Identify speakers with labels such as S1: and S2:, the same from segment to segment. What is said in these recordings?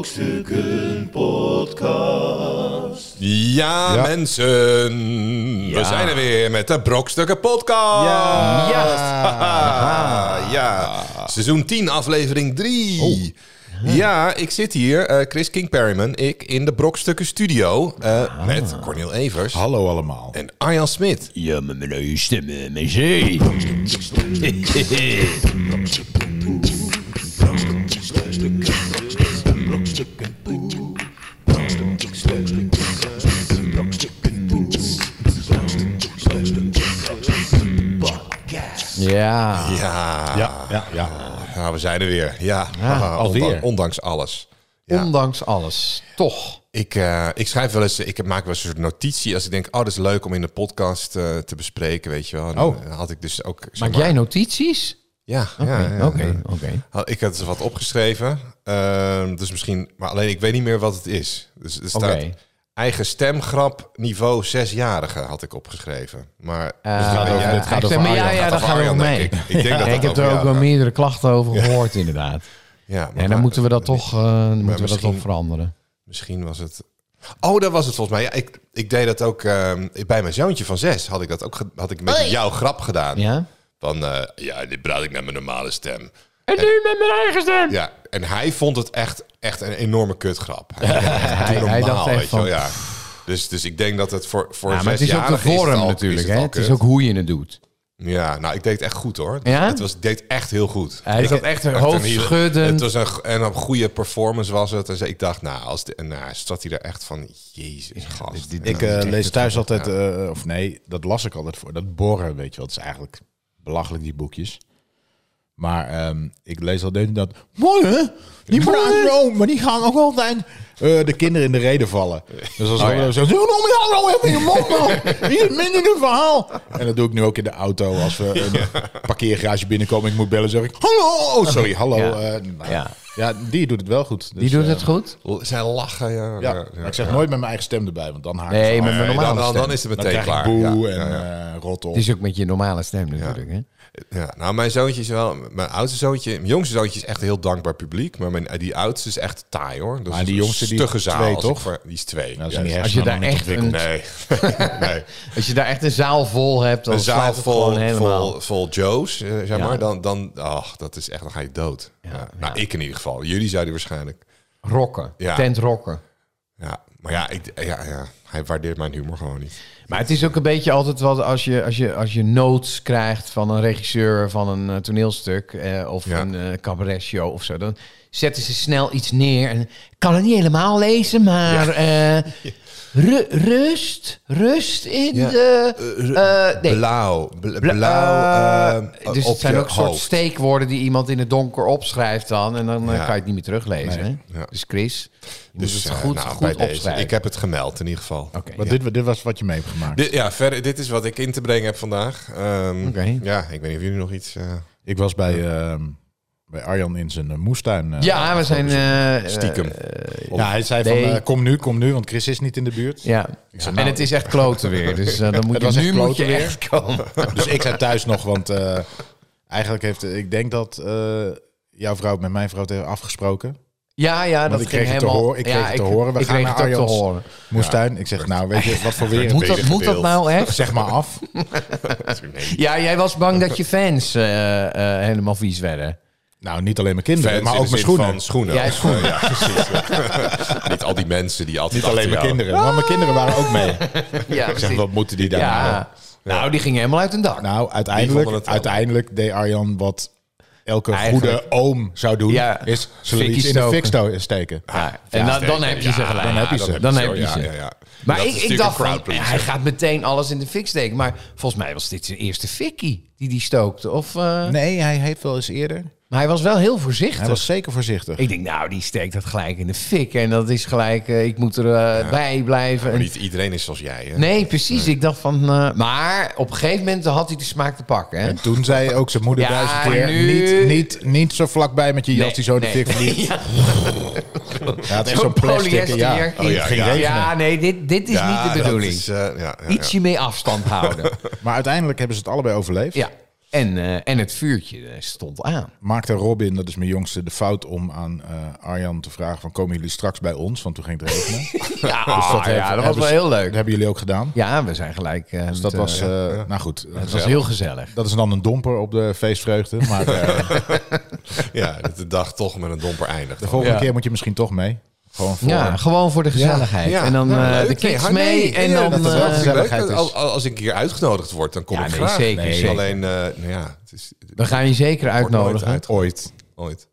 S1: Brokstukken Podcast.
S2: Ja,
S3: Ja.
S2: mensen. We zijn er weer met de Brokstukken Podcast.
S3: Ja.
S2: Ja. ja. Seizoen 10, aflevering 3.
S3: Oh.
S2: Ja, ik zit hier, eh, Chris King Perryman, ik in de Brokstukken Studio eh, met Cornel Evers
S3: Ah. Hallo allemaal.
S2: en Arjan Smit.
S1: Ja, maar mijn je stemmen, mijn zee.
S4: Ja.
S2: Ja.
S3: Ja, ja, ja.
S2: Nou, we zijn er weer. Ja, Haha,
S4: alweer.
S2: ondanks, ondanks alles. Ja.
S4: Ondanks alles. Toch.
S2: Ik, eh, ik schrijf wel eens, ik maak wel eens een soort notitie als ik denk, oh, dat is leuk om in de podcast eh, te bespreken, weet je wel. En dan
S4: Oh.
S2: had ik dus ook. zeg
S4: Maak
S2: maar-
S4: jij notities?
S2: Ja, ja, ja, ja.
S4: Oké, oké.
S2: Had- Ik had ze wat opgeschreven, ehm, dus misschien, maar alleen ik weet niet meer wat het is. Dus het staat
S4: Oké.
S2: eigen stemgrap niveau zesjarige had ik opgeschreven, maar Dus
S4: Eh,
S2: ik
S3: gaat
S2: weet-
S3: over-
S2: ja,
S3: dit gaat over
S4: maar ja,
S2: Arjan.
S4: ja,
S2: Gaat
S4: daar
S2: over
S4: gaan we
S2: Arjan,
S4: ook mee.
S2: denk ik. Ik denk dat dat
S4: ik heb
S2: over
S4: er
S2: jou
S4: ook wel
S2: gaat.
S4: meerdere klachten over gehoord, inderdaad.
S2: ja, maar
S4: En dan
S2: waar-
S4: moeten we dat toch, eh, moeten we dat
S2: misschien-
S4: toch veranderen.
S2: Misschien was het. Oh, dat was het volgens mij. Ja, ik, ik deed dat ook ehm, bij mijn zoontje van zes. Had ik dat ook ge- had ik met jouw grap gedaan.
S4: Ja?
S2: Van eh, ja, dit praat ik naar mijn normale stem.
S4: En nu met mijn eigen stem.
S2: Ja, en hij vond het echt, echt een enorme kutgrap. Hij, hij,
S4: hij dacht echt van,
S2: ja. dus, dus ik denk dat het voor, voor
S4: Ja, maar het is ook
S2: zesjarigen
S4: de
S2: is het
S4: vorm
S2: al-
S4: natuurlijk.
S2: is het
S4: hè?
S2: al
S4: Het is
S2: kut.
S4: ook hoe je het doet.
S2: Ja, nou, ik deed het echt goed hoor.
S4: Ja?
S2: Het was, ik deed het echt heel goed.
S4: Hij
S2: Ik-
S4: zat echt
S2: een
S4: hoofdschuddend.
S2: hele- Het was een, go- en een goede performance was het. En ik dacht, nou, als de, en, nou, zat hij er echt van, jezus, gast.
S3: Ik eh, lees thuis altijd, eh, of nee, dat las ik altijd voor. Dat borren, weet je wel. Het is eigenlijk belachelijk, die boekjes. Maar ehm, ik lees al deze dat. Mooi hè? Die praten zo, maar die gaan ook altijd eh, de kinderen in de reden vallen. Dus
S4: Oh,
S3: als ik zo, doe nog meer hallo even in nou, je mond man. Hier is minder een verhaal. En dat doe ik nu ook in de auto. Als we een parkeergarage binnenkomen, ik moet bellen, zeg ik hallo. Oh, sorry, hallo.
S4: Ja.
S3: eh, nou,
S4: Ja.
S3: ja. die doet het wel goed.
S4: Die
S3: Dus,
S4: doet
S3: eh,
S4: het goed?
S2: Zij lachen, ja.
S3: Ja,
S2: ja,
S3: maar ik zeg nooit met mijn eigen stem erbij, want dan haak
S4: Nee,
S3: ik
S4: met mijn
S2: Nee, dan,
S4: normale
S2: dan,
S4: stem.
S2: dan is het
S3: dan
S2: meteen
S3: krijg ik
S2: klaar.
S3: boe
S2: ja,
S3: en
S2: ja, ja.
S3: eh, rot op.
S4: Het is ook met je normale stem natuurlijk. Hè?
S2: Ja, nou, mijn zoontje is wel, mijn oudste zoontje, mijn jongste zoontje is echt een heel dankbaar publiek, maar mijn, die oudste is echt taai hoor. Dat
S3: Maar
S2: is
S3: die
S2: een
S3: jongste, die
S2: stugge
S3: is
S2: zaal,
S3: twee,
S2: als ik
S3: toch?
S2: voor- die is twee.
S3: Nou,
S2: Ja,
S3: zijn die
S2: dus-
S4: Als je
S3: hersenen
S4: daar
S3: nog niet
S4: echt
S3: ontwikkeld.
S4: een-
S2: Nee, nee.
S4: Als je daar echt een zaal vol hebt, dan
S2: Een zaal
S4: slaat het
S2: vol,
S4: gewoon helemaal.
S2: vol, vol Joe's, eh, zeg
S4: Ja.
S2: maar, dan, dan, ach, dat is echt, dan ga je dood. Ja, Nou, ik in ieder geval. Jullie zouden waarschijnlijk.
S4: Rokken.
S2: Ja.
S4: Tent rokken.
S2: Ja, maar ja, ik, ja, ja, hij waardeert mijn humor gewoon niet.
S4: Maar het is ook een beetje altijd wat als je, als je, als je notes krijgt van een regisseur van een eh, toneelstuk eh, of
S2: Ja.
S4: een eh cabaret show of zo. Dan zetten ze snel iets neer en ik kan het niet helemaal lezen, maar eh, ru- rust, rust in
S2: Ja.
S4: de... eh, nee.
S2: Blauw, bl-
S4: Bla-
S2: blauw.
S4: eh,
S2: eh,
S4: dus
S2: op
S4: het zijn
S2: je
S4: ook soort
S2: hoofd.
S4: steekwoorden die iemand in het donker opschrijft dan. En dan eh,
S2: Ja.
S4: kan je het niet meer teruglezen. hè?
S2: Ja.
S4: Dus Chris, je moet het
S2: eh,
S4: goed,
S2: nou,
S4: goed
S2: bij deze.
S4: opschrijven.
S2: Ik heb het gemeld in ieder geval.
S4: Oké.
S3: Maar dit, dit was wat je mee hebt gemaakt.
S2: Dit, ja, verder, dit is wat ik in te brengen heb vandaag. Ehm,
S4: Oké.
S2: Ja, ik weet niet of jullie nog iets... eh,
S3: Ik was bij, ehm, bij Arjan in zijn eh, moestuin. eh,
S4: Ja, we zijn... eh,
S2: stiekem.
S3: ja, hij zei
S4: Nee.
S3: van, eh, kom nu, kom nu, want Chris is niet in de buurt.
S4: Ja.
S3: Ik zei,
S4: en
S3: nou,
S4: het is echt kloten weer. Dus eh, dan moet
S3: Het
S4: je,
S3: was
S4: nu
S3: echt
S4: moet
S3: kloten
S4: je
S3: weer.
S4: echt komen.
S3: Dus ik zei thuis nog, want eh, eigenlijk heeft... Ik denk dat eh, jouw vrouw het met mijn vrouw heeft afgesproken.
S4: Ja, ja, dat ging
S3: ik kreeg het te
S4: helemaal...
S3: horen- ik kreeg
S4: ja,
S3: het te horen. We
S4: ik
S3: gaan
S4: kreeg
S3: naar
S4: het ook te
S3: Arjan's.
S4: horen.
S3: Moestuin. Ik zeg, nou, weet je, wat voor weer het
S4: Moet dat,
S3: is?
S4: moet dat nou echt?
S3: Zeg maar af.
S2: nee.
S4: Ja, jij was bang dat je fans eh, eh, helemaal vies werden.
S3: Nou, niet alleen mijn kinderen,
S2: Fans
S3: maar
S2: in
S3: ook
S2: de
S3: mijn
S2: zin
S3: schoenen.
S2: Van schoenen.
S4: Ja, schoenen.
S2: Ja, precies. ja. niet al die mensen die altijd
S3: Niet alleen
S2: achter
S3: mijn
S2: jou-
S3: kinderen, maar mijn kinderen waren ook mee.
S4: Ja,
S3: Ik zeg,
S4: precies.
S3: wat moeten die daar nou?
S4: ja. Nou, die gingen helemaal uit hun dak.
S3: Nou,
S2: Die vonden
S3: uiteindelijk,
S2: het wel.
S3: uiteindelijk deed Arjan wat elke
S4: Eigenlijk.
S3: goede oom zou doen.
S4: Ja.
S3: Is zullen we
S4: Fikkie
S3: iets in de fik
S4: stoken.
S3: sto- steken.
S4: Ja, en dan, dan heb je ze gelijk.
S3: dan heb je ze.
S4: Dan
S2: zo,
S4: heb je
S2: Oh, ja,
S4: ze.
S2: ja, ja.
S4: Maar
S2: Dat
S4: ik,
S2: is
S4: ik
S2: natuurlijk
S4: dacht
S2: een
S4: van,
S2: crowdpleaser.
S4: hij gaat meteen alles in de fik steken. Maar volgens mij was dit zijn eerste fikkie die die stookte. Of, eh,
S3: Nee, hij heeft wel eens eerder.
S4: Maar hij was wel heel voorzichtig.
S3: Hij was zeker voorzichtig.
S4: Ik denk, nou, die steekt dat gelijk in de fik. En dat is gelijk, eh, ik moet er eh, bij blijven.
S2: Maar niet iedereen is zoals jij. Hè?
S4: Nee, precies. Ik dacht van... eh, maar op een gegeven moment had hij de smaak te pakken. Hè?
S3: En toen zei ook zijn moeder
S4: Ja,
S3: duizend keer...
S4: nu-
S3: Niet, niet, niet zo vlakbij met je jas
S4: Nee,
S3: die zo in de
S4: nee.
S3: fik vliegt.
S4: Ja.
S3: Hij had echt zo'n plastic.
S4: polyester
S3: Ja.
S4: jurkje.
S2: Oh, ja,
S3: Het ging
S2: ja.
S3: regenen.
S4: Ja, nee, dit, dit is
S2: Ja,
S4: niet de
S2: dat
S4: bedoeling.
S2: is, eh, ja, ja, ja.
S4: Ietsje meer afstand houden.
S3: Maar uiteindelijk hebben ze het allebei overleefd.
S4: ja. En, eh, en het vuurtje eh, stond aan.
S3: maakte Robin, dat is mijn jongste, de fout om aan eh, Arjan te vragen van komen jullie straks bij ons? Want toen ging het regenen.
S4: Ja,
S3: heeft-
S4: ja Dus dat
S2: dus-
S4: was wel
S3: hebben
S4: heel
S3: dat
S4: leuk.
S3: hebben jullie ook gedaan.
S4: Ja, we zijn gelijk. eh,
S3: Dus
S4: met,
S3: dat
S4: eh,
S3: was, eh, nou goed,
S4: het was heel gezellig.
S3: dat is dan een domper op de feestvreugde. Maar eh,
S2: Ja, dat de dag toch met een domper eindigt.
S3: de volgende
S4: Ja.
S3: keer moet je misschien toch mee. Gewoon voor.
S4: Ja, gewoon voor de gezelligheid.
S2: Ja,
S4: En dan
S2: nou,
S4: eh,
S2: leuk.
S4: de
S2: Nee,
S4: kids
S2: ah, nee,
S4: mee. En
S2: nee,
S4: dan,
S2: dat is wel
S4: eh,
S2: leuk.
S3: gezelligheid is.
S2: Al- al- Als ik hier uitgenodigd word, dan kom
S4: Ja,
S2: ik
S4: nee,
S2: graag.
S4: zeker,
S2: Nee,
S4: zeker.
S2: Alleen, eh, nou ja, het is
S4: we gaan je zeker
S2: nooit
S4: uitnodigen.
S2: uit.
S3: Ooit.
S2: ooit.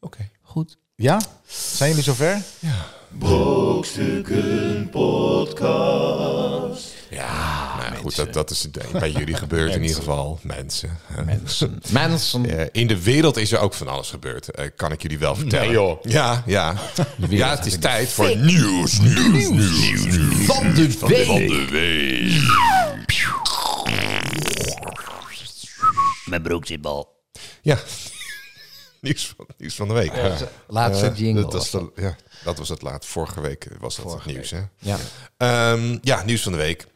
S2: Oké.
S4: Goed.
S3: Ja? Zijn jullie zover?
S1: Brokstukken Podcast.
S2: Ja, nou ja, goed, dat, dat is het- bij jullie gebeurd in ieder geval. Mensen. hè.
S4: Mensen. Mensen.
S2: Eh, in de wereld is er ook van alles gebeurd, eh, kan ik jullie wel vertellen.
S3: joh.
S2: Ja, ja. ja, het is tijd voor nieuws, nieuws, nieuws, nieuws.
S4: Van de week.
S1: Mijn broek zit bal.
S2: Ja. nieuws, van, nieuws van de week. Ja.
S4: Laatste
S2: Eh,
S4: jingle.
S2: Dat, was
S4: was
S2: de- ja, dat was het laat. Vorige week eh, was dat het nieuws, hè?
S4: Ja.
S2: Ehm, ja, nieuws van de week.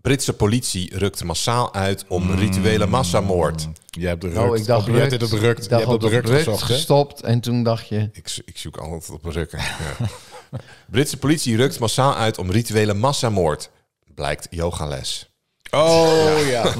S2: Britse politie rukt massaal uit om rituele massamoord.
S3: Jij hebt de rukt.
S4: Oh, ik dacht
S3: Jij hebt dit
S4: rukt.
S3: op de rukt.
S4: Ik
S3: Jij
S4: dacht
S3: hebt op de rukt gezocht, hè?
S4: gestopt. En toen dacht je...
S2: Ik, zo- ik zoek altijd op rukken. Ja. Britse politie rukt massaal uit om rituele massamoord. Blijkt yogales.
S3: Oh ja.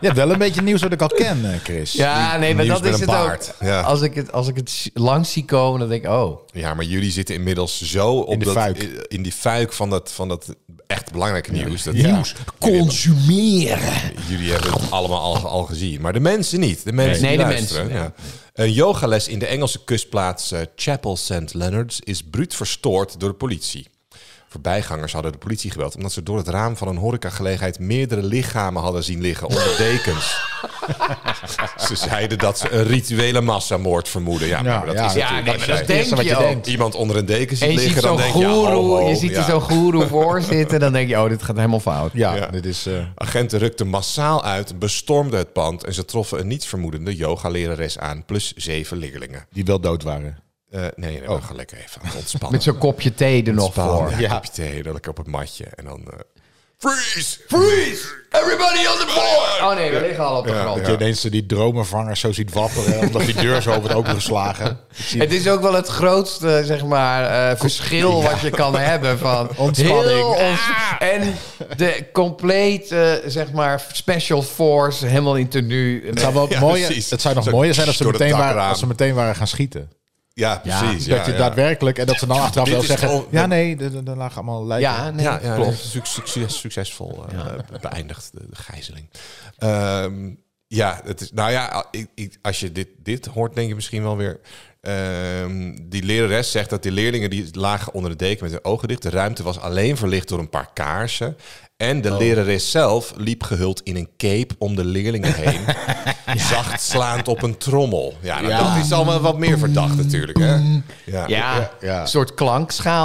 S3: ja, wel een beetje nieuws wat ik al ken, eh, Chris.
S4: Ja, nee, maar
S2: nieuws
S4: dat
S2: met
S4: is
S2: een
S4: het ook.
S2: baard. Ja.
S4: Als, ik het, als ik het langs zie komen, dan denk ik... Oh,
S2: Ja, maar jullie zitten inmiddels zo op
S3: In de
S2: dat,
S3: fuik.
S2: in die fuik van dat, van dat echt belangrijke nieuws. Dat
S3: Nieuws.
S4: consumeren.
S2: Jullie hebben het allemaal al, al gezien. Maar de mensen niet. De mensen
S4: Nee,
S2: die
S4: de
S2: luisteren.
S4: mensen,
S2: ja. Een yogales in de Engelse kustplaats eh, Chapel St. Leonards is bruut verstoord door de politie. Voorbijgangers hadden de politie gebeld omdat ze door het raam van een horecagelegenheid meerdere lichamen hadden zien liggen onder dekens. ze zeiden dat ze een rituele massamoord vermoeden. Ja, maar dat
S3: ja.
S2: is
S4: Ja,
S2: natuurlijk
S4: nee,
S2: wat
S4: maar
S2: je zei.
S4: dat denk
S3: wat
S4: je,
S3: je
S4: ook.
S3: denkt.
S2: Iemand onder een deken ziet
S4: En je ziet
S2: liggen, dan
S4: zo'n
S2: denk je, ja, ho,
S4: goeroe,
S2: ho,
S4: je ziet er
S2: ja.
S4: zo'n goeroe voor zitten. Dan denk je, oh, dit gaat helemaal fout.
S3: Ja,
S2: Ja.
S3: dit is... eh,
S2: Agenten rukten massaal uit, bestormden het pand en ze troffen een nietsvermoedende yogalerares aan, plus zeven leerlingen.
S3: die wel dood waren.
S2: Eh, nee, nee, we gaan lekker even aan het ontspannen.
S4: Met zo'n kopje thee er nog
S2: Ontspannen,
S4: voor.
S2: Ja,
S3: Ja.
S2: kopje thee, dan lekker op het matje en dan... eh, freeze! Freeze! Everybody on the floor!
S4: Oh nee, we liggen al op de grond.
S3: Dat je ineens die dromenvangers zo ziet wapperen... omdat die deur zo over het open geslagen.
S4: Het is ook wel het grootste zeg maar, eh, verschil wat je kan hebben van
S3: Ontspanning.
S4: heel ons- en de compleet eh, zeg maar special force helemaal in tenue.
S3: Het zou, wel mooier-
S2: precies.
S3: het zou nog
S2: Zo
S3: mooier zijn als ze,
S2: door het
S3: meteen waren,
S2: dakraam.
S3: als ze meteen waren gaan schieten.
S2: Ja, precies. Ja,
S3: dat je
S2: ja.
S3: daadwerkelijk... En dat ze dan achteraf
S2: Dit
S3: wel
S2: is
S3: zeggen...
S2: gewoon-
S3: ja, nee, er- er er lagen allemaal lijken.
S4: Ja, nee,
S2: Ja, ja
S4: klopt.
S2: klopt. succes, succesvol eh, beëindigd, de, de gijzeling. Ehm, ja, het is, nou ja, ik, ik, als je dit, dit hoort, denk je misschien wel weer... ehm, die lerares zegt dat die leerlingen die lagen onder de deken met hun ogen dicht. De ruimte was alleen verlicht door een paar kaarsen. En de lerares zelf liep gehuld in een cape om de leerlingen heen. Zacht slaand op een trommel. Ja, nou, dat is allemaal wat meer verdacht natuurlijk. Hè? Ja.
S4: Ja,
S3: ja.
S4: een soort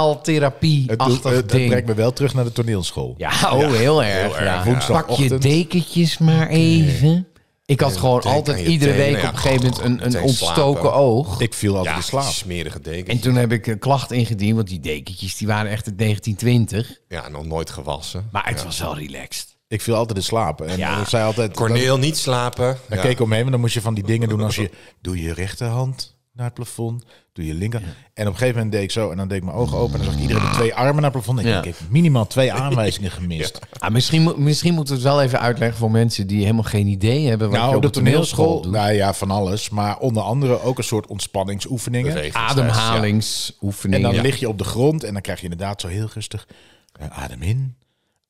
S3: Het, doet-
S4: klankschaaltherapie-achtig
S3: het, het
S4: ding.
S3: brengt me wel terug naar de toneelschool.
S4: Ja, oh, heel erg.
S2: erg,
S4: ja.
S2: ja.
S4: Pak je
S3: Woensdagochtend.
S4: dekentjes maar even. Ik had gewoon
S2: denk
S4: altijd
S2: aan je
S4: iedere
S2: tenen,
S4: week
S2: ja.
S4: op een gegeven moment een, een
S2: Meteen slapen.
S4: ontstoken oog.
S3: Ik viel altijd
S2: Ja,
S3: in slaap.
S2: die smerige deken.
S4: En toen heb ik een klacht ingediend, want die dekentjes die waren echt uit 1920.
S2: Ja, nog nooit gewassen.
S4: Maar het was wel relaxed.
S3: Ik viel altijd in slaap. En eh,
S4: Ja.
S3: ik zei altijd... Dan,
S2: Corneel, niet slapen.
S3: dan
S2: Ja.
S3: keek ik omheen en dan moest je van die dingen doen als je... Doe je rechterhand naar het plafond. Doe je linker. En op een gegeven moment deed ik zo. En dan deed ik mijn ogen open. En dan zag ik iedereen met twee armen naar het plafond. En ik
S4: Ja.
S3: denk, ik heb minimaal twee aanwijzingen gemist.
S4: Ah, misschien, mo- misschien moeten we het wel even uitleggen voor mensen die helemaal geen idee hebben wat
S3: Nou,
S4: je
S3: op de toneelschool,
S4: doet.
S3: nou ja, van alles. Maar onder andere ook een soort ontspanningsoefeningen.
S4: Ah,
S2: Regels,
S3: En
S4: Ademhalingsoefeningen.
S3: Nou, dan
S4: Ja.
S3: lig je op de grond en dan krijg je inderdaad zo heel rustig eh, adem in,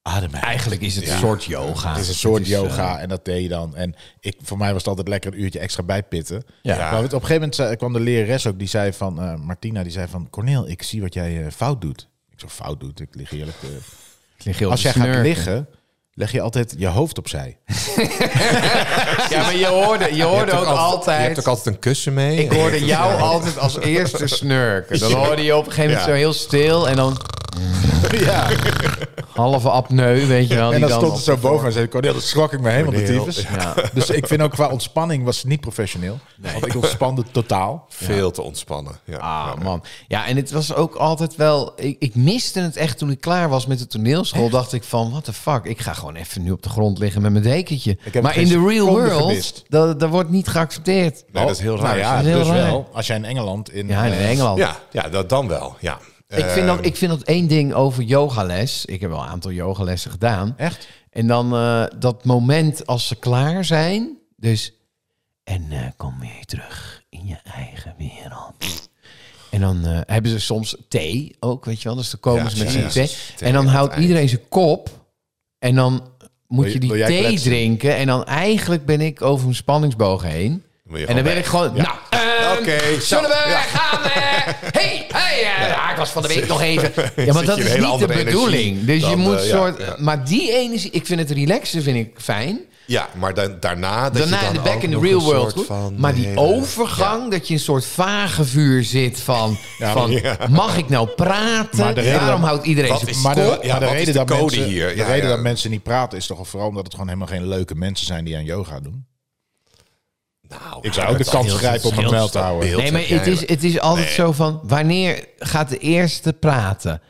S3: adem uit.
S4: Eigenlijk is het een soort yoga.
S3: Het is een soort
S4: eh,
S3: yoga en dat deed je dan. En ik, voor mij was het altijd lekker een uurtje extra bijpitten.
S4: Ja.
S3: Maar op een gegeven moment zei- kwam de lerares ook, die zei van, eh, Martina, die zei van, Corneel, ik zie wat jij eh, fout doet. Ik zo, fout doet, ik lig heerlijk. eh.
S4: Ik lig heel
S3: Als jij gaat
S4: snurken.
S3: liggen, leg je altijd je hoofd opzij.
S4: Ja, maar je hoorde, je
S2: Je
S4: hoorde
S2: hebt
S4: ook altijd...
S2: Je hebt ook altijd een kussen mee.
S4: Ik hoorde jou altijd als eerste snurken. Dan hoorde je op een gegeven moment
S2: Ja.
S4: zo heel stil en dan...
S3: ja.
S4: Halve apneu, weet je wel.
S3: En
S4: die
S3: dan stond
S4: op
S3: het zo
S4: de voor-
S3: boven en zei Cornel, dat schrok ik me helemaal de
S4: Cornel,
S3: tyfus.
S4: ja.
S3: Dus ik vind ook qua ontspanning was het niet professioneel. Want ik ontspande totaal.
S2: Veel te ontspannen. Ja.
S4: Ah, man. Ja, en het was ook altijd wel... Ik, ik miste het echt toen ik klaar was met de toneelschool. Dacht ik van, what the fuck? Ik ga gewoon even nu op de grond liggen met mijn dekentje.
S3: heb
S4: Maar
S3: geen
S4: in de real
S3: seconde
S4: world,
S3: gemist.
S4: dat, dat wordt niet geaccepteerd.
S2: Nee, dat is heel raar.
S3: Nou ja,
S4: Dat is heel
S3: dus
S4: raar.
S3: wel. Als jij in Engeland in...
S4: Ja, en in
S3: eh,
S4: Engeland.
S2: ja, ja, dat dan wel. Ja.
S4: Ik vind,
S3: Ehm.
S4: dat, ik vind dat één ding over yogales. Ik heb wel een aantal yogalessen gedaan.
S3: Echt?
S4: En dan eh, dat moment als ze klaar zijn. Dus, en eh, kom weer terug in je eigen wereld. En dan eh, hebben ze soms thee ook, weet je wel. Dus dan komen
S2: Ja,
S4: ze
S2: ja,
S4: met z'n
S2: ja.
S4: thee.
S2: Thee
S4: En dan
S2: aan het
S4: houdt
S2: eind.
S4: iedereen zijn kop. En dan moet
S3: je-
S4: je die
S3: wil jij
S4: thee
S3: kletsen?
S4: drinken. En dan eigenlijk ben ik over mijn spanningsboog heen. En dan ben ik gewoon, nou, ehm,
S2: Oké, zo,
S4: zullen we
S2: ja.
S4: gaan? eh, hey, hey, eh, ja, ik was van de week nog even. Ja, maar
S2: Zit
S4: dat
S2: je
S4: is
S2: een hele
S4: niet de
S2: andere
S4: bedoeling.
S2: energie
S4: Dus je
S2: dan,
S4: moet
S2: eh, ja,
S4: soort,
S2: ja.
S4: maar die energie, ik vind het relaxen, vind ik fijn.
S2: Ja, maar dan, daarna... Dat
S4: Daarna
S2: je
S4: in
S2: dan
S4: de back
S2: ook
S4: in the
S2: nog
S4: real
S2: een
S4: world.
S2: soort
S4: Goed.
S2: van
S4: Maar die
S2: hele-
S4: overgang, dat je een soort vage vuur zit van, van mag ik nou praten?
S3: Maar de reden-
S4: Waarom houdt iedereen
S2: Wat
S4: zijn
S2: is-
S3: Maar de,
S2: Kom, ja,
S3: maar de
S2: wat
S3: reden,
S2: is de
S3: dat,
S2: code
S3: mensen,
S2: hier?
S3: de
S2: Ja,
S3: reden
S2: ja.
S3: dat mensen niet praten is toch vooral omdat het gewoon helemaal geen leuke mensen zijn die aan yoga doen.
S2: Nou,
S3: Ik zou ook de kans grijpen om het meld te houden.
S2: beeld.
S4: Nee, maar
S2: heb
S4: het
S2: jij
S4: is, het is altijd zo van, wanneer gaat de eerste praten?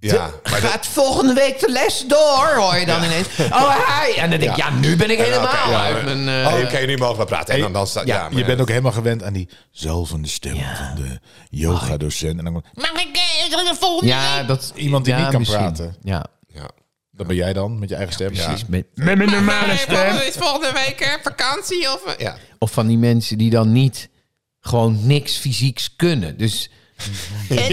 S2: Ja, maar dat-
S4: Gaat volgende week de les door, hoor je dan ineens. Oh, hi! En dan denk ik, ja, nu ben ik helemaal
S2: oké, ja,
S4: uit
S2: maar-
S4: mijn... eh,
S2: Oh, oké, nu mogen we praten. En dan, dan staat, ja, maar
S3: je bent ook helemaal gewend aan die zalvende stem van de yoga-docent. En dan, Nou,
S5: Mag ik eh, de volgende
S4: ja, dat,
S3: Iemand die
S4: ja,
S3: niet kan
S4: misschien.
S3: praten.
S4: Ja,
S2: Ja.
S3: dat ben jij dan, met je eigen stem.
S4: precies. Met, met mijn normale stem.
S5: week? Volgende week eh, vakantie of... eh,
S2: Ja.
S4: Of van die mensen die dan niet gewoon niks fysieks kunnen. Dus
S6: Dit,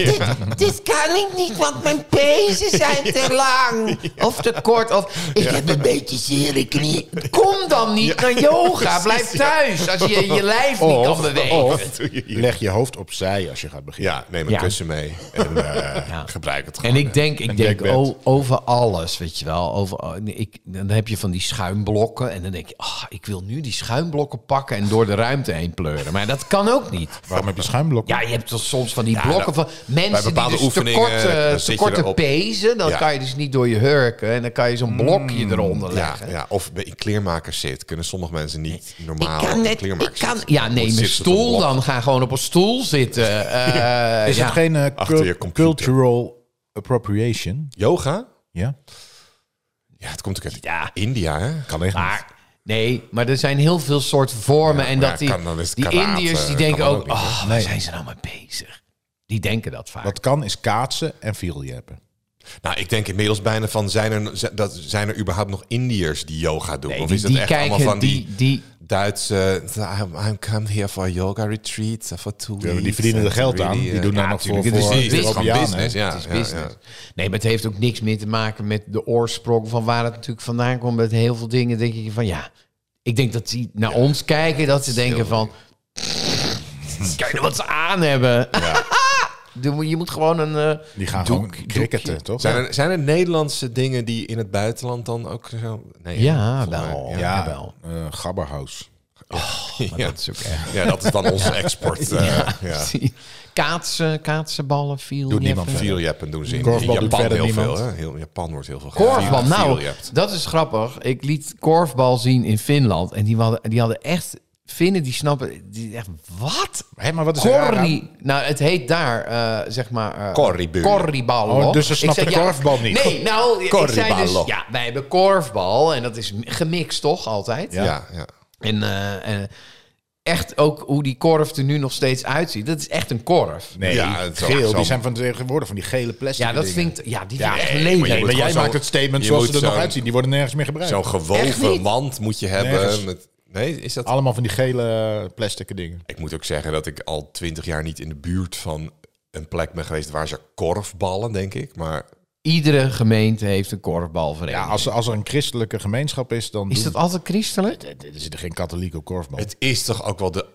S6: dit kan ik niet, want mijn pezen zijn te lang.
S4: of te kort, of ik heb een beetje zere knie. Kom dan niet naar yoga. Blijf thuis als je je lijf niet kan bewegen.
S3: of leg je hoofd opzij als je gaat beginnen.
S2: ja, neem een
S4: Ja.
S2: kussen mee en eh,
S4: Ja.
S2: gebruik het
S4: En
S2: gewoon.
S4: ik denk, ik
S3: een
S4: denk
S3: dekbed.
S4: o- over alles, weet je wel. Over, oh, ik, dan heb je van die schuimblokken en dan denk je, ah, ik wil nu die schuimblokken pakken en door de ruimte heen pleuren. Maar dat kan ook niet.
S3: Waarom heb je schuimblokken?
S4: Ja, je hebt toch soms van die blokken
S2: dat-
S4: van mensen die
S2: nou, bepaalde
S4: dus te
S2: oefeningen,
S4: korte,
S2: eh,
S4: te
S2: zit je
S4: korte
S2: erop.
S4: pezen, dan
S2: Ja. Mm.
S4: kan je dus niet door je hurken en dan kan je zo'n blokje eronder
S2: ja,
S4: leggen.
S2: ja, of in kleermakers zit, kunnen sommige mensen niet normaal
S6: Ik kan
S2: in
S6: net, ik
S2: kleermakers
S6: kan...
S2: zitten.
S4: Ja,
S2: Moet
S4: neem een
S2: zitten op een
S4: stoel
S2: blok.
S4: dan. Ga gewoon op een stoel zitten. Eh,
S3: Is
S4: ja.
S3: het geen eh,
S2: Achter
S3: cul-
S2: je computer.
S3: cultural appropriation?
S2: Yoga?
S3: Ja.
S2: Ja, het komt ook uit
S4: Ja.
S2: India, hè? Kan echt
S4: Maar, nee, maar er zijn heel veel soorten vormen. en
S2: maar
S4: dat
S2: ja,
S4: die,
S2: kan- dan is het
S4: die
S2: karate, eh,
S4: Indiërs die
S2: kan
S4: denken
S2: dan
S4: ook...
S2: ook niet,
S4: oh,
S2: hè?
S4: waar
S3: Nee.
S4: zijn ze nou mee bezig? Die denken dat vaak.
S3: Wat kan is kaatsen en vierjappen.
S2: Nou, ik denk inmiddels bijna van, zijn er, z- dat, zijn er überhaupt nog Indiërs die yoga doen?
S4: Nee,
S2: of
S4: die-
S2: is dat
S4: die
S2: echt
S4: kijken,
S2: allemaal van die,
S4: die- die-
S2: Duitse... "Nou, I'm, I'm come here for a yoga retreat for two weeks.
S3: Ja, maar die verdienen er
S2: and
S3: geld
S2: really,
S3: aan. Die
S2: eh,
S3: doen
S2: ja,
S3: daar nog voor,
S2: tuurlijk, het
S3: voor
S2: is- het is gewoon
S3: Europeanen, hè?
S2: business, ja.
S4: het is
S2: ja,
S4: business.
S2: ja.
S4: Nee, maar het heeft ook niks meer te maken met de oorsprong van waar het natuurlijk vandaan komt. Met heel veel dingen denk ik van ja. Ik denk dat die naar ons kijken, dat ze denken van. Kijk nou wat ze aan hebben. Je moet- je moet gewoon een. eh,
S3: Die gaan
S4: doek-
S3: gewoon cricketten, toch?
S2: Zijn er, zijn er Nederlandse dingen die in het buitenland dan ook zo... Nee,
S4: Ja,
S2: volgens mij-
S4: wel.
S2: Ja.
S3: ja,
S4: Jawel.
S3: eh, Gabberhaus.
S4: Maar dat is ook echt.
S2: Ja, dat is dan onze export. eh, ja.
S4: Kaatsen, kaatsenballen, viel.
S3: Doet niemand verder.
S2: Vierjappen doen ze in,
S3: Korfbal
S2: in
S3: doet
S2: Japan
S3: verder
S2: heel
S3: niemand.
S2: veel. Hè? Heel, Japan wordt heel veel
S4: Korfbal,
S2: gedaan.
S4: nou,
S2: Vierjapt.
S4: dat is grappig. Ik liet korfbal zien in Finland. En die hadden, die hadden echt... Vinnen die snappen... Die echt, wat?
S3: Hé, maar wat is er raar aan?
S4: Corrie. Nou, het heet daar, eh, zeg maar... eh,
S2: Corriburen.
S4: Corriballo.
S3: Oh, dus ze
S4: Ik
S3: snappen
S4: zei,
S3: korfbal niet.
S4: Nee, nou, ik zei dus...
S2: Corriballo.
S4: Ja, wij hebben korfbal. En dat is gemixt, toch? Altijd.
S3: Ja.
S2: Ja, ja.
S4: En eh, eh, echt ook hoe die korf er nu nog steeds uitziet. Dat is echt een korf.
S3: Nee,
S2: Ja, het is
S3: geel.
S2: zo-
S3: Die zijn van tegenwoordig van die gele plastic
S4: Ja, dat
S3: dingen.
S4: vind ik... Ja, die
S3: Ja, eh,
S4: vind ik echt
S3: nee,
S4: lelijk.
S2: maar je
S3: maar
S2: moet
S3: jij
S2: gewoon
S3: maakt
S2: zo'n-
S3: het statement
S2: je
S3: zoals ze
S2: moet
S3: er nog
S2: zo'n-
S3: uitzien. Die worden nergens meer gebruikt.
S2: Zo'n
S4: Echt
S2: gewoven
S4: niet?
S2: wand moet je hebben.
S3: Nergens.
S2: Met, nee, is dat...
S3: Allemaal van die gele plastic dingen.
S2: Ik moet ook zeggen dat ik al twintig jaar niet in de buurt van een plek ben geweest waar ze korfballen, denk ik. Maar
S4: Iedere gemeente heeft een korfbalvereniging.
S3: Ja, als, er- als er een christelijke gemeenschap is, dan
S4: Is
S3: doen-
S4: dat altijd christelijk?
S3: Er- Er zitten geen katholieken op korfbal.
S2: het is toch ook wel de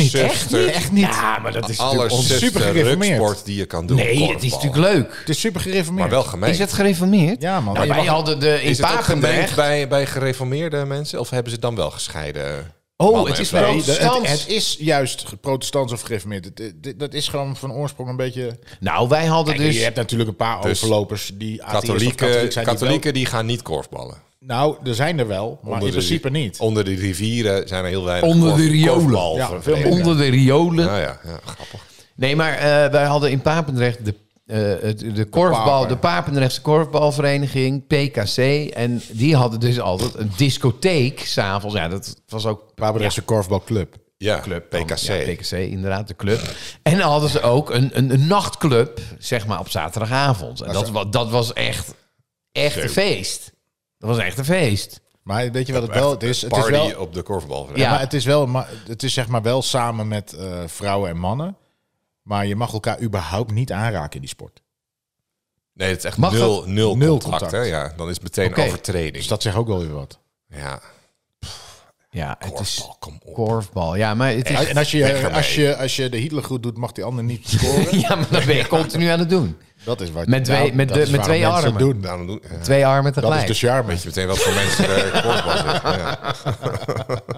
S2: allerzuster...
S4: niet. Ja, maar dat is natuurlijk
S3: super
S2: Allerzuster
S3: gereformeerd.
S2: ruksport die je kan doen.
S4: on- Ah, Nee, het is
S2: korfbal.
S4: natuurlijk leuk.
S3: Het is super gereformeerd.
S2: Maar wel gemeen.
S4: Is het gereformeerd?
S3: Ja, man.
S4: Nou,
S3: Ja,
S4: wij
S3: wacht.
S4: hadden de in
S2: Is het ook gemengd
S4: Papendrecht.
S2: bij, bij gereformeerde mensen? Of hebben ze dan wel gescheiden?
S4: Oh,
S2: Mannen
S4: het is
S2: en vrouwen.
S3: Nee, dat- het,
S4: protestants.
S3: het is juist ge- protestants of gereformeerd. Het- het- dit- Dat is gewoon van oorsprong een beetje...
S4: Nou, wij hadden
S3: Kijk,
S4: dus...
S3: je hebt natuurlijk een paar
S2: Dus
S3: overlopers die atheïst of
S2: Katholieken,
S3: katholiek zijn. die wel-
S2: katholieken die gaan niet korfballen.
S3: nou, er zijn er wel, maar in
S2: de ri-
S3: principe niet.
S2: Onder de rivieren zijn er heel weinig
S4: Onder de
S2: korf-
S4: riolen.
S2: korfbalverenigingen.
S3: Ja, veel minder.
S4: Onder de riolen.
S2: Nou ja, ja, grappig.
S4: Nee, maar eh, wij hadden in Papendrecht de, eh, het- de, korfbal, de,
S3: Papen.
S4: Papendrechtse korfbalvereniging, PKC. En die hadden dus altijd een discotheek s'avonds. Ja, dat was ook
S3: Papendrechtse korfbalclub.
S2: Ja,
S4: dan-
S2: PKC.
S4: ja, PKC, inderdaad, de club. En dan hadden ze ook een, een, een nachtclub, zeg maar, op zaterdagavond. En dat, wa- dat was echt, echt een feest. Dat was echt een feest.
S3: Maar weet je wat het
S2: Echt
S3: wel het is? Het is
S2: party
S3: wel,
S2: op de korfbalvereniging.
S4: Ja.
S3: maar het is wel, maar het is zeg maar wel samen met eh, vrouwen en mannen. Maar je mag elkaar überhaupt niet aanraken in die sport.
S2: Nee, het is echt
S4: Mag
S2: nul,
S4: dat?
S2: nul,
S3: Nul
S2: contact.
S3: contact.
S2: Hè? Ja, dan is het meteen
S4: Oké.
S2: overtreding.
S3: Dus dat zegt ook wel weer wat.
S2: Ja,
S4: Ja, het is
S2: korfbal, kom op.
S4: korfbal. Ja, maar het is...
S3: En als
S2: weg
S3: je,
S2: ermee.
S3: als je, als je de Hitler goed doet, mag die ander niet scoren.
S4: Ja, maar dat ben je continu aan het doen.
S3: Dat is wat
S4: Met twee-
S3: nou,
S4: met
S3: dat
S4: de-
S3: is
S4: met
S3: waarom
S4: twee
S3: mensen het
S4: armen.
S3: doen.
S2: Daarom doen, ja.
S4: Twee armen
S3: Dat is dus-
S4: tegelijk.
S3: de charme.
S2: Weet je meteen wat voor mensen er korfbal zitten. Ja.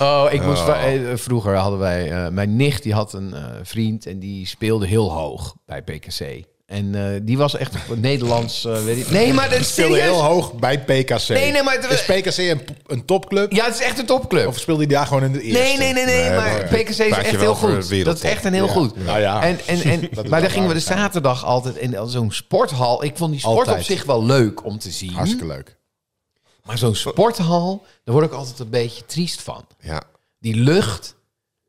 S4: Oh, ik moest wa- eh, vroeger hadden wij eh, mijn nicht die had een eh, vriend en die speelde heel hoog bij PKC. En eh, die was echt op het Nederlands. eh, weet ik. Nee, maar dat is
S3: Speelde heel
S4: serieus.
S3: hoog bij PKC.
S4: Nee, nee, maar het-
S3: Is PKC een, een topclub?
S4: Ja, het is echt een topclub.
S3: Of speelde hij daar gewoon in de eerste?
S4: Nee, nee, nee, nee, maar
S2: dat-
S4: PKC is
S2: praat je
S4: echt
S2: wel
S4: heel
S2: over
S4: goed. Dat is
S2: wereldtop.
S4: echt een heel
S3: Ja.
S4: goed.
S3: Nou ja.
S4: En, en, en,
S3: is
S4: maar
S3: wel
S4: daar gingen we dus de
S3: waar.
S4: zaterdag altijd in al zo'n sporthal. Ik vond die sport op
S3: Altijd.
S4: zich wel leuk om te zien.
S3: Hartstikke leuk.
S4: Maar zo'n sporthal, daar word ik altijd een beetje triest van.
S2: ja.
S4: die lucht.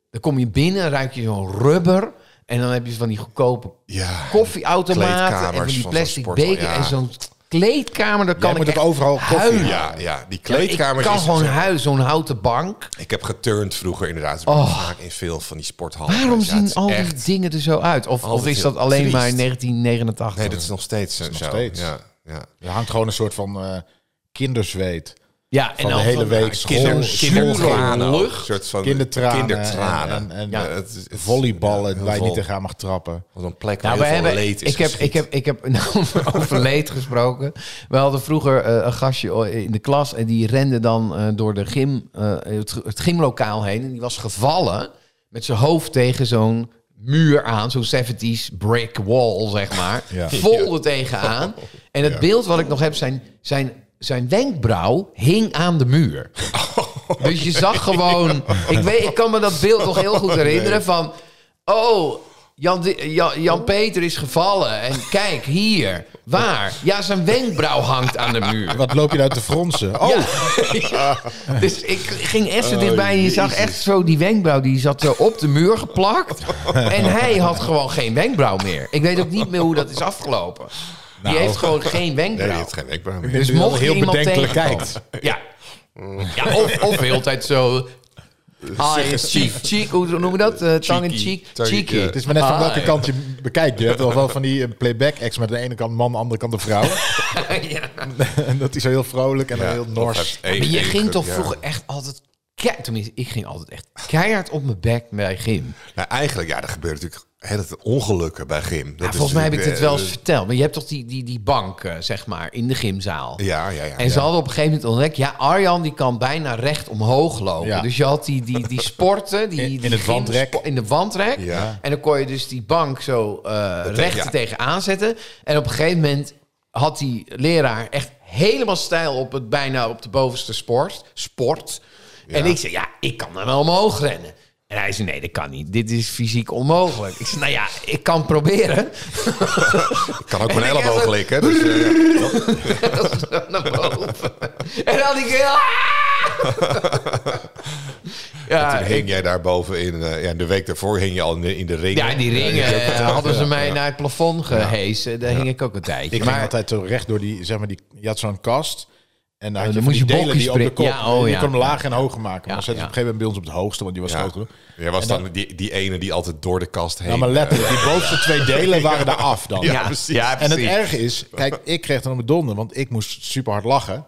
S4: Dan kom je binnen, ruik je zo'n rubber. En dan heb je van die goedkope
S2: Ja.
S4: koffieautomaten. En van
S2: Kleedkamers
S4: die
S2: van
S4: plastic
S2: zo'n sporthal,
S4: beker
S2: ja.
S4: en zo'n kleedkamer. Daar kan
S3: Jij moet
S4: ik
S3: ook
S4: echt
S3: overal koffie
S4: huilen.
S2: Ja,
S3: halen.
S2: ja, die
S4: Ja,
S2: kleedkamers.
S4: ik kan
S2: is-
S4: gewoon huis, zo'n houten bank.
S2: Ik heb geturnd vroeger inderdaad. Ik ben
S4: Oh.
S2: vaak in veel van die sporthallen.
S4: Waarom
S2: geweest. Ja, het
S4: zien
S2: is
S4: al
S2: echt-
S4: die dingen er zo uit? Of, of
S2: Altijd
S4: is dat
S2: heel
S4: alleen maar
S2: triest.
S4: 1989?
S2: Nee, dat is nog steeds zo.
S3: nog steeds.
S2: Ja, ja.
S3: Er hangt gewoon een soort van eh, kinderzweet.
S2: Oh,
S4: ja, en
S3: Van de hele week school,
S2: Kinder, kindertranen.
S3: schoolgeen,
S2: ook.
S4: lucht.
S2: Een soort van
S3: kindertranen,
S2: kindertranen.
S3: en, en, en
S4: Ja.
S2: het is- het is-
S3: volleyballen
S2: ja,
S3: waar je
S2: heel
S3: niet
S2: veel-
S3: tegenaan mag trappen.
S2: Wat een plek waar
S4: Nou,
S2: heel
S4: wij
S2: veel
S4: hebben,
S2: leed is
S4: ik, heb,
S2: geschied.
S4: ik heb, ik heb nou, over leed gesproken. We hadden vroeger eh, een gastje in de klas en die rende dan eh, door de gym, eh, het, het gymlokaal heen. En die was gevallen met zijn hoofd tegen zo'n muur aan, zo'n 70s brick wall, zeg maar.
S3: Ja.
S4: Vol er tegenaan. En het beeld wat ik nog heb, zijn, zijn, zijn wenkbrauw hing aan de muur. Dus je zag gewoon. Ik, weet, ik kan me dat beeld nog heel goed herinneren. Van. Oh, Jan, Di- Jan, Jan Peter is gevallen. En kijk hier. Waar? Ja, zijn wenkbrauw hangt aan de muur.
S3: Wat loop je daar te fronsen? Oh,
S4: Ja. dus ik ging echt zo dichtbij en je zag echt zo die wenkbrauw, die zat zo op de muur geplakt. En hij had gewoon geen wenkbrauw meer. Ik weet ook niet meer hoe dat is afgelopen. die heeft gewoon geen
S2: Nee,
S4: wenkbrauw.
S2: je hebt geen wenkbrauw meer.
S4: dus
S3: nu wel
S4: mocht je
S3: heel
S4: iemand
S3: bedenkelijk
S4: tegenkomen-
S3: kijkt.
S4: Ja. ja of, of de hele tijd zo... Eye in Ah, cheek, cheek, hoe noemen we dat? Eh, tongue in
S2: Cheeky.
S4: cheek,
S2: Tongue in
S4: cheeky. Ah,
S2: cheek.
S3: Het is maar net van
S4: Hi.
S3: welke kant je bekijkt. Je hebt wel wel van die eh, playback-ex met aan de ene kant man, aan de andere kant de vrouw.
S4: Ja.
S3: en dat is zo heel vrolijk en
S2: Ja,
S3: dan heel
S2: dat
S3: nors.
S2: heeft één-
S4: Maar je
S2: één
S4: ging
S2: club,
S4: toch
S2: ja.
S4: vroeger echt altijd... Kei, tenminste, ik ging altijd echt keihard op mijn bek bij gym.
S2: Nou, eigenlijk, ja, er gebeuren natuurlijk heel veel ongelukken bij gym. Dat
S4: Ja,
S2: is
S4: volgens mij heb ik dit
S2: natuurlijk,
S4: wel
S2: eh,
S4: eens verteld. Maar je hebt toch die, die, die bank, eh, zeg maar, in de gymzaal.
S2: Ja, ja, ja.
S4: En ze hadden op een gegeven moment ontdekt... Ja, Arjan die kan bijna recht omhoog lopen.
S3: Ja.
S4: Dus je had die, die, die sporten... Die,
S3: In- in
S4: die
S3: het wandrek.
S4: gymspo- In de wandrek.
S2: Ja.
S4: En dan kon je dus die bank zo eh recht
S2: ja.
S4: er tegenaan zetten. En op een gegeven moment had die leraar echt helemaal stijl op het bijna op de bovenste sport. sport. En ik zei, ja, ik kan er wel omhoog rennen. En hij zei, nee, dat kan niet. Dit is fysiek onmogelijk. Ik zei, nou ja, ik kan proberen.
S2: Ik kan ook mijn
S4: En ik
S2: elleboog
S4: heb-
S2: likken. Dus, eh, ja.
S4: Zo naar boven. En dan had ik... Ah! Ja,
S2: Toen
S4: ik-
S2: hing jij daar bovenin. eh, ja, de week daarvoor hing je al in de, in de ring.
S4: ja, die ringen eh, hadden ze mij naar het plafond gehesen. Daar hing ik ook een tijdje.
S3: Ik ging
S4: maar
S3: altijd zo recht door die, zeg maar, die, je had zo'n kast. En dan
S4: dan
S3: had je van
S4: moest
S3: die
S4: je
S3: delen
S4: bokjes
S3: die op de kop.
S4: prikken. Ja, oh
S3: je
S4: ja.
S3: kon hem laag en hoger maken.
S4: Ja,
S3: Maar dan zetten
S4: ja.
S3: ze op een gegeven moment bij ons op het hoogste, want die was groot genoeg.
S2: Jij was dan die, die ene die altijd door de kast heen...
S3: Ja, Nou, maar letterlijk, die bovenste twee delen waren daar af dan.
S2: Ja, precies. Ja,
S3: En het
S2: precies.
S3: erge is, kijk, ik kreeg dan op mijn donder, want ik moest super hard lachen.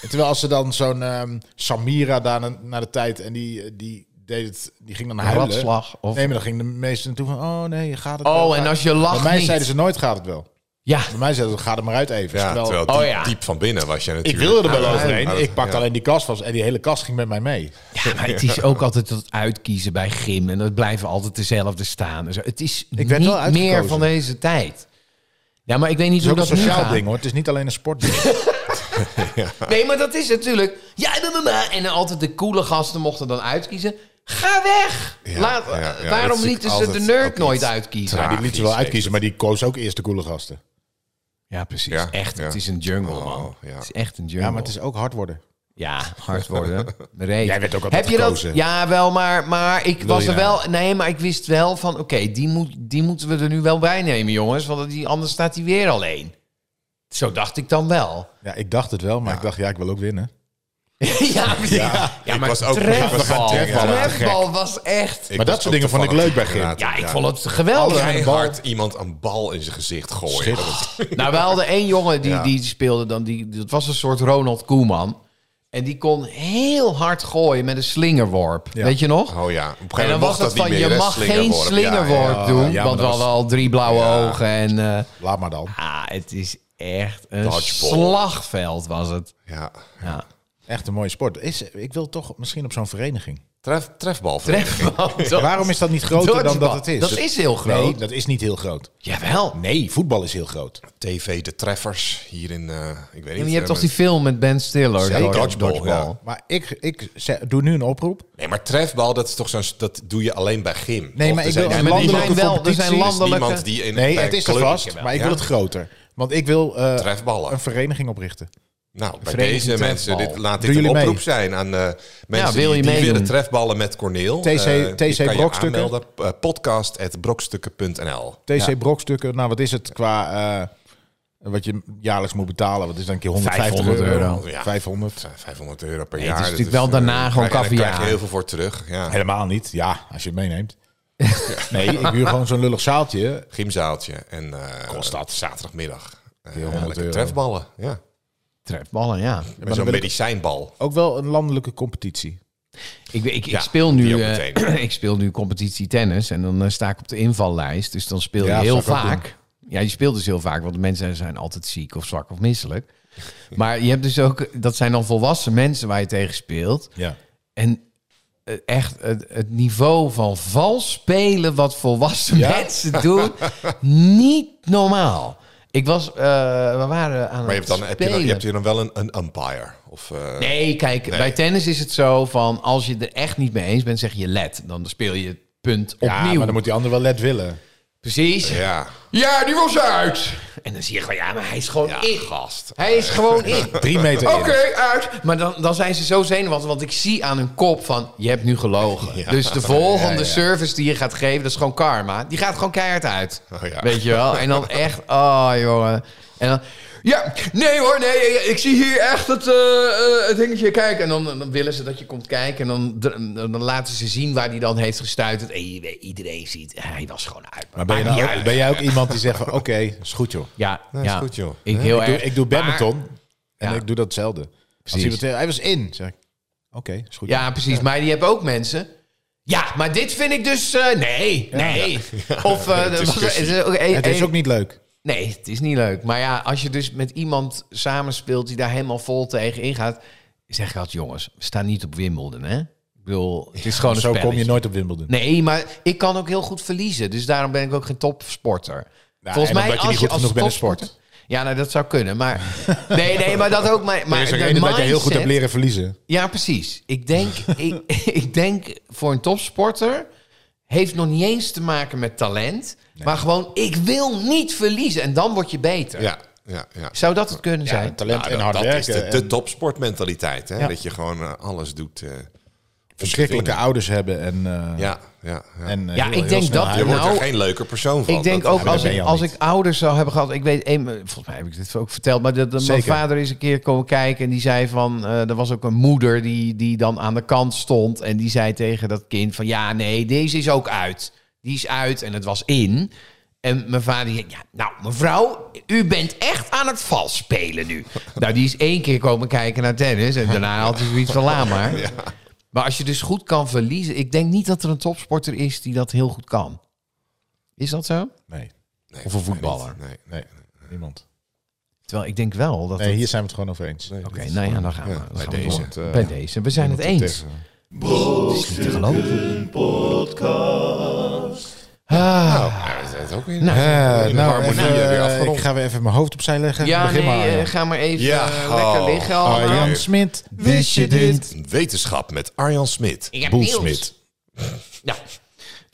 S3: En terwijl als ze dan zo'n ehm, Samira daar na, naar de tijd en die, eh, die deed het, die ging dan huilen.
S4: ratslag of-
S3: Nee, maar dan ging de meeste naartoe van, oh nee, gaat het wel.
S4: Oh, en als je lacht
S3: Bij mij
S4: niet.
S3: zeiden ze nooit gaat het wel.
S4: Ja,
S3: Bij mij zei het, ga er maar uit even.
S2: Ja,
S3: Terwijl-
S2: terwijl
S4: Oh
S2: diep,
S4: ja.
S2: diep van binnen was je
S3: ik
S2: natuurlijk.
S3: wilde er wel
S2: Ah,
S3: overheen.
S2: ja.
S3: ik pakte
S2: Ja.
S3: alleen die kast vast en die hele kast ging met mij mee.
S4: ja, maar het is ook altijd dat uitkiezen bij gym. En dat blijven altijd dezelfde staan. en zo. Het is
S3: Ik werd
S4: niet
S3: wel uitgekozen.
S4: meer van deze tijd. Ja, maar ik weet niet
S3: Het is
S4: hoe
S3: ook een
S4: dat nu
S3: sociaal
S4: gaat.
S3: ding hoor. Het is niet alleen een sportding.
S4: Nee, maar dat is natuurlijk. Jij bent met mij. En dan altijd de coole gasten mochten dan uitkiezen. Ga weg!
S2: Ja,
S4: Laat,
S2: ja, ja, dat
S4: waarom
S2: is
S4: lieten ze de
S2: altijd ook
S4: nerd
S2: iets
S4: nooit uitkiezen?
S2: traag.
S3: die liet ze wel uitkiezen, maar die koos ook eerst de coole gasten.
S4: Ja, precies.
S2: Ja,
S4: echt,
S2: ja.
S4: het is een jungle,
S2: Oh,
S4: man.
S2: ja.
S4: Het is echt een jungle.
S3: Ja, maar het is ook hard worden.
S4: Ja, hard worden. Reet.
S3: Jij werd ook altijd
S4: Heb je dat?
S3: gekozen.
S4: Ja, wel, maar, maar ik was
S3: je
S4: er
S3: nou?
S4: wel... Nee, maar ik wist wel van... Oké, die, moet, die moeten we er nu wel bij nemen, jongens. Want die, anders staat hij weer alleen. Zo dacht ik dan wel.
S3: Ja, ik dacht het wel, maar ik dacht, ja, ik wil ook winnen.
S4: ja, ja,
S2: ik
S4: maar
S2: was ook- ik was
S4: trefbal,
S2: gaan
S4: trefbal,
S2: trefballen.
S4: was echt...
S2: Ik
S3: Maar
S2: was
S3: dat soort
S2: ook
S3: dingen vond ik
S2: toevallig
S3: leuk bij
S2: inderdaad.
S4: Ja, ik vond het geweldig.
S2: Keihard iemand een bal in zijn gezicht gooien.
S4: Nou, we hadden één jongen die,
S2: Ja.
S4: die speelde dan. Die, dat was een soort Ronald Koeman. En die kon heel hard gooien met een slingerworp.
S3: Ja.
S4: Weet je nog?
S2: Oh ja, op een gegeven
S4: en
S2: moment
S4: dan
S2: mocht
S4: was
S2: dat
S4: dat
S2: niet
S4: van,
S2: meer.
S4: je
S2: hè,
S4: mag geen
S2: slingerworp. Ja, ja,
S4: slingerworp
S3: ja.
S4: doen.
S3: Ja, maar
S4: want we
S3: dat
S4: hadden al drie blauwe
S2: Ja.
S4: ogen. En eh,
S3: Laat maar dan.
S4: ah, het is echt een
S2: Dodgeball.
S4: slagveld was het.
S2: Ja.
S4: Ja.
S3: Echt een mooie sport. Is, ik wil toch misschien op zo'n vereniging.
S2: Tref, trefbal.
S4: Trefbal.
S3: Waarom is dat niet groter dan dat
S4: Dodgeball.
S3: het is?
S4: Dat is heel groot.
S3: Nee, dat is niet heel groot.
S4: Jawel.
S3: Nee, voetbal is heel groot.
S2: TV De Treffers hier in, eh, ik weet niet.
S4: En je hebt
S2: eh,
S4: toch die film met Ben Stiller?
S2: Zeker.
S4: Dodge-
S2: Dodgeball,
S4: Dodgeball.
S2: ja.
S3: Maar ik, ik ze- doe nu een oproep.
S2: Nee, maar trefbal, dat is toch zo'n... Dat doe je alleen bij gym.
S3: Nee,
S2: Of
S3: maar
S2: er
S3: ik
S2: zijn-
S3: wil
S2: er
S3: een
S4: maar die
S3: landelijke
S4: zijn wel- er
S3: competitie.
S4: zijn landen-
S2: is
S4: landelijke-
S2: niemand die in
S3: Nee,
S2: bij
S3: het is er
S2: club-
S3: vast, maar ik
S2: Ja.
S3: wil het groter. Want ik wil eh,
S2: Trefballen.
S3: een vereniging oprichten.
S2: Nou, bij
S3: Vereniging
S2: deze mensen,
S3: Trefbal.
S2: dit, laat
S3: Doen
S2: dit een
S3: jullie
S2: oproep
S3: mee?
S2: zijn aan eh, mensen
S4: Ja, wil je
S2: die, die
S4: meedoen?
S2: willen trefballen met Corneel.
S3: TC
S2: Eh, je kan je
S3: Brokstukken.
S2: aanmelden, eh, podcast.brokstukken.nl
S3: TC Brokstukken, nou wat is het qua eh, wat je jaarlijks moet betalen? Wat is dan een keer 150 euro?
S4: 500 euro.
S2: Ja.
S3: 500?
S2: Eh, 500 euro per
S4: Nee,
S2: jaar.
S4: het is
S2: dat
S4: natuurlijk wel daarna
S2: eh,
S4: gewoon
S2: krijg- en daar krijg je
S4: kaviaar.
S2: heel veel voor terug. Ja.
S3: Helemaal niet. Ja, als je het meeneemt. Nee, ik huur gewoon zo'n lullig zaaltje.
S2: Gymzaaltje. En eh,
S3: Kost dat?
S2: zaterdagmiddag. Eh,
S3: 400
S2: lekker
S3: euro.
S2: trefballen. Ja.
S4: Trefballen, ja.
S2: Met zo'n
S3: wil ik-
S2: medicijnbal.
S3: Ook wel een landelijke competitie.
S4: Ik, ik, ik
S2: Ja,
S4: speel
S2: die
S4: nu,
S2: ook
S4: eh,
S2: meteen.
S4: ik speel nu competitie tennis en dan eh, sta ik op de invallijst. Dus dan speel je
S3: Ja,
S4: heel
S3: zou ik ook
S4: vaak. Ja, je speelt dus heel vaak, want de mensen zijn altijd ziek of zwak of misselijk. Maar je hebt dus ook, dat zijn dan volwassen mensen waar je tegen speelt.
S3: Ja.
S4: En eh, echt het, het niveau van vals spelen wat volwassen
S3: Ja?
S4: mensen doen, niet normaal. Ik was, eh, we waren aan
S2: Maar je
S4: het
S2: hebt, dan, heb, je dan,
S4: spelen.
S2: je hebt hier dan wel een, een umpire? Of, eh,
S4: Nee, kijk, bij tennis is het zo van als je er echt niet mee eens bent, zeg je let. Dan speel je het punt opnieuw.
S3: Ja, maar dan moet die ander wel let willen.
S4: Precies. Ja.
S2: Ja.
S4: die was uit. En dan zie je gewoon, ja, maar hij is gewoon in.
S2: gast.
S4: Hij is gewoon in.
S3: Drie meter
S4: Oké,
S3: in.
S4: uit. Maar dan, dan zijn ze zo zenuwachtig, want ik zie aan hun kop van, je hebt nu gelogen. Dus de volgende
S3: Ja, ja.
S4: service die je gaat geven, dat is gewoon karma. Die gaat gewoon keihard uit.
S2: Oh, ja.
S4: Weet je wel? En dan echt, oh jongen. En dan, ja, nee hoor, nee, ik zie hier echt het, eh, eh, het dingetje. Kijk, en dan, dan willen ze dat je komt kijken en dan, dan laten ze zien waar die dan heeft gestuiterd. En je- iedereen ziet, hij was gewoon uit.
S3: Maar ben, je
S4: Maakt
S3: nou
S4: niet
S3: ook,
S4: uit.
S3: ben jij ook iemand die zegt van oké, is goed joh.
S4: Ja,
S2: is
S4: ja.
S2: goed, joh.
S4: Ik,
S2: Ja,
S4: heel
S3: Ik doe,
S4: erg.
S3: ik doe
S4: Maar-
S3: badminton en
S4: Ja.
S3: ik doe datzelfde. Als iemand zegt, hij was in, zeg ik oké, is goed.
S4: Ja, precies. Maar die hebben ook mensen. Ja, maar dit vind ik dus. eh, nee, nee. Of. eh, er was-
S2: Discussie.
S4: is er ook een-
S3: Het is
S4: een-
S3: ook niet leuk.
S4: Nee, het is niet leuk. Maar ja, als je dus met iemand samenspeelt die daar helemaal vol tegen ingaat. Zeg ik altijd, jongens, we staan niet op Wimbledon, hè? Ik bedoel, het is gewoon een
S3: Zo kom je
S4: spelletje.
S3: nooit op Wimbledon.
S4: Nee, maar ik kan ook heel goed verliezen. Dus daarom ben ik ook geen topsporter.
S3: en omdat je niet goed genoeg bent in sport.
S4: topsporter- Ja, nou, dat zou kunnen. Maar nee, nee, maar dat ook. Maar, maar
S3: Maar er is ook
S4: de
S3: één dat je heel goed hebt
S4: mindset-
S3: leren verliezen.
S4: ja, precies. Ik denk, ik, ik denk voor een topsporter heeft nog niet eens te maken met talent, maar gewoon ik wil niet verliezen en dan word je beter.
S2: Ja, ja, ja.
S4: Zou dat het kunnen zijn?
S3: talent
S2: Nou,
S3: en hard
S2: dat, dat is
S3: werken.
S2: de,
S3: en
S2: de topsportmentaliteit. Hè?
S4: Ja.
S2: Dat je gewoon eh, alles doet. eh,
S3: verschrikkelijke
S2: winnen.
S3: ouders hebben. En, eh,
S2: ja, ja, ja.
S3: en eh,
S4: Ja,
S3: heel-
S4: ik
S3: heel
S4: denk
S3: snel
S4: dat-
S2: je
S3: huilen.
S2: wordt
S4: nou,
S2: er geen leuker persoon van.
S4: Ik denk
S2: Dat-
S4: ook
S2: ja,
S4: als,
S3: ben
S4: ik,
S3: je al
S4: als
S3: niet.
S4: ik ouders zou hebben gehad, ik weet, een- volgens mij heb ik dit ook verteld, maar dat, dat mijn
S3: Zeker.
S4: vader is een keer komen kijken en die zei van, eh, er was ook een moeder die, die dan aan de kant stond en die zei tegen dat kind van, ja nee, deze is ook uit. Die is uit en het was in. En mijn vader zei, ja, nou mevrouw, u bent echt aan het vals spelen nu. nou, die is één keer komen kijken naar tennis en daarna had hij zoiets van, laat maar. Maar als je dus goed kan verliezen, ik denk niet dat er een topsporter is die dat heel goed kan. Is dat zo?
S3: Nee.
S2: nee,
S4: Of een voetballer.
S2: Nee, nee.
S3: Nee. Niemand.
S4: Terwijl ik denk wel dat.
S3: Nee,
S4: het-
S3: hier zijn we het gewoon over eens.
S4: Oké, nou ja, dan gaan we. dan
S2: bij
S4: gaan we
S2: deze.
S4: door.
S2: Het, eh,
S4: bij deze. We zijn het eens.
S3: Tegen.
S4: Het is niet te geloven. Ah.
S2: Nou, ja, dat is ook weer
S4: Nou,
S2: Eh,
S3: Eh, nou,
S2: harmonie
S3: even,
S2: weer
S3: eh,
S2: afgerond.
S3: ik ga weer even mijn hoofd opzij leggen.
S4: Ja,
S3: Begin
S4: nee,
S3: maar,
S4: eh,
S3: Arjan.
S4: ga maar even
S2: Ja,
S4: eh,
S2: oh.
S4: lekker liggen. allemaal.
S3: Arjan Smit, wist je dit?
S2: Wetenschap met Arjan Smit.
S5: Ik heb nieuws.
S2: Boelsmit.
S4: Ja.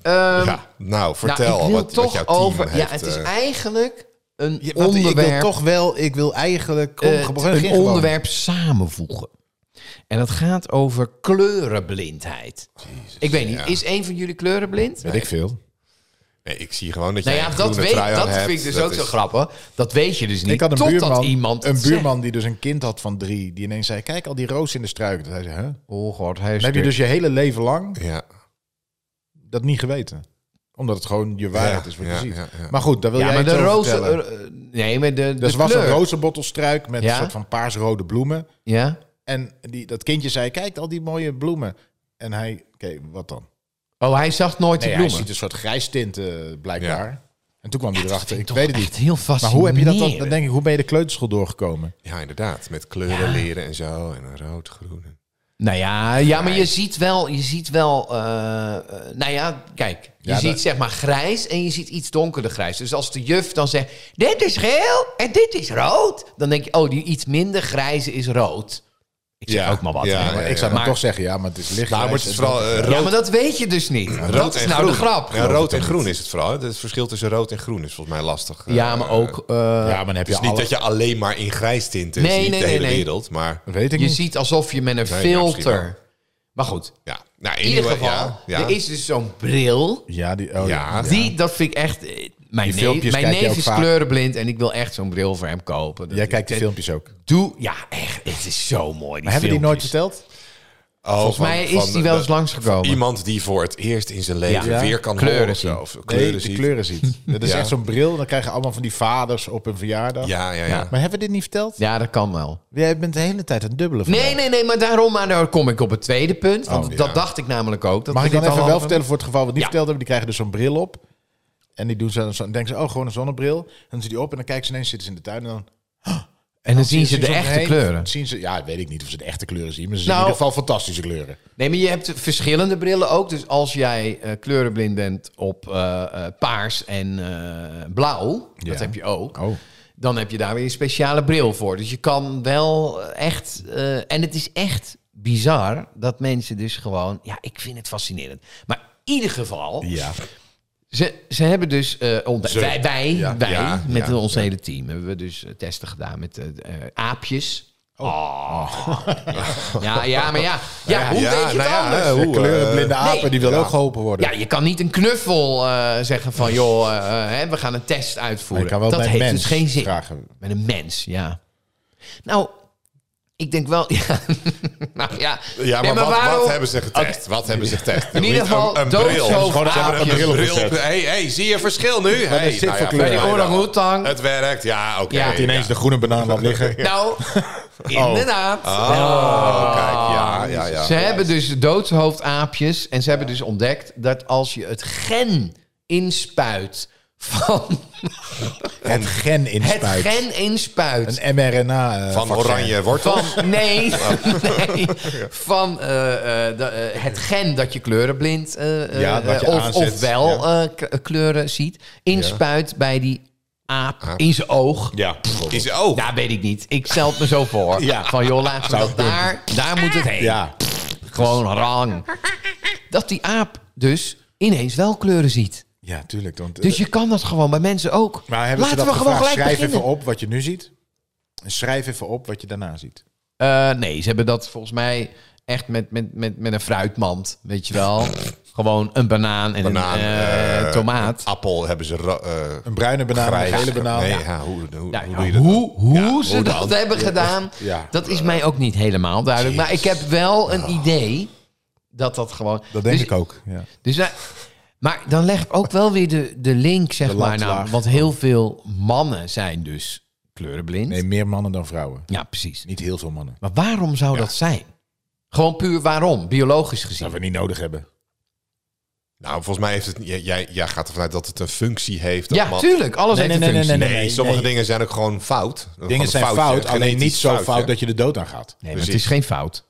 S4: Ehm,
S2: Ja, nou,
S4: nou,
S2: vertel
S4: ik wil
S2: wat,
S4: toch
S2: wat jouw team
S4: over.
S2: heeft.
S4: ja, het is
S2: eh,
S4: eigenlijk een
S3: Je- want Ik wil
S4: onderwerp.
S3: toch wel, ik wil eigenlijk... Kom,
S4: eh,
S3: begin
S4: een
S3: gewoon.
S4: onderwerp samenvoegen. En dat gaat over kleurenblindheid. ik weet niet,
S2: ja.
S4: is een van jullie kleurenblind?
S3: Weet ik veel.
S2: nee, ik zie gewoon dat jij
S4: Nou ja,
S2: een
S4: dat,
S2: groene
S4: weet,
S2: trui aan
S4: dat
S2: hebt.
S4: vind ik dus
S2: Dat
S4: ook zo
S2: is-
S4: grappig. Dat weet je dus niet.
S3: Ik had een
S4: totdat
S3: buurman,
S4: iemand
S3: een
S4: het zegt.
S3: buurman die dus een kind had van drie, die ineens zei: Kijk al die roos in de struiken. Dat hij zei: Huh? Dan
S4: Oh god, hij is
S3: heb je
S4: weer-
S3: dus je hele leven lang
S2: Ja,
S3: dat niet geweten, omdat het gewoon je waarheid
S2: Ja,
S3: is wat
S2: ja,
S3: je ziet.
S2: ja, ja.
S3: Maar goed, daar wil
S4: Ja,
S3: jij
S4: maar de
S3: iets over
S4: roze...
S3: vertellen.
S4: eh, eh, nee, maar de, de
S3: Dus was
S4: kleur.
S3: een rozenbottelstruik met
S4: Ja?
S3: een soort van paarsrode bloemen.
S4: Ja?
S3: En die, dat kindje zei: Kijk al die mooie bloemen. En hij, oké, wat dan?
S4: Oh, hij zag nooit die
S3: Nee, hij
S4: bloemen.
S3: ziet een soort grijs tinten blijkbaar. En toen kwam hij
S4: eh, Dat
S3: erachter.
S4: vind
S3: Ik
S4: toch
S3: weet het niet.
S4: echt heel
S3: Maar
S4: fascinerend.
S3: hoe heb je dat dan? Dan denk ik, hoe ben je de kleuterschool doorgekomen?
S2: ja, inderdaad. Met kleuren leren en zo. En een rood, groen. en-
S4: Nou ja, ja maar je ziet wel... Je ziet wel eh, eh, nou ja, kijk. Je
S3: Ja,
S4: ziet
S3: dat-
S4: zeg maar grijs en je ziet iets donkerder grijs. Dus als de juf dan zegt... Dit is geel en dit is rood. Dan denk je, oh, die iets minder grijze is rood. Ik zeg
S2: Ja,
S4: ook maar wat.
S2: ja,
S4: hè,
S2: ja,
S4: maar
S2: ja,
S3: ik zou dan
S4: Maar-
S3: toch zeggen, ja, maar het is licht.
S2: Nou, maar het is vooral eh,
S4: Ja,
S2: rood,
S4: maar dat weet je dus niet. dat
S2: rood
S4: is
S2: en
S4: nou
S2: groen.
S4: de grap.
S2: Ja, rood en groen is het vooral. hè. Het verschil tussen rood en groen is volgens mij lastig. eh,
S4: Ja, maar ook... eh,
S3: ja, maar dan heb
S2: Het is
S3: je
S2: niet
S3: alle-
S2: dat je alleen maar in grijs tinten
S4: Nee,
S2: ziet,
S4: nee,
S2: de
S4: nee,
S2: hele
S4: nee.
S2: wereld. Maar
S3: Weet ik
S4: je
S3: niet.
S4: ziet alsof je met een
S2: Nee, ja, misschien
S4: filter... maar goed,
S2: ja, nou,
S4: in ieder geval, er is dus zo'n bril.
S3: Ja, die, oh,
S2: Ja.
S4: Die, dat vind ik echt... eh, Mijn,
S3: Die
S4: neef-
S3: filmpjes
S4: mijn
S3: kijk je
S4: neef
S3: ook
S4: is
S3: vaak.
S4: kleurenblind en ik wil echt zo'n bril voor hem kopen. Dat
S3: Jij
S4: ik-
S3: kijkt de
S4: eh,
S3: filmpjes ook.
S4: Doe, ja, echt. Het is zo mooi, die
S3: Maar hebben die nooit
S4: filmpjes.
S3: verteld?
S2: Volgens
S4: Volgens mij is die wel eens langsgekomen.
S2: Iemand die voor het eerst in zijn leven
S4: Ja.
S2: weer kan
S4: Kleuren
S2: horen.
S4: zien.
S2: Zo, of kleuren
S3: Nee, de
S2: ziet.
S3: kleuren ziet. Dat is
S2: Ja.
S3: echt zo'n bril. Dan krijgen allemaal van die vaders op hun verjaardag.
S2: Ja, ja, ja.
S3: Maar hebben we dit niet verteld?
S4: Ja, dat kan wel.
S3: Jij bent de hele tijd een dubbele van
S4: Nee, nee, nee, maar daarom maar daar kom ik op het tweede punt. Want
S3: Oh,
S4: dat
S2: ja.
S4: dacht ik namelijk ook. Dat
S3: Mag
S4: we
S3: ik dan
S4: dit
S3: even
S4: al
S3: wel
S4: hadden.
S3: vertellen voor het geval we het niet
S4: Ja.
S3: verteld hebben? Die krijgen dus zo'n bril op. En die doen zo, zo, denken ze, oh, gewoon een zonnebril. En dan zit die op en dan kijken ze ineens, zitten ze in de tuin. En dan,
S4: En dan zien ze de
S3: om je
S4: echte
S3: heen,
S4: kleuren.
S3: Zien ze, ja, weet ik niet of ze de echte kleuren zien. Maar ze zien
S4: Nou-
S3: in ieder geval fantastische kleuren.
S4: Nee, maar je hebt verschillende brillen ook. Dus als jij eh, kleurenblind bent op eh, eh, paars en eh, blauw,
S3: Ja.
S4: dat heb je ook.
S2: Eh,
S3: Oh.
S4: Dan heb je daar weer een speciale bril voor. Dus je kan wel echt. eh, en het is echt bizar dat mensen dus gewoon. Ja, ik vind het fascinerend. Maar in ieder geval.
S3: Ja.
S4: Ze, ze hebben dus eh, ontdekt.
S2: Ze.
S4: Wij, wij,
S2: Ja.
S4: wij
S2: Ja,
S4: met
S2: ja,
S4: ons hele team hebben we dus eh, testen gedaan met eh, eh, aapjes. Oh. Ja, ja, maar ja. Ja, hoe
S2: Ja,
S4: weet je het
S2: nou ja,
S4: anders?
S2: eh, hoe,
S3: De kleurenblinde
S4: eh,
S3: apen,
S4: nee.
S3: die wil
S2: Ja.
S3: ook geholpen worden.
S4: Ja, je kan niet een knuffel eh, zeggen van... joh, eh, eh, hè, we gaan een test
S3: Maar
S4: uitvoeren.
S3: je kan wel
S4: dat
S3: bij een
S4: heeft
S3: mens
S4: dus geen zin.
S3: vragen.
S4: Met een mens, ja. Nou, ik denk wel... Ja, nou, ja. Nee,
S2: Ja, maar, wat,
S4: waarom-
S2: wat hebben ze getest? Wat hebben ze getest?
S4: In
S2: Niet
S4: ieder geval
S2: een, een
S4: doodshoof
S2: bril. Ze hebben
S4: aapjes.
S2: een bril.
S3: Bril.
S2: opgezet. Hey, hey, zie je verschil nu? Hey, nou
S3: zit voor kleur?
S2: fijn,
S3: Bij die
S2: maar dan.
S4: orang-oetang.
S2: Het werkt, ja, oké.
S4: Ja.
S2: Ja. Nou,
S4: Dat
S3: ineens de groene banaan laat liggen.
S4: Nou, inderdaad.
S2: Oh, kijk, ja, ja, ja.
S4: Ze hebben dus doodshoofdaapjes en ze hebben dus ontdekt dat als je het gen inspuit van
S3: Het gen
S4: het
S3: inspuit.
S4: gen inspuit
S3: Een mRNA. eh,
S2: Van
S3: vaccin.
S2: oranje wortel.
S4: van nee, nee van eh, eh, de, eh, het gen dat je kleurenblind eh, eh,
S3: Ja, wat je
S4: of,
S3: aanzet,
S4: of wel
S3: ja.
S4: eh, k- kleuren ziet inspuit bij die aap, in zijn oog.
S2: Ja, is ook.
S4: Daar weet ik niet. Ik stel het me zo voor.
S3: Ja.
S4: Van joh, laten we dat daar, daar moet het heen.
S3: Ja.
S4: Gewoon rang. Dat die aap dus ineens wel kleuren ziet.
S3: ja, tuurlijk. Want, eh,
S4: Dus je kan dat gewoon bij mensen ook.
S3: maar hebben
S4: Laten
S3: ze dat
S4: we gewoon
S3: gevraagd?
S4: gelijk
S3: Schrijf
S4: beginnen.
S3: even op wat je nu ziet. En schrijf even op wat je daarna ziet.
S4: Eh, nee, ze hebben dat volgens mij echt met, met, met, met een fruitmand, weet je wel. gewoon een banaan en
S2: Banaan,
S4: een eh,
S2: eh,
S4: tomaat.
S2: Appel hebben ze ro- eh,
S3: Een bruine banaan,
S2: grijs.
S3: een gele banaan.
S2: Nee,
S3: Ja.
S2: ja, hoe, hoe,
S4: Nou,
S2: hoe
S4: ja,
S2: doe je dat?
S4: hoe hoe ze
S2: hoe
S4: dat
S2: dan?
S4: hebben gedaan,
S3: Ja.
S4: dat is mij ook niet helemaal duidelijk. Maar ik heb wel een idee dat dat gewoon...
S3: Dat denk
S4: Dus-
S3: ik ook. Ja.
S4: Dus wij- maar dan leg ik ook wel weer de, de link, zeg
S3: De
S4: maar.
S3: lat
S4: Nou,
S3: laag.
S4: want heel veel mannen zijn dus kleurenblind.
S3: Nee, meer mannen dan vrouwen.
S4: Ja, precies.
S3: Niet heel veel mannen.
S4: Maar waarom zou dat zijn? Gewoon puur waarom, biologisch gezien.
S3: Dat we niet nodig hebben.
S2: Nou, volgens mij heeft het. Jij, jij, jij gaat ervan uit dat het een functie heeft. dat
S4: Ja,
S2: man-
S4: tuurlijk. Alles
S3: Nee,
S4: heeft
S3: nee,
S4: een
S3: nee,
S4: functie.
S2: Nee,
S3: nee,
S2: sommige
S3: nee.
S2: dingen zijn ook gewoon fout. Gewoon
S3: Dingen
S2: een
S3: zijn
S2: foutje,
S3: fout,
S2: een
S3: alleen niet
S2: genetisch
S3: zo
S2: foutje.
S3: fout dat je de dood aan gaat. Dus-
S4: Nee, maar
S2: Precies.
S4: het is geen fout.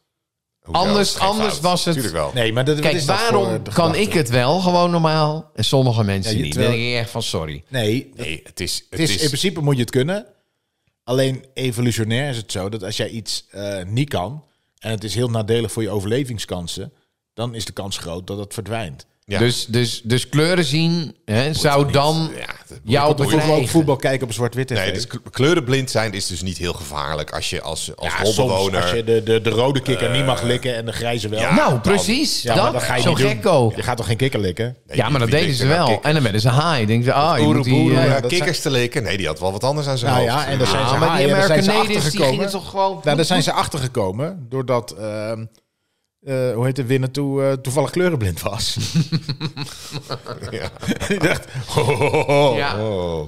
S2: Hoezo?
S4: Anders-
S2: Geen
S4: anders
S2: fout.
S4: was het-
S2: Tuurlijk wel.
S3: Nee, maar dat, wat
S4: Kijk,
S3: is dat voor,
S4: waarom
S3: eh, de
S4: kan
S3: gedachte?
S4: ik het wel gewoon normaal en sommige mensen
S3: Ja, je-
S4: niet? Dan
S3: terwijl-
S4: denk ik echt van sorry.
S3: Nee, het,
S2: Nee, het is. Het,
S3: is,
S2: is,
S3: in principe moet je het kunnen. Alleen evolutionair is het zo dat als jij iets eh, niet kan en het is heel nadelig voor je overlevingskansen, dan is de kans groot dat het verdwijnt.
S2: Ja.
S4: Dus, dus, dus kleuren zien hè, zou dan
S2: Ja, dat-
S4: jouw
S2: dat-
S3: Bijvoorbeeld ook
S4: bedrijf...
S3: voetbal kijken op zwart-wit tv.
S2: Nee, dus kle- kleurenblind zijn is dus niet heel gevaarlijk als je als, als
S3: ja, soms
S2: holbewoner.
S3: als je de, de, de rode kikker niet mag likken en de grijze wel.
S2: Ja,
S4: Nou,
S2: dan-
S4: precies.
S3: Ja, maar
S4: dat,
S3: dat ga je
S4: zo'n
S3: niet doen.
S4: gekko.
S3: Je gaat toch geen kikker likken?
S4: Ja, maar dat
S2: Wie
S4: deden
S2: denkt
S4: ze
S2: er nou,
S4: wel.
S2: kijk,
S4: En dan werden ze high. Denk je, ah, je
S2: Oeroe,
S4: moet die...
S2: boeroe,
S4: eh, ah,
S2: ja,
S3: dat
S2: kikkers te likken. Nee, die had wel wat anders aan zijn
S3: Nou
S2: hoofd.
S3: ja, en daar zijn ze
S4: maar die
S3: haaien, daar zijn ze
S4: Amerikanedes, die
S3: achtergekomen.
S4: gingen toch gewoon-
S3: Nou, daar zijn ze achtergekomen doordat, ehm, eh, hoe heet de winnaar toe, eh, toevallig kleurenblind was. Die dacht,
S4: Ja.
S2: Oh.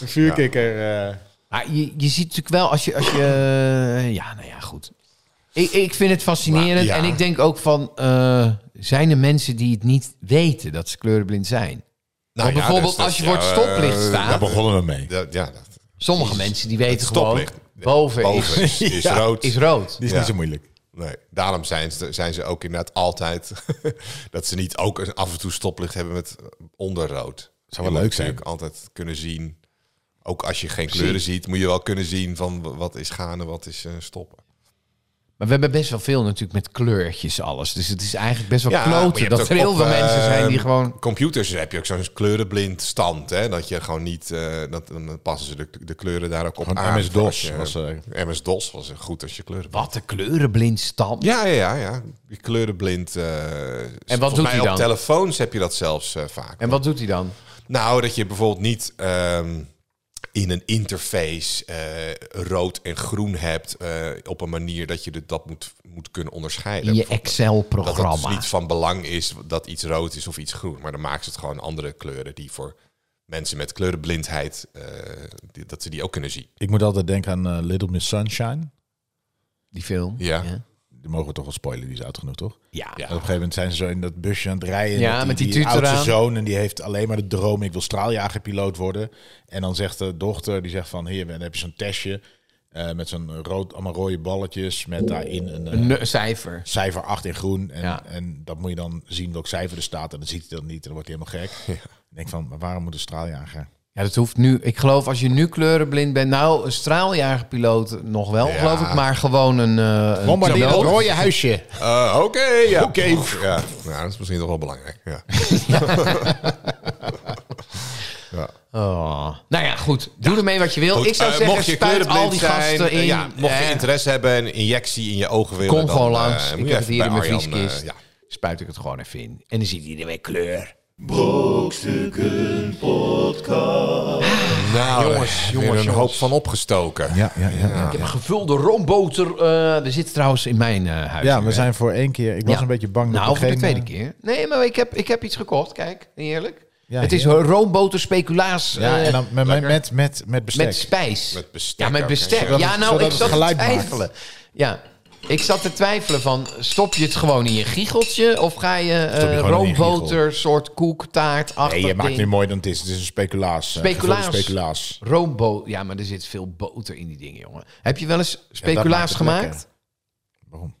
S3: een vuurkikker. eh,
S4: Maar Ah, je, je ziet natuurlijk wel als je. Als je eh, ja, nou ja, goed. Ik, ik vind het fascinerend.
S2: Maar, ja.
S4: En ik denk ook van. eh, zijn er mensen die het niet weten dat ze kleurenblind zijn?
S2: Nou
S4: Want bijvoorbeeld als je voor het stoplicht
S2: eh,
S4: staat-
S2: daar
S3: daar
S2: begon-
S3: begonnen we mee.
S2: dat- Ja, dat-
S4: Sommige mensen die weten gewoon.
S2: stoplicht.
S4: Boven,
S2: boven
S4: is,
S2: is, is
S3: Ja.
S2: rood.
S4: is rood.
S3: Die is
S2: Ja.
S3: niet zo moeilijk.
S2: Nee, daarom zijn ze, zijn ze ook inderdaad altijd dat ze niet ook een af en toe stoplicht hebben met onderrood.
S3: Zou wel
S2: Je moet
S3: leuk zijn.
S2: natuurlijk altijd kunnen zien. Ook als je geen kleuren ziet, moet je wel kunnen zien van w- wat is gaan en wat is eh, stoppen.
S4: Maar we hebben best wel veel natuurlijk met kleurtjes alles. Dus het is eigenlijk best wel
S2: Ja, maar je
S4: kloten.
S2: hebt
S4: Dat er
S2: ook
S4: heel
S2: op,
S4: veel mensen zijn die
S2: eh,
S4: gewoon.
S2: Computers heb je ook zo'n kleurenblind stand, hè? Dat je gewoon niet, eh, dat dan passen ze de, de kleuren daar ook op
S3: Gewoon
S2: aan.
S3: MS-DOS
S2: Als je-
S3: Ah, was, eh,
S2: MS-DOS was een goed als je kleuren.
S4: Wat een kleurenblind stand.
S2: Ja, ja, ja, ja. Die kleurenblind. en
S4: doet hij dan?
S2: Op telefoons heb je dat zelfs eh, vaak.
S4: En wat doet hij dan?
S2: Nou, dat je bijvoorbeeld niet ehm, in een interface eh, rood en groen hebt eh, op een manier dat je dit- dat moet, moet kunnen onderscheiden.
S4: In je
S2: Bijvoorbeeld Dat het dus
S4: Excel-programma.
S2: niet van belang is dat iets rood is of iets groen. Maar dan maken ze het gewoon andere kleuren die voor mensen met kleurenblindheid, eh, die- dat ze die ook kunnen zien.
S3: Ik moet altijd denken aan eh, Little Miss Sunshine.
S4: Die film.
S2: Ja.
S3: Die mogen we toch wel spoilen, die is oud genoeg, toch?
S4: Ja.
S3: En op een gegeven moment zijn ze zo in dat busje aan het rijden.
S4: Ja,
S3: Dat
S4: met die
S3: die
S4: tutor
S3: oudste
S4: aan.
S3: zoon en die heeft alleen maar de droom: ik wil straaljagerpiloot worden. En dan zegt de dochter: die zegt van hier, dan heb je zo'n testje eh, met zo'n rood, allemaal rode balletjes met daarin een, eh,
S4: Een ne- cijfer.
S3: cijfer 8 in groen. En,
S4: Ja.
S3: en dat moet je dan zien welk cijfer er staat. En dan ziet hij dat niet en dan wordt hij helemaal gek. Ik denk van, maar waarom moet een straaljager?
S4: Ja, dat hoeft nu. Ik geloof als je nu kleurenblind bent. Nou, een straaljagerpiloot nog wel,
S2: Ja.
S4: geloof ik. Maar gewoon een. eh een
S3: Bombardeer dat
S4: piloot.
S3: rode huisje.
S2: Eh, Oké, ja. Oké. Ja, nou, dat is misschien toch wel belangrijk. Ja.
S4: Oh. Nou ja, goed. Doe ermee wat je wil.
S2: Goed,
S4: ik zou
S2: eh,
S4: zeggen,
S2: mocht je
S4: spuit al
S2: kleurenblind
S4: die
S2: zijn,
S4: gasten
S2: eh,
S4: in.
S2: ja, mocht je
S4: Eh,
S2: interesse hebben, een injectie in je ogen willen,
S4: kom gewoon
S2: dan, eh,
S4: langs.
S2: moet
S4: ik
S2: je
S4: heb het
S2: even
S4: hier in
S2: bij
S4: mijn
S2: Arjan, eh,
S4: vrieskist.
S2: ja.
S4: Spuit ik het gewoon even in. En dan ziet iedereen kleur.
S1: Brokstukken podcast.
S2: Nou, jongens,
S4: jongens, jongens,
S2: jongens, een
S4: jongens.
S2: hoop van opgestoken.
S3: Ja, ja, ja. ja.
S4: Ik heb een gevulde roomboter. eh er zit trouwens in mijn eh huis.
S3: we zijn voor één keer. Ik was
S4: Ja.
S3: een beetje bang dat
S4: Nou,
S3: we
S4: voor de
S3: geen,
S4: tweede
S3: eh,
S4: keer. Nee, maar ik heb, ik heb iets gekocht. Kijk, eerlijk.
S3: Ja,
S4: het is
S3: heerlijk.
S4: roomboter speculaas.
S3: Ja,
S4: eh,
S3: en dan met, met, met, met bestek.
S4: Met spijs.
S2: Met bestek
S4: ja, met
S2: ook,
S4: bestek.
S2: hè? Zodat
S4: ja,
S3: het-
S4: nou, ik
S3: zodat het
S4: zat te
S3: geluid maakt.
S4: twijfelen. Ja. Ik zat te twijfelen van, stop je het gewoon in je giecheltje... of ga je
S3: je
S4: eh
S3: gewoon in je
S4: roomboter, soort koek, taart, achter
S3: Nee, je maakt nu mooi dan het is. Het is een speculaas. eh,
S4: Speculaas.
S3: gevulde speculaas.
S4: Roomboter, ja, maar er zit veel boter in die dingen, jongen. Heb je wel eens
S3: Ja, dat
S4: speculaas
S3: maakt het
S4: gemaakt?
S3: lekker. Waarom?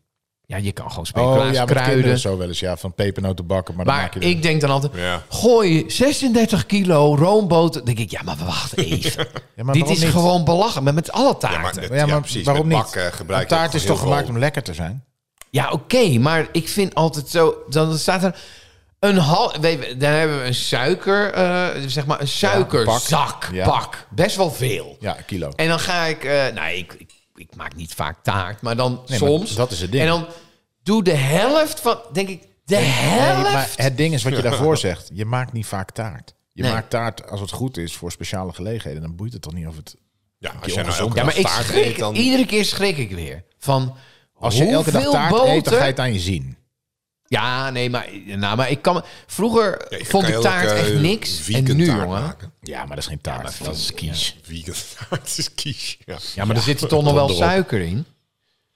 S4: Ja, je kan gewoon speculaas
S3: Oh ja, met kinderen
S4: kruiden.
S3: zo wel eens. Ja, van pepernoten bakken. Maar, dan maak
S4: Maar
S3: je er-
S4: ik denk dan altijd,
S2: Ja.
S4: gooi 36 kilo roomboter. denk ik, ja, maar wacht even.
S3: Ja, maar
S4: Dit
S3: waarom
S4: is
S3: niet?
S4: gewoon belachelijk, maar met alle taarten.
S2: maar het-
S3: Ja, maar
S2: precies.
S3: waarom
S2: Met
S3: niet?
S2: bakken gebruik
S3: Een
S2: je ook
S3: taart is
S2: heel
S3: toch gemaakt
S2: veel.
S3: om lekker te zijn?
S4: Ja, oké, maar ik vind altijd zo. Dan staat er een half. Daar hebben we een suiker. eh, zeg maar een suikerzak. pak,
S3: Ja.
S4: Best wel veel.
S3: Ja, een kilo.
S4: En dan ga ik. eh nou, ik, ik, ik maak niet vaak taart, maar dan
S3: Nee, maar
S4: soms.
S3: dat is het ding.
S4: En dan doe de helft van. Denk ik, de
S3: Nee,
S4: helft.
S3: maar het ding is wat je daarvoor zegt. Je maakt niet vaak taart. Je
S4: Nee.
S3: maakt taart als het goed is voor speciale gelegenheden. Dan boeit het toch niet of het...
S2: Ja, als je nou elke
S3: ongezond.
S4: ja, maar
S2: dag
S4: ik
S2: taart
S4: schrik.
S2: eet, dan...
S4: Iedere keer schrik ik weer. Van.
S3: Als je elke dag
S4: hoeveel
S3: taart
S4: boter...
S3: eet, dan ga je het aan je zien.
S4: Ja, nee, maar, nou, maar ik kan. Vroeger
S2: Ja, je
S4: vond
S2: kan
S4: ik
S2: heel
S4: taart
S2: lekker,
S4: echt
S2: eh,
S4: niks. En
S2: vegan
S4: nu,
S2: taart
S4: jongen.
S2: maken.
S3: Ja, maar dat is geen taart. dat is kies.
S2: Vegan taart is kies. Ja.
S4: Ja, maar er zit toch nog wel suiker in.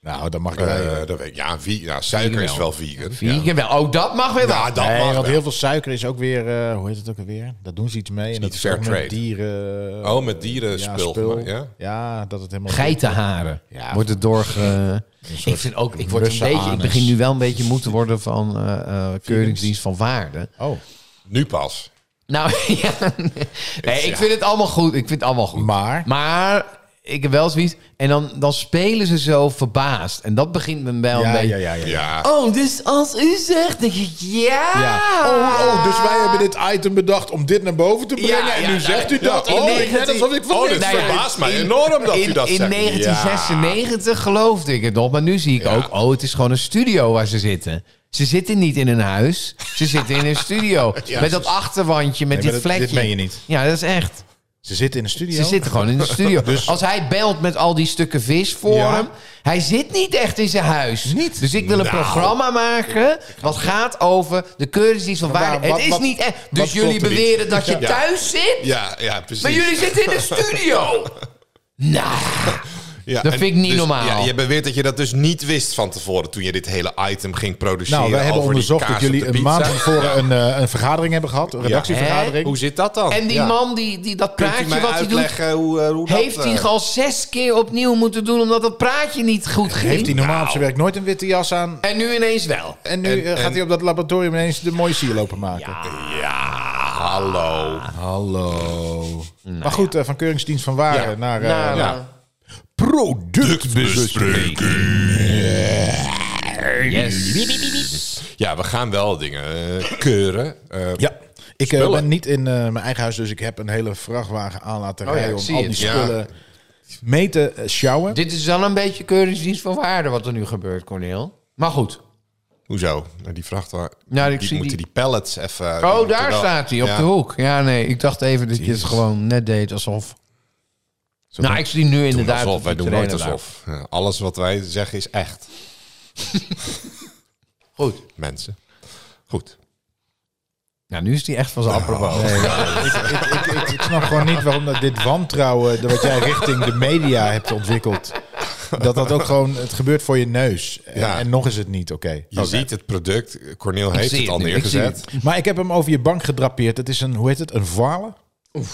S3: Nou, dat mag ik wel.
S2: Eh, dat weet ik. Ja, vi- ja, suiker is wel vegan.
S4: Vegan wel. Oh, dat mag weer wel.
S2: Ja, dat
S3: Nee,
S2: mag
S3: want
S2: wel.
S3: heel veel suiker is ook weer, eh, hoe heet het ook alweer? Dat doen ze iets mee. En dat
S2: niet
S3: is
S2: fair
S3: ook met
S2: trade.
S3: dieren.
S2: Oh, met dierenspul
S3: Ja, spul.
S2: gemaakt, ja?
S3: Ja, dat het helemaal...
S4: Geitenharen.
S3: Ja.
S4: wordt het doorge...
S3: soort
S4: Ik vind ook, ik word een
S3: Russe
S4: beetje, ik
S3: anus.
S4: begin nu wel een beetje moe te worden van eh, eh, keuringsdienst van waarde.
S3: Oh,
S2: Nu pas.
S4: Nou, ja. Nee, ik vind het allemaal goed. Ik vind het allemaal goed.
S3: maar...
S4: Maar ik heb wel zoiets. En dan, dan spelen ze zo verbaasd. En dat begint me wel een
S3: ja,
S4: beetje.
S3: ja, ja, ja.
S2: Ja.
S4: Oh, dus als u zegt, denk ik ja.
S3: Ja. Oh, oh, dus wij hebben dit item bedacht om dit naar boven te brengen.
S4: Ja,
S3: en
S4: ja,
S3: nu
S4: nou,
S3: zegt u
S2: ja,
S3: dat.
S2: in
S3: oh, ik net
S4: 19
S3: alsof ik van
S2: Oh, dit
S3: niks
S4: Nou ja,
S2: verbaast mij
S4: in-
S2: enorm dat
S4: in,
S2: u dat
S4: in
S2: zegt.
S4: 1996 geloofde ik het nog, maar nu zie ik
S2: Ja.
S4: ook, oh, het is gewoon een studio waar ze zitten. Ze zitten niet in een huis, ze zitten in een studio. met dat achterwandje, met
S3: Nee,
S4: dit
S3: maar dat-
S4: vlekje.
S3: dit meen je niet.
S4: Ja, dat is echt.
S3: Ze zitten in de studio.
S4: Ze zitten gewoon in de studio. Als hij belt met al die stukken vis voor
S3: Dus- Ja.
S4: hem, hij zit niet echt in zijn huis.
S3: Niet?
S4: Dus ik wil een
S2: Nou.
S4: programma maken wat gaat over de keuringsdienst van
S3: Maar waar-
S4: waarde.
S3: wat-
S4: Het is
S3: wat-
S4: niet echt.
S3: wat
S4: Dus jullie
S3: klopt er niet?
S4: beweren dat je
S2: Ja.
S4: thuis zit?
S2: Ja, ja, precies.
S4: Maar jullie zitten in de studio. nou,
S2: Ja,
S4: Dat
S2: en
S4: vind ik niet
S2: dus-
S4: normaal.
S2: Ja, je beweert dat je dat dus niet wist van tevoren toen je dit hele item ging produceren.
S3: nou, wij hebben
S2: over die
S3: onderzocht dat
S2: kaas op
S3: jullie
S2: de
S3: een maand van
S2: pizza.
S3: tevoren een, eh, een vergadering hebben gehad. Een
S2: Ja.
S3: redactievergadering.
S2: Hoe zit dat dan?
S4: en die
S2: Ja.
S4: man, die, die, dat
S2: Kunt u
S4: praatje
S2: mij
S4: wat hij doet...
S2: uitleggen hoe, eh, hoe dat,
S4: Heeft hij
S2: eh,
S4: al zes keer opnieuw moeten doen omdat dat praatje niet goed ging?
S3: Heeft hij normaal op zijn werk nooit een witte jas aan?
S4: En nu ineens wel.
S3: En nu
S2: Nou. En-
S3: eh, gaat
S2: en-
S3: hij op dat laboratorium ineens de mooie sier lopen maken.
S2: Ja, hallo.
S3: Hallo. maar goed, eh, van keuringsdienst van waarde
S2: Ja.
S3: naar... eh,
S4: Nou,
S3: ja.
S4: nou,
S3: Productbespreking.
S2: Ja, we gaan wel dingen eh, keuren. Eh,
S3: Ja. Ik eh,
S2: Spullen.
S3: ben niet in eh, mijn eigen huis, dus ik heb een hele vrachtwagen aan laten
S4: Oh ja,
S3: rijden
S4: ik
S3: om
S4: zie
S3: al die
S4: het.
S2: Ja.
S3: spullen mee te eh, sjouwen.
S4: Dit is wel een beetje keuringsdienst van waarde wat er nu gebeurt, Corneel. Maar goed.
S2: Hoezo? Nou, Die vrachtwagen.
S4: Nou, ik
S2: die
S4: zie
S2: moeten
S4: die-
S2: die pallets even. die
S4: Oh,
S2: moeten
S4: daar
S2: wel-
S4: staat hij, op
S2: Ja.
S4: de hoek. Ja, nee, ik dacht even dat je het gewoon net deed alsof... Nou, ik zie nu
S2: Doen
S4: inderdaad...
S2: alsof,
S4: op
S2: wij
S4: die
S2: doen nooit
S4: trainer daar.
S2: alsof. Ja, alles wat wij zeggen is echt,
S4: Goed.
S2: mensen. Goed.
S4: Nou, nu is hij echt van zijn apropos.
S3: ik, ik, ik snap gewoon niet waarom dat dit wantrouwen, dat wat jij richting de media hebt ontwikkeld, dat dat ook gewoon, het gebeurt voor je neus. En-
S2: Ja.
S3: En nog is het niet oké.
S2: Je ziet het product. Corneel heeft
S4: zie
S2: het al
S4: het nu, ik zie
S2: neergezet.
S3: Maar ik heb hem over je bank gedrapeerd. Het is een, hoe heet het, een voile?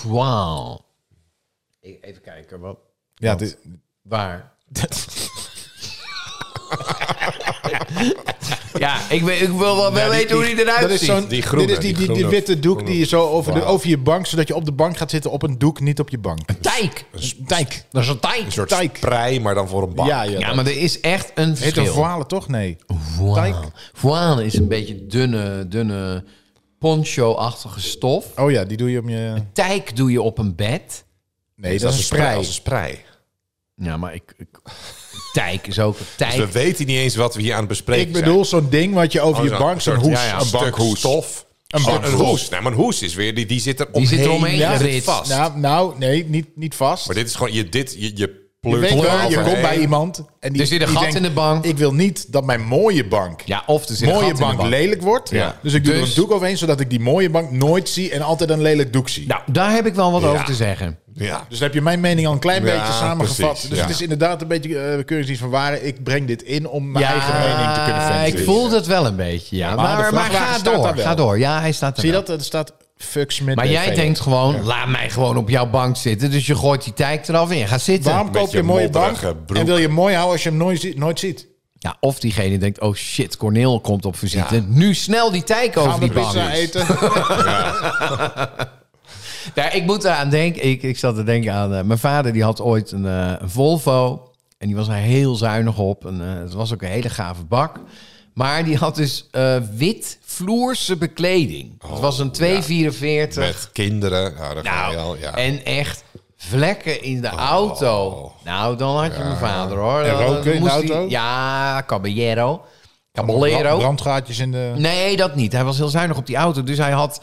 S4: Wauw. E- Even kijken, wat...
S3: Ja, het is-
S4: Waar? ja, ik, weet, ik wil wel
S2: die-
S4: weten hoe die eruit
S3: dat is
S4: ziet.
S3: zo'n,
S2: Die groene,
S3: dit is die,
S2: die
S3: die, die
S2: groene-
S3: witte doek die je zo over, de,
S2: voile.
S3: over je bank, zodat je op de bank gaat zitten op een doek, niet op je bank.
S4: Tijk.
S3: Een dijk.
S4: Dat is een tijk.
S2: Een soort
S3: Tijk.
S2: sprei, maar dan voor een bank.
S3: Ja, ja.
S4: Ja, maar er is echt een
S3: Heet een
S4: verschil.
S3: voile toch? Nee.
S4: Voile.
S3: Tijk.
S4: Voile is een beetje dunne, dunne poncho-achtige stof.
S3: Oh ja, die doe je om je...
S4: Tijk doe je op een bed.
S3: Nee, dat is een sprei.
S2: Als een sprei.
S4: Ja, maar ik... ik tijk is ook... Tijk.
S2: Dus we weten niet eens wat we hier aan het bespreken
S3: Ik bedoel zo'n ding wat je over
S2: zijn.
S3: je bank, zo'n hoes,
S2: ja, ja,
S3: een
S2: stuk
S3: bankhoes.
S2: stof.
S3: Een
S2: Oh,
S3: bankhoes.
S2: Een hoes. Nee, maar een hoes is weer... Die, die zit er omheen.
S4: zit er omheen
S2: ja, zit
S4: geritst.
S2: vast.
S3: Nou, nou, nee, niet, niet vast.
S2: Maar dit is gewoon... Je, dit, je, je
S3: je
S2: pleurt
S3: weet wel, je
S2: eroverheen.
S3: komt bij iemand en die,
S4: Er Dus zit een
S3: die
S4: gat
S3: denkt,
S4: in de bank.
S3: Ik wil niet dat mijn mooie bank,
S4: Ja, of er zit een gat
S3: mooie
S4: in de
S3: bank,
S4: bank.
S3: lelijk wordt.
S2: Ja.
S3: Dus ik doe er
S4: Dus-
S3: een doek overheen, zodat ik die mooie bank nooit zie en altijd een lelijk doek zie.
S4: Nou, daar heb ik wel wat
S2: Ja.
S4: over te zeggen.
S2: Ja.
S3: Dus dan heb je mijn mening al een klein
S2: Ja,
S3: beetje samengevat.
S2: precies,
S3: dus
S2: ja.
S3: het is inderdaad een beetje eh keuringsdienst van waren. Ik breng dit in om mijn
S4: Ja,
S3: eigen mening te kunnen ventileren.
S4: Ik voel dat wel een beetje, ja.
S3: maar
S4: maar
S3: de
S4: maar,
S3: vrachtwagen
S4: ga
S3: staat daar
S4: door,
S3: wel.
S4: ga door. Ja, hij staat er
S3: Zie je
S4: wel.
S3: dat? Er staat fuck Smith.
S4: Maar jij
S3: BV.
S4: denkt gewoon, laat mij gewoon op jouw bank zitten. Dus je gooit die tijk eraf en je gaat zitten.
S3: Waarom koop je een mooie bank
S2: modderige broek.
S3: en wil je hem mooi houden als je hem nooit, zie- nooit ziet?
S4: Ja, of diegene denkt, oh shit, Corneel komt op visite. Nu snel die tijk over
S3: Gaan we
S4: die bank.
S3: pizza eten?
S4: Ja, ik moet eraan denken. Ik, ik zat te denken aan... eh, mijn vader die had ooit een, eh, een Volvo. En die was daar heel zuinig op. En, eh, het was ook een hele gave bak. Maar die had dus eh, wit vloerse bekleding. het was
S3: Oh,
S4: een 244.
S2: Met kinderen. Nou, dat ga
S4: Nou,
S2: je al. Ja.
S4: en echt vlekken in de auto. Nou, dan had je mijn vader hoor.
S3: Oh. En
S4: Dan- dan
S3: roken in de
S4: moest hij-
S3: auto?
S4: ja, caballero.
S3: Brand-
S4: Caballero.
S3: Brandgaatjes in de...
S4: Nee, dat niet. Hij was heel zuinig op die auto. Dus hij had...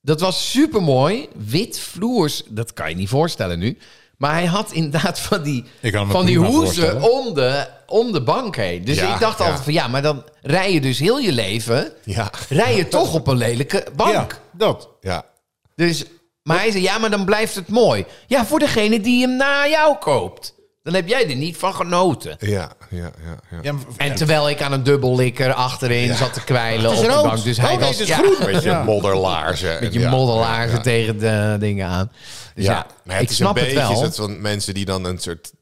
S4: Dat was super mooi. Wit vloers. Dat kan je niet voorstellen nu. Maar hij had inderdaad van die,
S3: Ik kan me
S4: van die
S3: prima
S4: hoezen
S3: voorstellen.
S4: om de, om de bank heen. Dus
S2: Ja,
S4: ik dacht
S2: ja.
S4: altijd van ja, maar dan rij je dus heel je leven.
S2: Ja.
S4: Rij je toch op een lelijke bank.
S3: Ja, dat.
S2: Ja.
S4: Dus, maar hij zei, ja, maar dan blijft het mooi. Ja, voor degene die hem na jou koopt. Dan heb jij er niet van genoten.
S2: Ja, ja, ja. ja.
S3: Ja,
S4: En terwijl ik aan een dubbellikker achterin zat te kwijlen op de
S3: rood.
S4: bank. Dus hij
S3: Oh, nee,
S4: was
S3: het is
S4: ja,
S3: groen.
S2: Beetje
S3: Ja.
S2: modderlaarzen.
S4: met je
S2: Ja,
S4: modderlaarzen
S2: ja, ja.
S4: tegen de dingen aan. Dus ja,
S2: Maar het
S4: ik
S2: is
S4: snap
S2: een
S4: het
S2: beetje
S4: wel.
S2: dat van mensen die dan een soort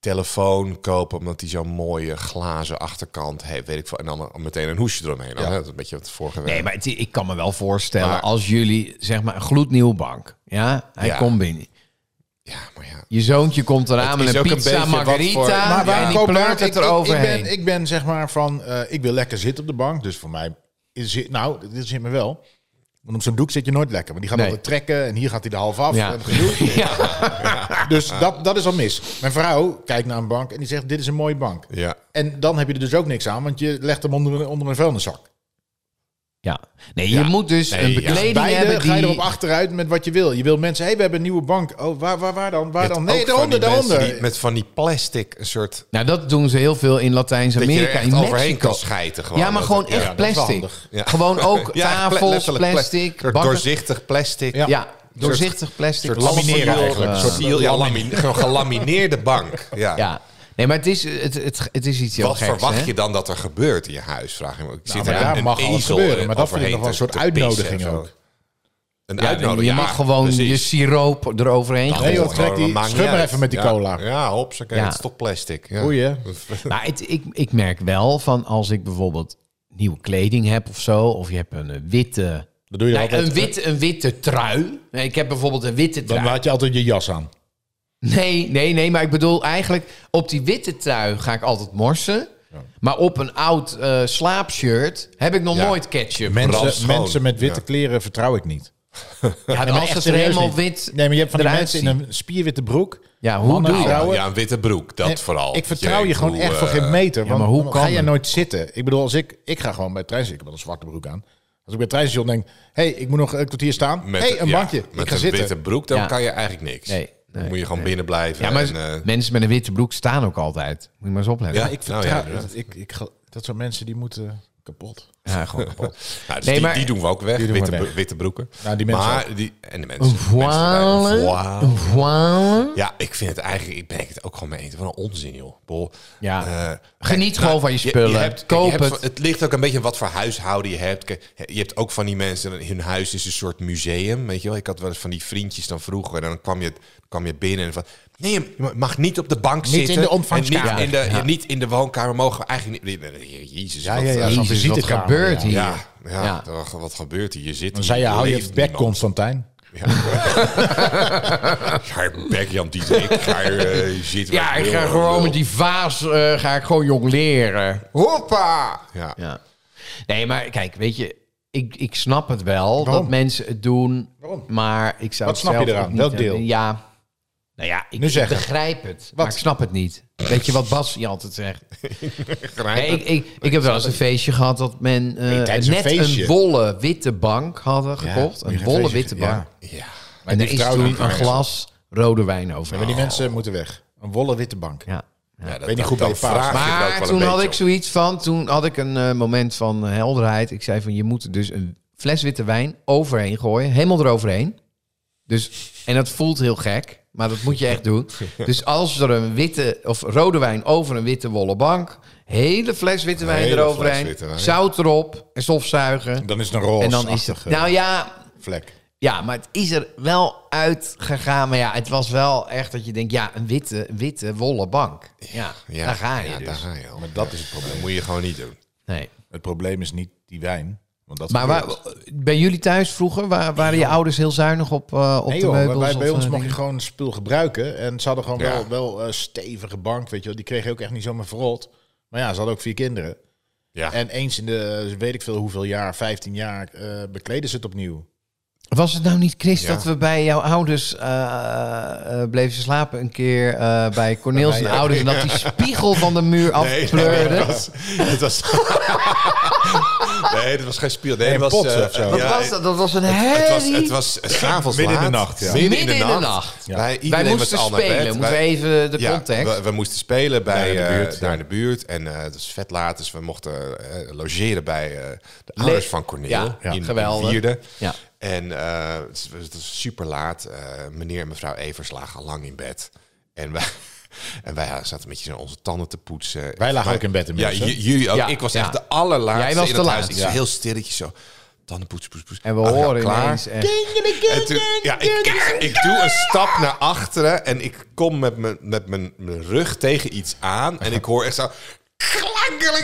S2: telefoon kopen omdat die zo'n mooie glazen achterkant heeft, weet ik veel, en dan meteen een hoesje eromheen. Dan, hè, Dat is een beetje wat de vorige week.
S4: Nee, maar het- ik kan me wel voorstellen
S2: Maar-
S4: als jullie, zeg maar, een gloednieuw bank. Ja, hij
S2: Ja.
S4: komt binnen.
S2: Ja, maar ja.
S4: Je zoontje komt eraan
S2: Het
S4: met
S2: is
S4: een
S2: ook een
S4: pizza
S2: beetje wat
S4: margarita.
S2: voor-
S3: Maar waar
S4: en die
S3: koop
S4: pleurt
S3: ik-
S4: het
S3: ik-
S4: eroverheen.
S3: Ik ben, ik ben zeg maar van, eh, ik wil lekker zitten op de bank. Dus voor mij, is, het- nou, dit zit me wel. Want op zo'n doek zit je nooit lekker. Want die gaat
S4: Nee.
S3: altijd trekken en hier gaat hij de half af.
S4: Ja.
S3: En gedoe. Dus dat, dat is al mis. Mijn vrouw kijkt naar een bank en die zegt, dit is een mooie bank.
S2: Ja.
S3: En dan heb je er dus ook niks aan, want je legt hem onder, een- onder een vuilniszak.
S4: Ja. Nee, je moet dus een bekleding hebben
S3: Beide
S4: die...
S3: ga je erop achteruit met wat je wil. Je wil mensen, hé, hey, we hebben een nieuwe bank. Oh, waar, waar, waar dan? Waar
S2: Je
S3: dan?
S2: hebt
S3: Nee,
S2: ook van die
S3: daaronder,
S2: mensen
S3: daaronder.
S2: die met van die plastic een soort
S4: Nou, dat doen ze heel veel
S2: dat
S4: in
S2: je
S4: Latijns-Amerika.
S2: er
S4: In
S2: echt overheen
S4: Mexico.
S2: kan schijten. Gewoon.
S4: ja, maar
S2: Dat-
S4: gewoon echt
S3: dat is wel
S4: plastic.
S3: handig.
S2: Ja.
S4: Gewoon ook
S2: Ja, echt ple-
S4: tafels,
S2: letterlijk
S4: plastic,
S2: pla-
S4: bakken.
S2: doorzichtig plastic.
S3: Ja.
S4: Ja, doorzichtig plastic.
S2: Een soort
S4: lamineren
S2: siel-
S3: eigenlijk.
S2: Een
S3: Eh,
S2: soort siel- ja, lamine- gewoon gelamineerde bank. Ja.
S4: eh, Ja. Nee, maar het is, het, het, het is iets heel
S2: Wat
S4: geks,
S2: verwacht
S4: hè?
S2: je dan dat er gebeurt in je huis? Vraag je me. ook. Zit
S3: Nou, maar
S2: er
S3: daar
S2: een,
S3: mag
S2: een
S3: alles
S2: ezel
S3: gebeuren, maar dat vind ik
S2: overheen
S3: nog wel een
S2: te-
S3: soort
S2: te pissen
S3: uitnodiging
S2: of zo?
S3: ook.
S2: Een
S4: Ja,
S2: uitnodiging. ja,
S4: je mag gewoon je
S2: precies.
S4: siroop eroverheen
S3: Nee, joh,
S4: gooien.
S2: Gewoon,
S3: trek die-
S2: dat maakt
S3: schud
S2: niet
S3: maar
S2: uit.
S3: even met die
S2: Ja.
S3: cola.
S2: Ja, hopsakee,
S4: Ja.
S2: het is toch plastic. Ja.
S3: Oei, hè?
S4: Maar Nou, het, ik, ik merk wel van als ik bijvoorbeeld nieuwe kleding heb of zo, of je hebt een eh, witte,
S3: Dat doe je
S4: nee,
S3: altijd.
S4: een witte, een witte trui. Nee, ik heb bijvoorbeeld een witte
S3: Dan
S4: trui.
S3: laat je altijd je jas aan.
S4: Nee, nee, nee, maar ik bedoel eigenlijk op die witte trui ga ik altijd morsen. Maar op een oud eh, slaapshirt heb ik nog
S2: Ja.
S4: nooit ketchup.
S3: Mensen,
S2: Brandschoon.
S3: mensen met witte
S2: Ja.
S3: kleren vertrouw ik niet.
S4: ja,
S3: Nee, maar
S4: als
S3: echt
S4: het er
S3: serieus
S4: helemaal
S3: niet.
S4: wit
S3: Nee, maar je hebt van die
S4: eruit
S3: mensen in
S4: ziet.
S3: een spierwitte broek.
S4: Ja, hoe
S3: Mannen,
S4: doe je
S3: vrouwen.
S2: Nou, Ja, een witte broek, dat vooral.
S3: Ik vertrouw je gewoon
S2: Hoe,
S3: echt voor
S2: eh,
S3: geen meter. Want
S4: maar hoe
S3: dan
S4: kan
S3: ga jij
S4: het?
S3: nooit zitten. Ik bedoel, als ik, ik ga gewoon bij het treinstation, ik heb wel een zwarte broek aan. Als ik bij het treinstation denk, hé, hey, ik moet nog een kwartier staan. Hé,
S2: met
S3: hey, een
S2: ja,
S3: bankje,
S2: Met
S3: ik ga
S2: een
S3: zitten.
S2: witte broek, dan
S4: Ja.
S2: kan je eigenlijk niks.
S4: Nee,
S2: dan
S4: nee,
S2: moet je gewoon binnen blijven.
S4: Ja, maar
S2: en, eh,
S4: mensen met een witte broek staan ook altijd. Moet je maar eens opletten.
S2: Ja,
S3: Ik
S2: Nou,
S3: vertrouw,
S2: ja,
S3: dat, ik, ik, gel- dat zijn mensen die moeten kapot.
S4: Ja, gewoon kapot.
S2: nou, dus
S4: Nee,
S2: die,
S4: maar-
S2: die doen we ook weg,
S3: Die doen we
S2: witte,
S3: weg.
S2: bro- witte broeken.
S3: Nou, die mensen
S2: maar die, en de mensen.
S4: Een
S2: mensen erbij, een
S4: voile.
S2: voile.
S4: Een voile.
S2: Ja, ik vind het eigenlijk, ik ben het ook gewoon mee eens. Wat een onzin, joh. Bol,
S4: Ja.
S2: eh,
S4: Geniet
S2: kijk,
S4: gewoon van je spullen.
S2: hebt-
S4: Koop
S2: je hebt
S4: het.
S2: van- het ligt ook een beetje wat voor huishouden je hebt. Kijk, Je hebt ook van die mensen, hun huis is een soort museum, weet je wel. Ik had wel eens van die vriendjes dan vroeger. En dan kwam je, kwam je binnen en van... Nee, je mag niet op de bank
S3: Niet in
S2: zitten.
S3: de
S2: en
S3: ontvangstkamer.
S2: Niet in de, niet in de woonkamer mogen we eigenlijk niet... Jezus,
S3: Ja,
S2: wat,
S3: ja, ja.
S2: eh,
S3: Zo'n
S4: Jezus, wat
S3: visitekamer,
S4: gebeurt
S3: ja.
S4: hier?
S2: ja, ja,
S4: Ja.
S2: wat- wat gebeurt hier? Je zit
S3: Dan zei je, hou je bek, Constantijn.
S2: Ga je bek, Jan Dieter. Ik ga er, eh, zitten
S4: Ja,
S2: waar
S4: ik
S2: wil,
S4: ga
S2: waar
S4: gewoon
S2: wil.
S4: met die vaas eh, ga ik gewoon jong leren.
S2: Hoppa! Ja.
S4: Ja. Nee, maar kijk, weet je, ik, ik snap het wel
S3: Waarom?
S4: dat mensen het doen.
S3: Waarom?
S4: Maar ik zou
S3: Wat
S4: het
S3: snap je
S4: zelf
S3: eraan?
S4: ook niet
S3: Welk
S4: hebben.
S3: deel?
S4: Ja. Nou ja, ik
S3: Nu zeg het.
S4: begrijp het. Maar ik snap het niet. Weet je wat Bas je altijd zegt? Nee, ik, ik, ik heb wel eens een feestje gehad dat men eh,
S3: Nee, tijdens een
S4: net
S3: feestje.
S4: een bolle witte bank hadden gekocht.
S3: moet je
S4: een
S3: geen
S4: bolle
S3: feestje-
S4: witte
S3: ja.
S4: bank.
S2: Ja.
S3: En
S4: En er
S3: die
S4: is
S3: vertrouwen
S4: toen
S3: niet
S4: een
S3: aan
S4: glas rode wijn over.
S3: Maar die mensen moeten weg. Een wolle witte bank.
S4: Ja.
S2: Oh. Ja, dat,
S3: Weet niet goed
S2: dan
S3: bij je paas.
S2: vraag je het ook
S4: Maar
S2: wel
S4: toen
S2: een
S4: had ik
S2: beetje
S4: zoiets van, toen had ik een eh, moment van eh, helderheid. Ik zei van, je moet er dus een fles witte wijn overheen gooien, helemaal eroverheen. Dus, en dat voelt heel gek, maar dat moet je echt doen. Dus als er een witte of rode wijn over een witte wollen bank, hele fles witte wijn
S2: Hele
S4: eroverheen,
S2: fles witte wijn.
S4: zout erop en stofzuigen.
S3: Dan is het een
S4: En dan is het.
S3: roze
S4: Nou ja,
S3: vlek.
S4: ja, maar het is er wel uitgegaan. Maar ja, het was wel echt dat je denkt, ja, een witte, witte wollen bank. Ja,
S2: op. Ja,
S4: daar ga je
S2: ja,
S4: dus.
S2: daar ga je al.
S3: Maar dat is het probleem.
S2: Dat moet je gewoon niet doen.
S4: Nee.
S3: Het probleem is niet die wijn. Want dat
S4: Maar waar,
S3: gebeurt.
S4: bij jullie thuis vroeger, waar, waren je ouders heel zuinig op, eh op
S3: Nee
S4: de
S3: joh,
S4: meubels?
S3: bij, bij
S4: of,
S3: ons
S4: eh,
S3: mocht je
S4: dingen?
S3: gewoon het spul gebruiken. En ze hadden gewoon
S2: Ja.
S3: wel, wel eh, stevige bank, weet je wel. Die kreeg je ook echt niet zomaar verrot. Maar ja, ze hadden ook vier kinderen.
S2: Ja.
S3: En eens in de, eh, weet ik veel hoeveel jaar, 15 jaar, eh, bekleden ze het opnieuw.
S4: Was het nou niet, Chris,
S2: Ja.
S4: dat we bij jouw ouders eh, eh, bleven ze slapen een keer eh, bij Corneels en ouders... en dat die spiegel van de muur afpleurde?
S2: het was... Het was nee, het was geen spiel. Nee,
S3: Nee,
S2: het was...
S3: pot
S2: eh,
S3: of zo.
S2: ja,
S4: Wat was dat? Dat was een
S2: Het was,
S4: herrie.
S2: het was s'avonds
S3: Midden in de
S2: laat.
S3: nacht, ja.
S2: Midden,
S4: Midden
S2: in de nacht.
S3: Ja.
S2: Wij, iedereen
S4: Wij
S2: was
S4: moesten
S2: al naar bed.
S4: spelen. Moeten we
S2: Wij-
S4: even de
S2: Ja,
S4: context?
S2: We, we moesten spelen bij,
S3: Daar in de
S2: eh,
S3: buurt,
S2: daar in de buurt. En eh het was vet laat, dus we mochten eh, logeren bij eh, de
S4: Le-
S2: ouders van Corneel.
S4: Ja, ja.
S2: in,
S4: geweldig.
S2: In Wierde.
S4: Ja.
S2: En eh, het, was, het was super laat. Eh, meneer en mevrouw Evers lagen al lang in bed. En wij, En wij ja, zaten een beetje zo onze tanden te poetsen.
S3: Wij lagen
S2: Maar-
S3: ook in bed
S2: Ja,
S3: inmiddels, hè?
S2: j- jullie ook.
S4: Ja,
S2: ik was
S4: ja.
S2: echt de allerlaatste
S4: Jij was
S2: in
S4: de
S2: het huis.
S4: laatste,
S2: Ik
S3: ja.
S2: zo heel stilletjes zo. Tanden poetsen, poetsen, poetsen.
S4: En we
S2: Ah, ja,
S4: horen
S2: klaar.
S4: ineens... echt-
S2: En toen- ja, ik, ik doe een stap naar achteren en ik kom met mijn, met mijn, mijn rug tegen iets aan. En ik hoor echt zo...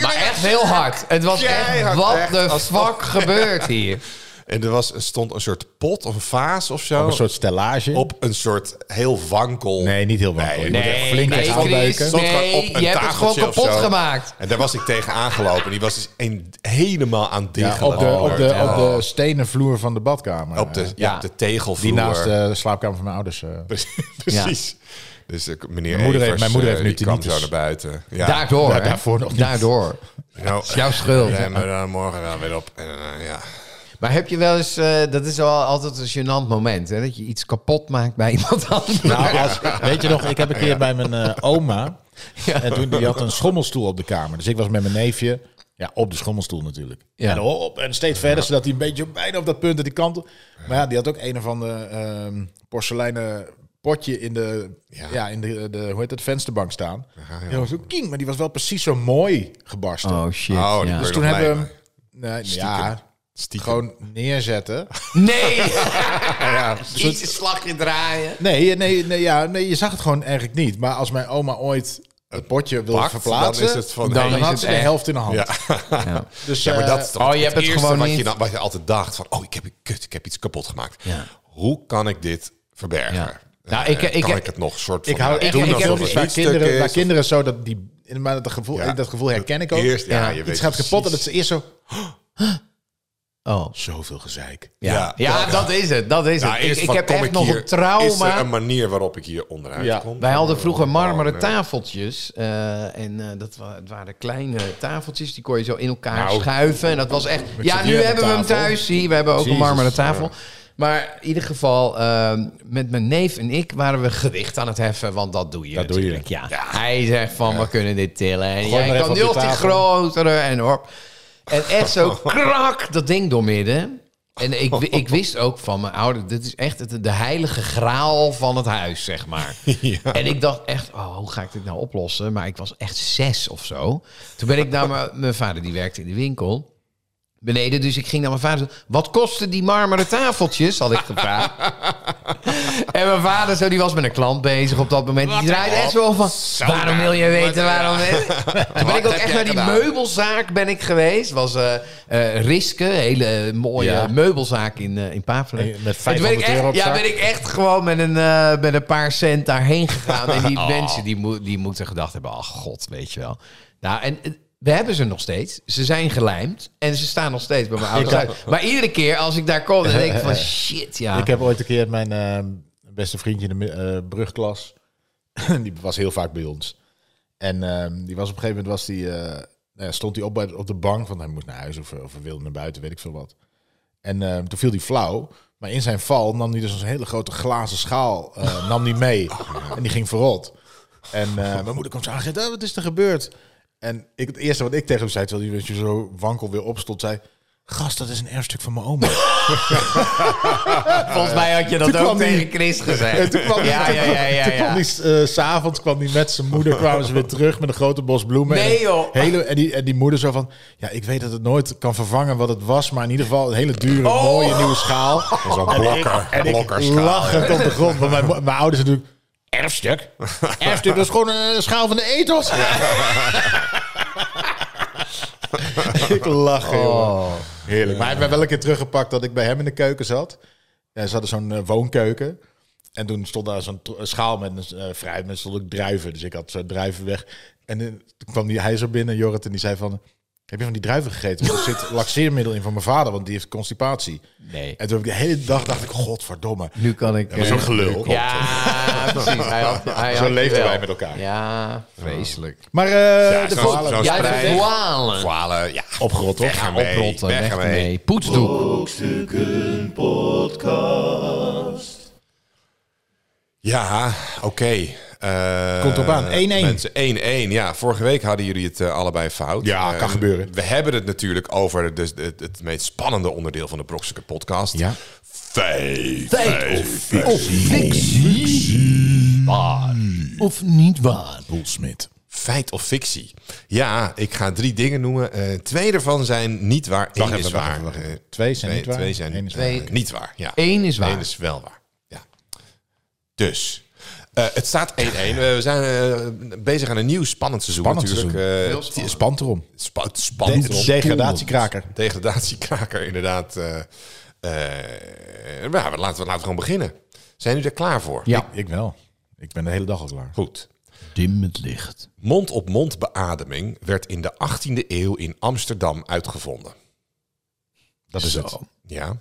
S4: maar echt heel hard. Het was echt,
S2: Keihard,
S4: wat
S2: echt,
S4: de
S2: alsof-
S4: fuck gebeurt hier?
S2: En er was, er stond een soort pot of een vaas of zo.
S3: Een soort stellage.
S2: op een soort heel wankel...
S3: Nee, niet heel wankel.
S2: Nee,
S3: Je moet
S4: nee,
S3: echt flink
S4: nee,
S3: uit
S4: Chris,
S3: afbeuken.
S2: stond gewoon
S4: Nee,
S2: op een
S4: je hebt het
S2: tafeltje
S4: gewoon
S2: of
S4: kapot
S2: zo.
S4: gemaakt.
S2: En daar was ik tegen aangelopen. En die was dus een, helemaal aan het
S3: Ja, op, de,
S2: diggelen.
S3: op, de, op de stenen vloer van de badkamer.
S2: Oh. Op de, ja,
S4: Ja.
S2: op de tegelvloer.
S3: die naast de slaapkamer van mijn ouders. eh.
S2: Precies. Dus eh, meneer
S3: Mijn moeder heeft-
S2: Evers,
S3: mijn moeder
S2: eh,
S3: heeft nu
S2: die kwam
S3: tinnitus.
S2: zo naar buiten. Ja.
S4: Daardoor,
S3: Ja,
S4: hè?
S3: daarvoor nog niet.
S4: Daardoor.
S2: Nou,
S4: is jouw schuld.
S2: eh, maar dan morgen wel weer op. En, eh, ja.
S4: Maar heb je wel eens... eh, dat is wel altijd een gênant moment, hè? Dat je iets kapot maakt bij iemand anders.
S3: Nou, als, weet je nog, ik heb een keer bij mijn eh, oma. En toen die had een schommelstoel op de kamer. Dus ik was met mijn neefje. Ja, op de schommelstoel natuurlijk.
S4: Ja.
S3: En op en steeds verder, zodat hij een beetje bijna op dat punt en die kant op. Maar ja, die had ook een of ander ehm porseleinen potje in de, ja.
S2: Ja.
S3: in de, de, hoe heet het, vensterbank staan.
S2: ja.
S3: Ja, was zo king, maar die was wel precies zo mooi gebarsten.
S4: Oh, shit.
S2: Oh, die
S4: ja.
S2: ben
S3: dus
S2: ik
S3: toen
S2: nog blij
S3: hebben we hem,
S2: mee.
S3: nee, ja,
S2: Stiekem.
S3: gewoon neerzetten.
S4: Nee!
S2: ja,
S4: Iets een slagje draaien.
S3: Nee, nee, nee, ja, nee, je zag het gewoon eigenlijk niet. Maar als mijn oma ooit het potje wilde
S2: Pakt,
S3: verplaatsen,
S2: dan is het van,
S4: dan
S2: hey,
S4: is
S3: had
S4: het
S3: ze de
S4: echt.
S3: helft in de hand.
S2: Ja.
S3: Dus,
S2: Ja, maar
S3: eh,
S2: dat is toch
S4: oh,
S2: het,
S4: je hebt het
S2: eerste
S4: gewoon
S2: wat, Je
S4: niet.
S2: dan, wat je altijd dacht van, oh, ik heb, kut, ik heb iets kapot gemaakt.
S4: Ja.
S2: Hoe kan ik dit verbergen?
S4: Ja.
S2: Eh,
S4: Nou, ik- ik-
S2: kan ik het nog soort van...
S3: ik hou
S2: eh,
S3: ik,
S2: doen
S3: ik
S2: alsof het
S3: heb filmpjes
S2: een biefstuk
S3: waar kinderen,
S2: is
S3: waar
S2: of-
S3: kinderen zo dat die, maar dat gevoel,
S2: Ja.
S3: dat gevoel herken ik ook.
S2: Eerst, ja,
S4: Ja.
S2: je weet
S3: Iets gaat
S2: precies.
S3: kapot en dat ze eerst zo
S4: Oh.
S3: zoveel gezeik.
S4: Ja, ja,
S2: Ja.
S4: dat is het. Dat is
S2: Ja,
S4: het.
S2: eerst
S4: Ik, ik
S2: van,
S4: heb
S2: kom
S4: echt
S2: ik
S4: nog
S2: hier-
S4: een
S2: Is er
S4: trauma.
S2: een manier waarop ik hier onderuit
S3: Ja.
S2: kom?
S4: Wij
S3: eh,
S4: hadden vroeger
S2: Oh,
S4: marmeren
S2: nee.
S4: tafeltjes. eh, en eh, dat wa- het waren kleine tafeltjes. Die kon je zo in elkaar
S2: Nou.
S4: schuiven. En dat was echt... Ja,
S3: zit hier
S4: nu
S3: aan de
S4: hebben we hem
S3: tafel.
S4: thuis. Zie, we hebben ook een
S3: Jezus,
S4: marmeren tafel. Maar in ieder geval, eh, met mijn neef en ik waren we gewicht aan het heffen. Want dat doe je
S3: Dat doe je.
S4: natuurlijk. Ja. Hij zegt van, we kunnen dit tillen. En
S3: maar
S4: jij
S3: even
S4: kan
S3: op
S4: nu
S3: die
S4: op die
S3: tafel.
S4: grotere. En hop. En echt zo krak dat ding doormidden. En ik, wi- ik wist ook van mijn ouder, dit is echt het- de heilige graal van het huis, zeg maar. En ik dacht echt, oh, hoe ga ik dit nou oplossen? Maar ik was echt zes of zo. Toen ben ik naar mijn, mijn vader, die werkte in de winkel beneden. Dus ik ging naar mijn vader. Wat kosten die marmeren tafeltjes? Had ik gevraagd. en mijn vader zo, die was met een klant bezig op dat moment. Die draaide echt zo van. Waarom wil je weten waarom? Toen ben ik ook echt naar die meubelzaak ben ik geweest. Was eh eh, Riske, een hele mooie
S3: Ja.
S4: meubelzaak in, eh in Pavelen.
S3: En met
S4: En toen ben ik
S3: 500
S4: echt,
S3: euro op
S4: Ja,
S3: zak.
S4: ben ik echt gewoon met een, eh, met een paar cent daarheen gegaan. En die mensen die, mo- die moeten gedacht hebben, ach god, weet je wel. Nou, en eh, we hebben ze nog steeds. Ze zijn gelijmd en ze staan nog steeds bij mijn ouders. thuis. Maar iedere keer als ik daar kom, dan denk ik van shit, ja.
S3: Ik heb ooit een keer mijn eh, beste vriendje in de mi- eh, brugklas. die was heel vaak bij ons. En ehm, die was op een gegeven moment was die, eh, nou ja, stond hij op, bij- op de bank. Want hij moest naar huis of, of hij wilde naar buiten, weet ik veel wat. En ehm, toen viel hij flauw. Maar in zijn val nam hij dus een hele grote glazen schaal eh, nam die mee. En die ging verrot. En eh, mijn moeder kwam zo aan "Ah, wat is er gebeurd? En ik, het eerste wat ik tegen hem zei, terwijl hij een beetje zo wankel weer opstond, zei... Gast, dat is een erfstuk van mijn oma.
S4: Volgens mij had je dat
S3: Toen
S4: ook
S3: kwam die-
S4: tegen Chris gezegd.
S3: En toen kwam die-
S4: ja, ja, ja, ja,
S3: Toen
S4: ja.
S3: kwam die eh, s'avonds kwam die met zijn moeder, kwamen ze weer terug met een grote bos bloemen.
S4: Nee,
S3: en,
S4: joh.
S3: Hele, en, die, en die moeder zo van, ja, ik weet dat het nooit kan vervangen wat het was, maar in ieder geval een hele dure,
S4: Oh.
S3: mooie nieuwe schaal.
S2: Zo'n blokker,
S3: En ik
S2: blokkerschaal.
S3: lachend op de grond, want mijn, mo- mijn ouders natuurlijk, erfstuk? Erfstuk, dat is gewoon een schaal van de ethos. ik lach, joh.
S4: Oh,
S3: Heerlijk. Maar hij heeft mij wel een keer teruggepakt dat ik bij hem in de keuken zat. Ja, ze hadden zo'n eh, woonkeuken. En toen stond daar zo'n tro- schaal met een eh, fruit. En er stond ook druiven. Dus ik had zo druiven weg. En eh, toen kwam die, hij zo binnen, Jorrit. En die zei van... Heb je van die druiven gegeten? Want er zit laxeermiddel in van mijn vader. Want die heeft constipatie.
S4: Nee.
S3: En toen heb ik de hele dag dacht ik... Godverdomme.
S4: Nu kan ik...
S3: Ja, maar
S4: eh,
S3: Zo'n gelul.
S4: ja, precies. Hij had, hij had
S3: Zo
S4: je
S3: leefden
S4: wel.
S3: wij met elkaar.
S4: Ja, vreselijk.
S3: Maar eh,
S2: Ja,
S3: de
S2: zo'n-
S3: volgende-
S2: zo'n
S4: Ja, de
S2: sprei.
S4: voalen.
S2: Voalen, ja.
S3: Opgerot, toch?
S2: Weg
S3: Ja,
S2: ermee,
S4: Oprotten,
S2: weg
S4: weg
S2: ermee.
S4: ermee. Oh, Poetsdoek.
S1: Brokstukken podcast.
S2: Ja, oké. Eh,
S3: Komt op aan. 1-1.
S2: Mensen, 1-1. Ja, vorige week hadden jullie het eh, allebei fout.
S3: Ja,
S2: Eh,
S3: kan gebeuren.
S2: We hebben het natuurlijk over dus het, het meest spannende onderdeel van de Brokstukken podcast.
S3: Ja.
S2: Feit.
S4: Feit of fictie. Waar. of niet waar?
S3: Boelsmit.
S2: Feit of fictie? Ja, ik ga drie dingen noemen. Eh, twee daarvan zijn niet waar, één is
S3: even, wacht
S2: waar.
S3: even, wacht even.
S2: Eh,
S3: Twee zijn
S2: nee,
S3: niet waar,
S2: Twee zijn
S3: één is
S2: eh,
S4: waar.
S2: niet waar. Ja.
S4: Eén is waar.
S2: Eén is wel waar. Ja. Dus, eh, het staat 1-1. We zijn eh, bezig aan een nieuw spannend seizoen
S3: Spannend
S2: natuurlijk. Eh,
S3: Het spant erom.
S2: spa- spannend.
S3: De- degradatiekraker.
S2: Degradatiekraker, inderdaad. eh eh, maar ja, laten, we, laten we gewoon beginnen. Zijn jullie er klaar voor?
S4: Ja.
S3: Ik wel. Ik ben de hele dag al klaar.
S2: Goed.
S4: Dim het licht.
S2: Mond-op-mond beademing werd in de 18e eeuw in Amsterdam uitgevonden.
S3: Dat is
S4: Zo.
S3: het.
S2: Ja.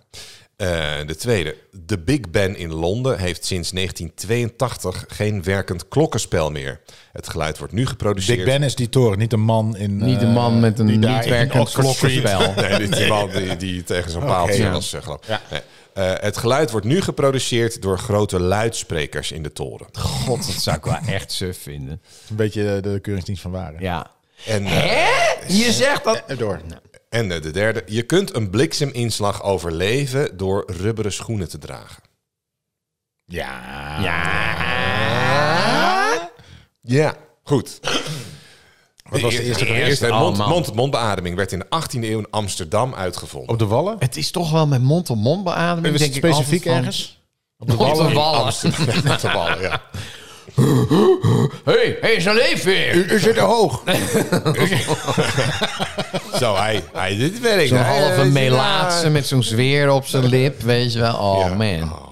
S2: Eh, de tweede. De Big Ben in Londen heeft sinds 1982 geen werkend klokkenspel meer. Het geluid wordt nu geproduceerd.
S3: Big Ben is die toren, niet een man in... eh,
S4: Niet een man met een
S3: die daar
S4: niet
S3: in
S4: werkend
S3: Oxford Street-
S4: klokkenspel.
S2: Nee, dit is die man die, die tegen zo'n paaltje
S4: ja.
S2: was, eh, geloof ik. Nee. Eh, het geluid wordt nu geproduceerd door grote luidsprekers in de toren.
S4: God, dat zou ik wel echt suf vinden.
S3: Een beetje de keuringsdienst van waren.
S4: Ja.
S2: En, eh,
S4: Je zegt dat...
S3: En Door.
S2: en eh, de derde. Je kunt een blikseminslag overleven door rubberen schoenen te dragen.
S3: Ja.
S2: Ja. Goed.
S3: Wat was de eerste vraag?
S2: Eerst, eh, mond-
S4: allemaal.
S2: mond-op-mond beademing werd in de 18e eeuw in Amsterdam uitgevonden.
S3: Op de wallen?
S4: Het is toch wel met mond-op-mond
S3: Is
S4: beademing,
S3: het
S4: denk ik altijd
S3: specifiek
S4: van-
S3: ergens? Op de
S4: Mond op
S3: wallen?
S4: wallen.
S2: Amsterdam met de wallen, ja.
S4: Hé, hey, zijn leef weer.
S3: U zit er hoog.
S2: Zo, hij, hij dit werkt.
S4: Zo'n
S2: Hij,
S4: halve
S2: eh,
S4: melaatse met zo'n zweer op zijn lip, weet je wel. Oh,
S2: Ja.
S4: man.
S2: Oh,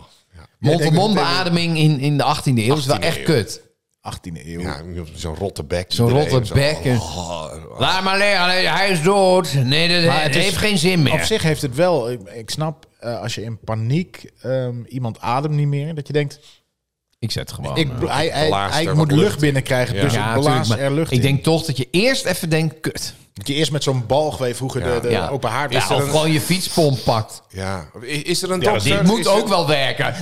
S4: Mond-op-mond beademing in, in de 18e eeuw is wel
S2: 18e
S4: echt
S2: eeuw.
S4: kut.
S3: 18e eeuw.
S2: ja, zo'n rotte bek.
S4: Zo'n
S2: Iedereen
S4: rotte
S2: zo, oh.
S4: bek. en- Laat maar liggen, nee, hij is dood. Nee, dat
S3: Maar
S4: het
S3: het is-
S4: heeft geen zin
S3: Op
S4: meer.
S3: zich heeft het wel... Ik, ik snap, eh, als je in paniek ehm, iemand ademt niet meer, dat je denkt...
S4: Ik zet gewoon.
S3: Ik,
S4: eh,
S3: hij, hij,
S2: blaas
S3: hij
S2: er
S3: moet
S2: wat
S3: lucht,
S2: lucht in.
S3: binnenkrijgen,
S2: Ja.
S3: dus
S4: ja,
S3: ik
S4: natuurlijk,
S3: blaas
S4: maar
S3: er lucht
S4: ik
S3: in.
S4: denk toch dat je eerst even denkt, kut.
S3: Dat je eerst met zo'n balg, weet je, vroeger
S2: Ja.
S3: de, de
S4: Ja.
S3: Eh, open haard.
S4: Ja,
S3: Is er
S4: of
S3: een-
S4: gewoon je fietspomp pakt.
S2: Ja. Is, is er een
S3: Ja,
S2: dokter?
S3: dit
S4: Dit moet
S2: Is er-
S4: ook wel werken.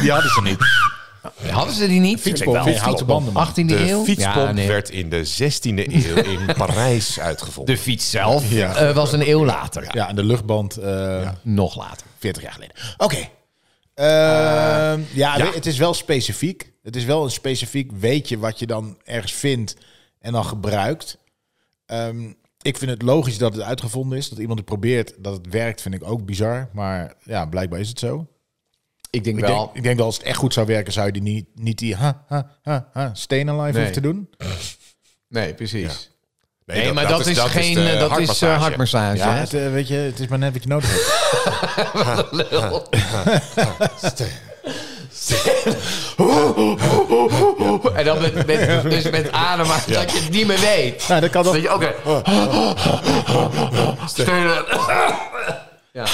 S3: die hadden ze niet.
S4: Hadden ze die niet?
S3: Fietspomp,
S4: Ik denk wel.
S3: houten banden, man.
S4: 18e
S2: De
S4: eeuw?
S2: fietspomp
S4: Ja, nee.
S2: werd in de 16e eeuw in Parijs uitgevonden.
S4: De fiets zelf
S3: Ja.
S4: eh, was een eeuw later.
S3: Ja, en de luchtband eh,
S4: Nog later.
S3: 40 jaar geleden. Oké. Ehm, Eh, ja, we- het is wel specifiek. Het is wel een specifiek weetje wat je dan ergens vindt en dan gebruikt. Ehm, ik vind het logisch dat het uitgevonden is. Dat iemand het probeert, dat het werkt, vind ik ook bizar. Maar ja, blijkbaar is het zo.
S4: Ik denk
S3: Ik
S4: wel.
S3: denk, ik denk dat als het echt goed zou werken, zou je die niet, niet die ha, ha, ha, ha, steen alive
S4: Nee.
S3: hoeven te doen.
S4: nee, precies.
S2: Nee,
S4: Nee, maar dat, is geen. eh, dat is eh, hartmassage.
S3: Ja,
S4: hè?
S3: het, eh, weet je, het is maar net wat je nodig hebt.
S4: Lul. En dan met, met, dus met ademen dat je het niet meer weet.
S3: nou, dat kan
S4: Dat
S3: toch.
S4: je ook weer- Steunen. Ja.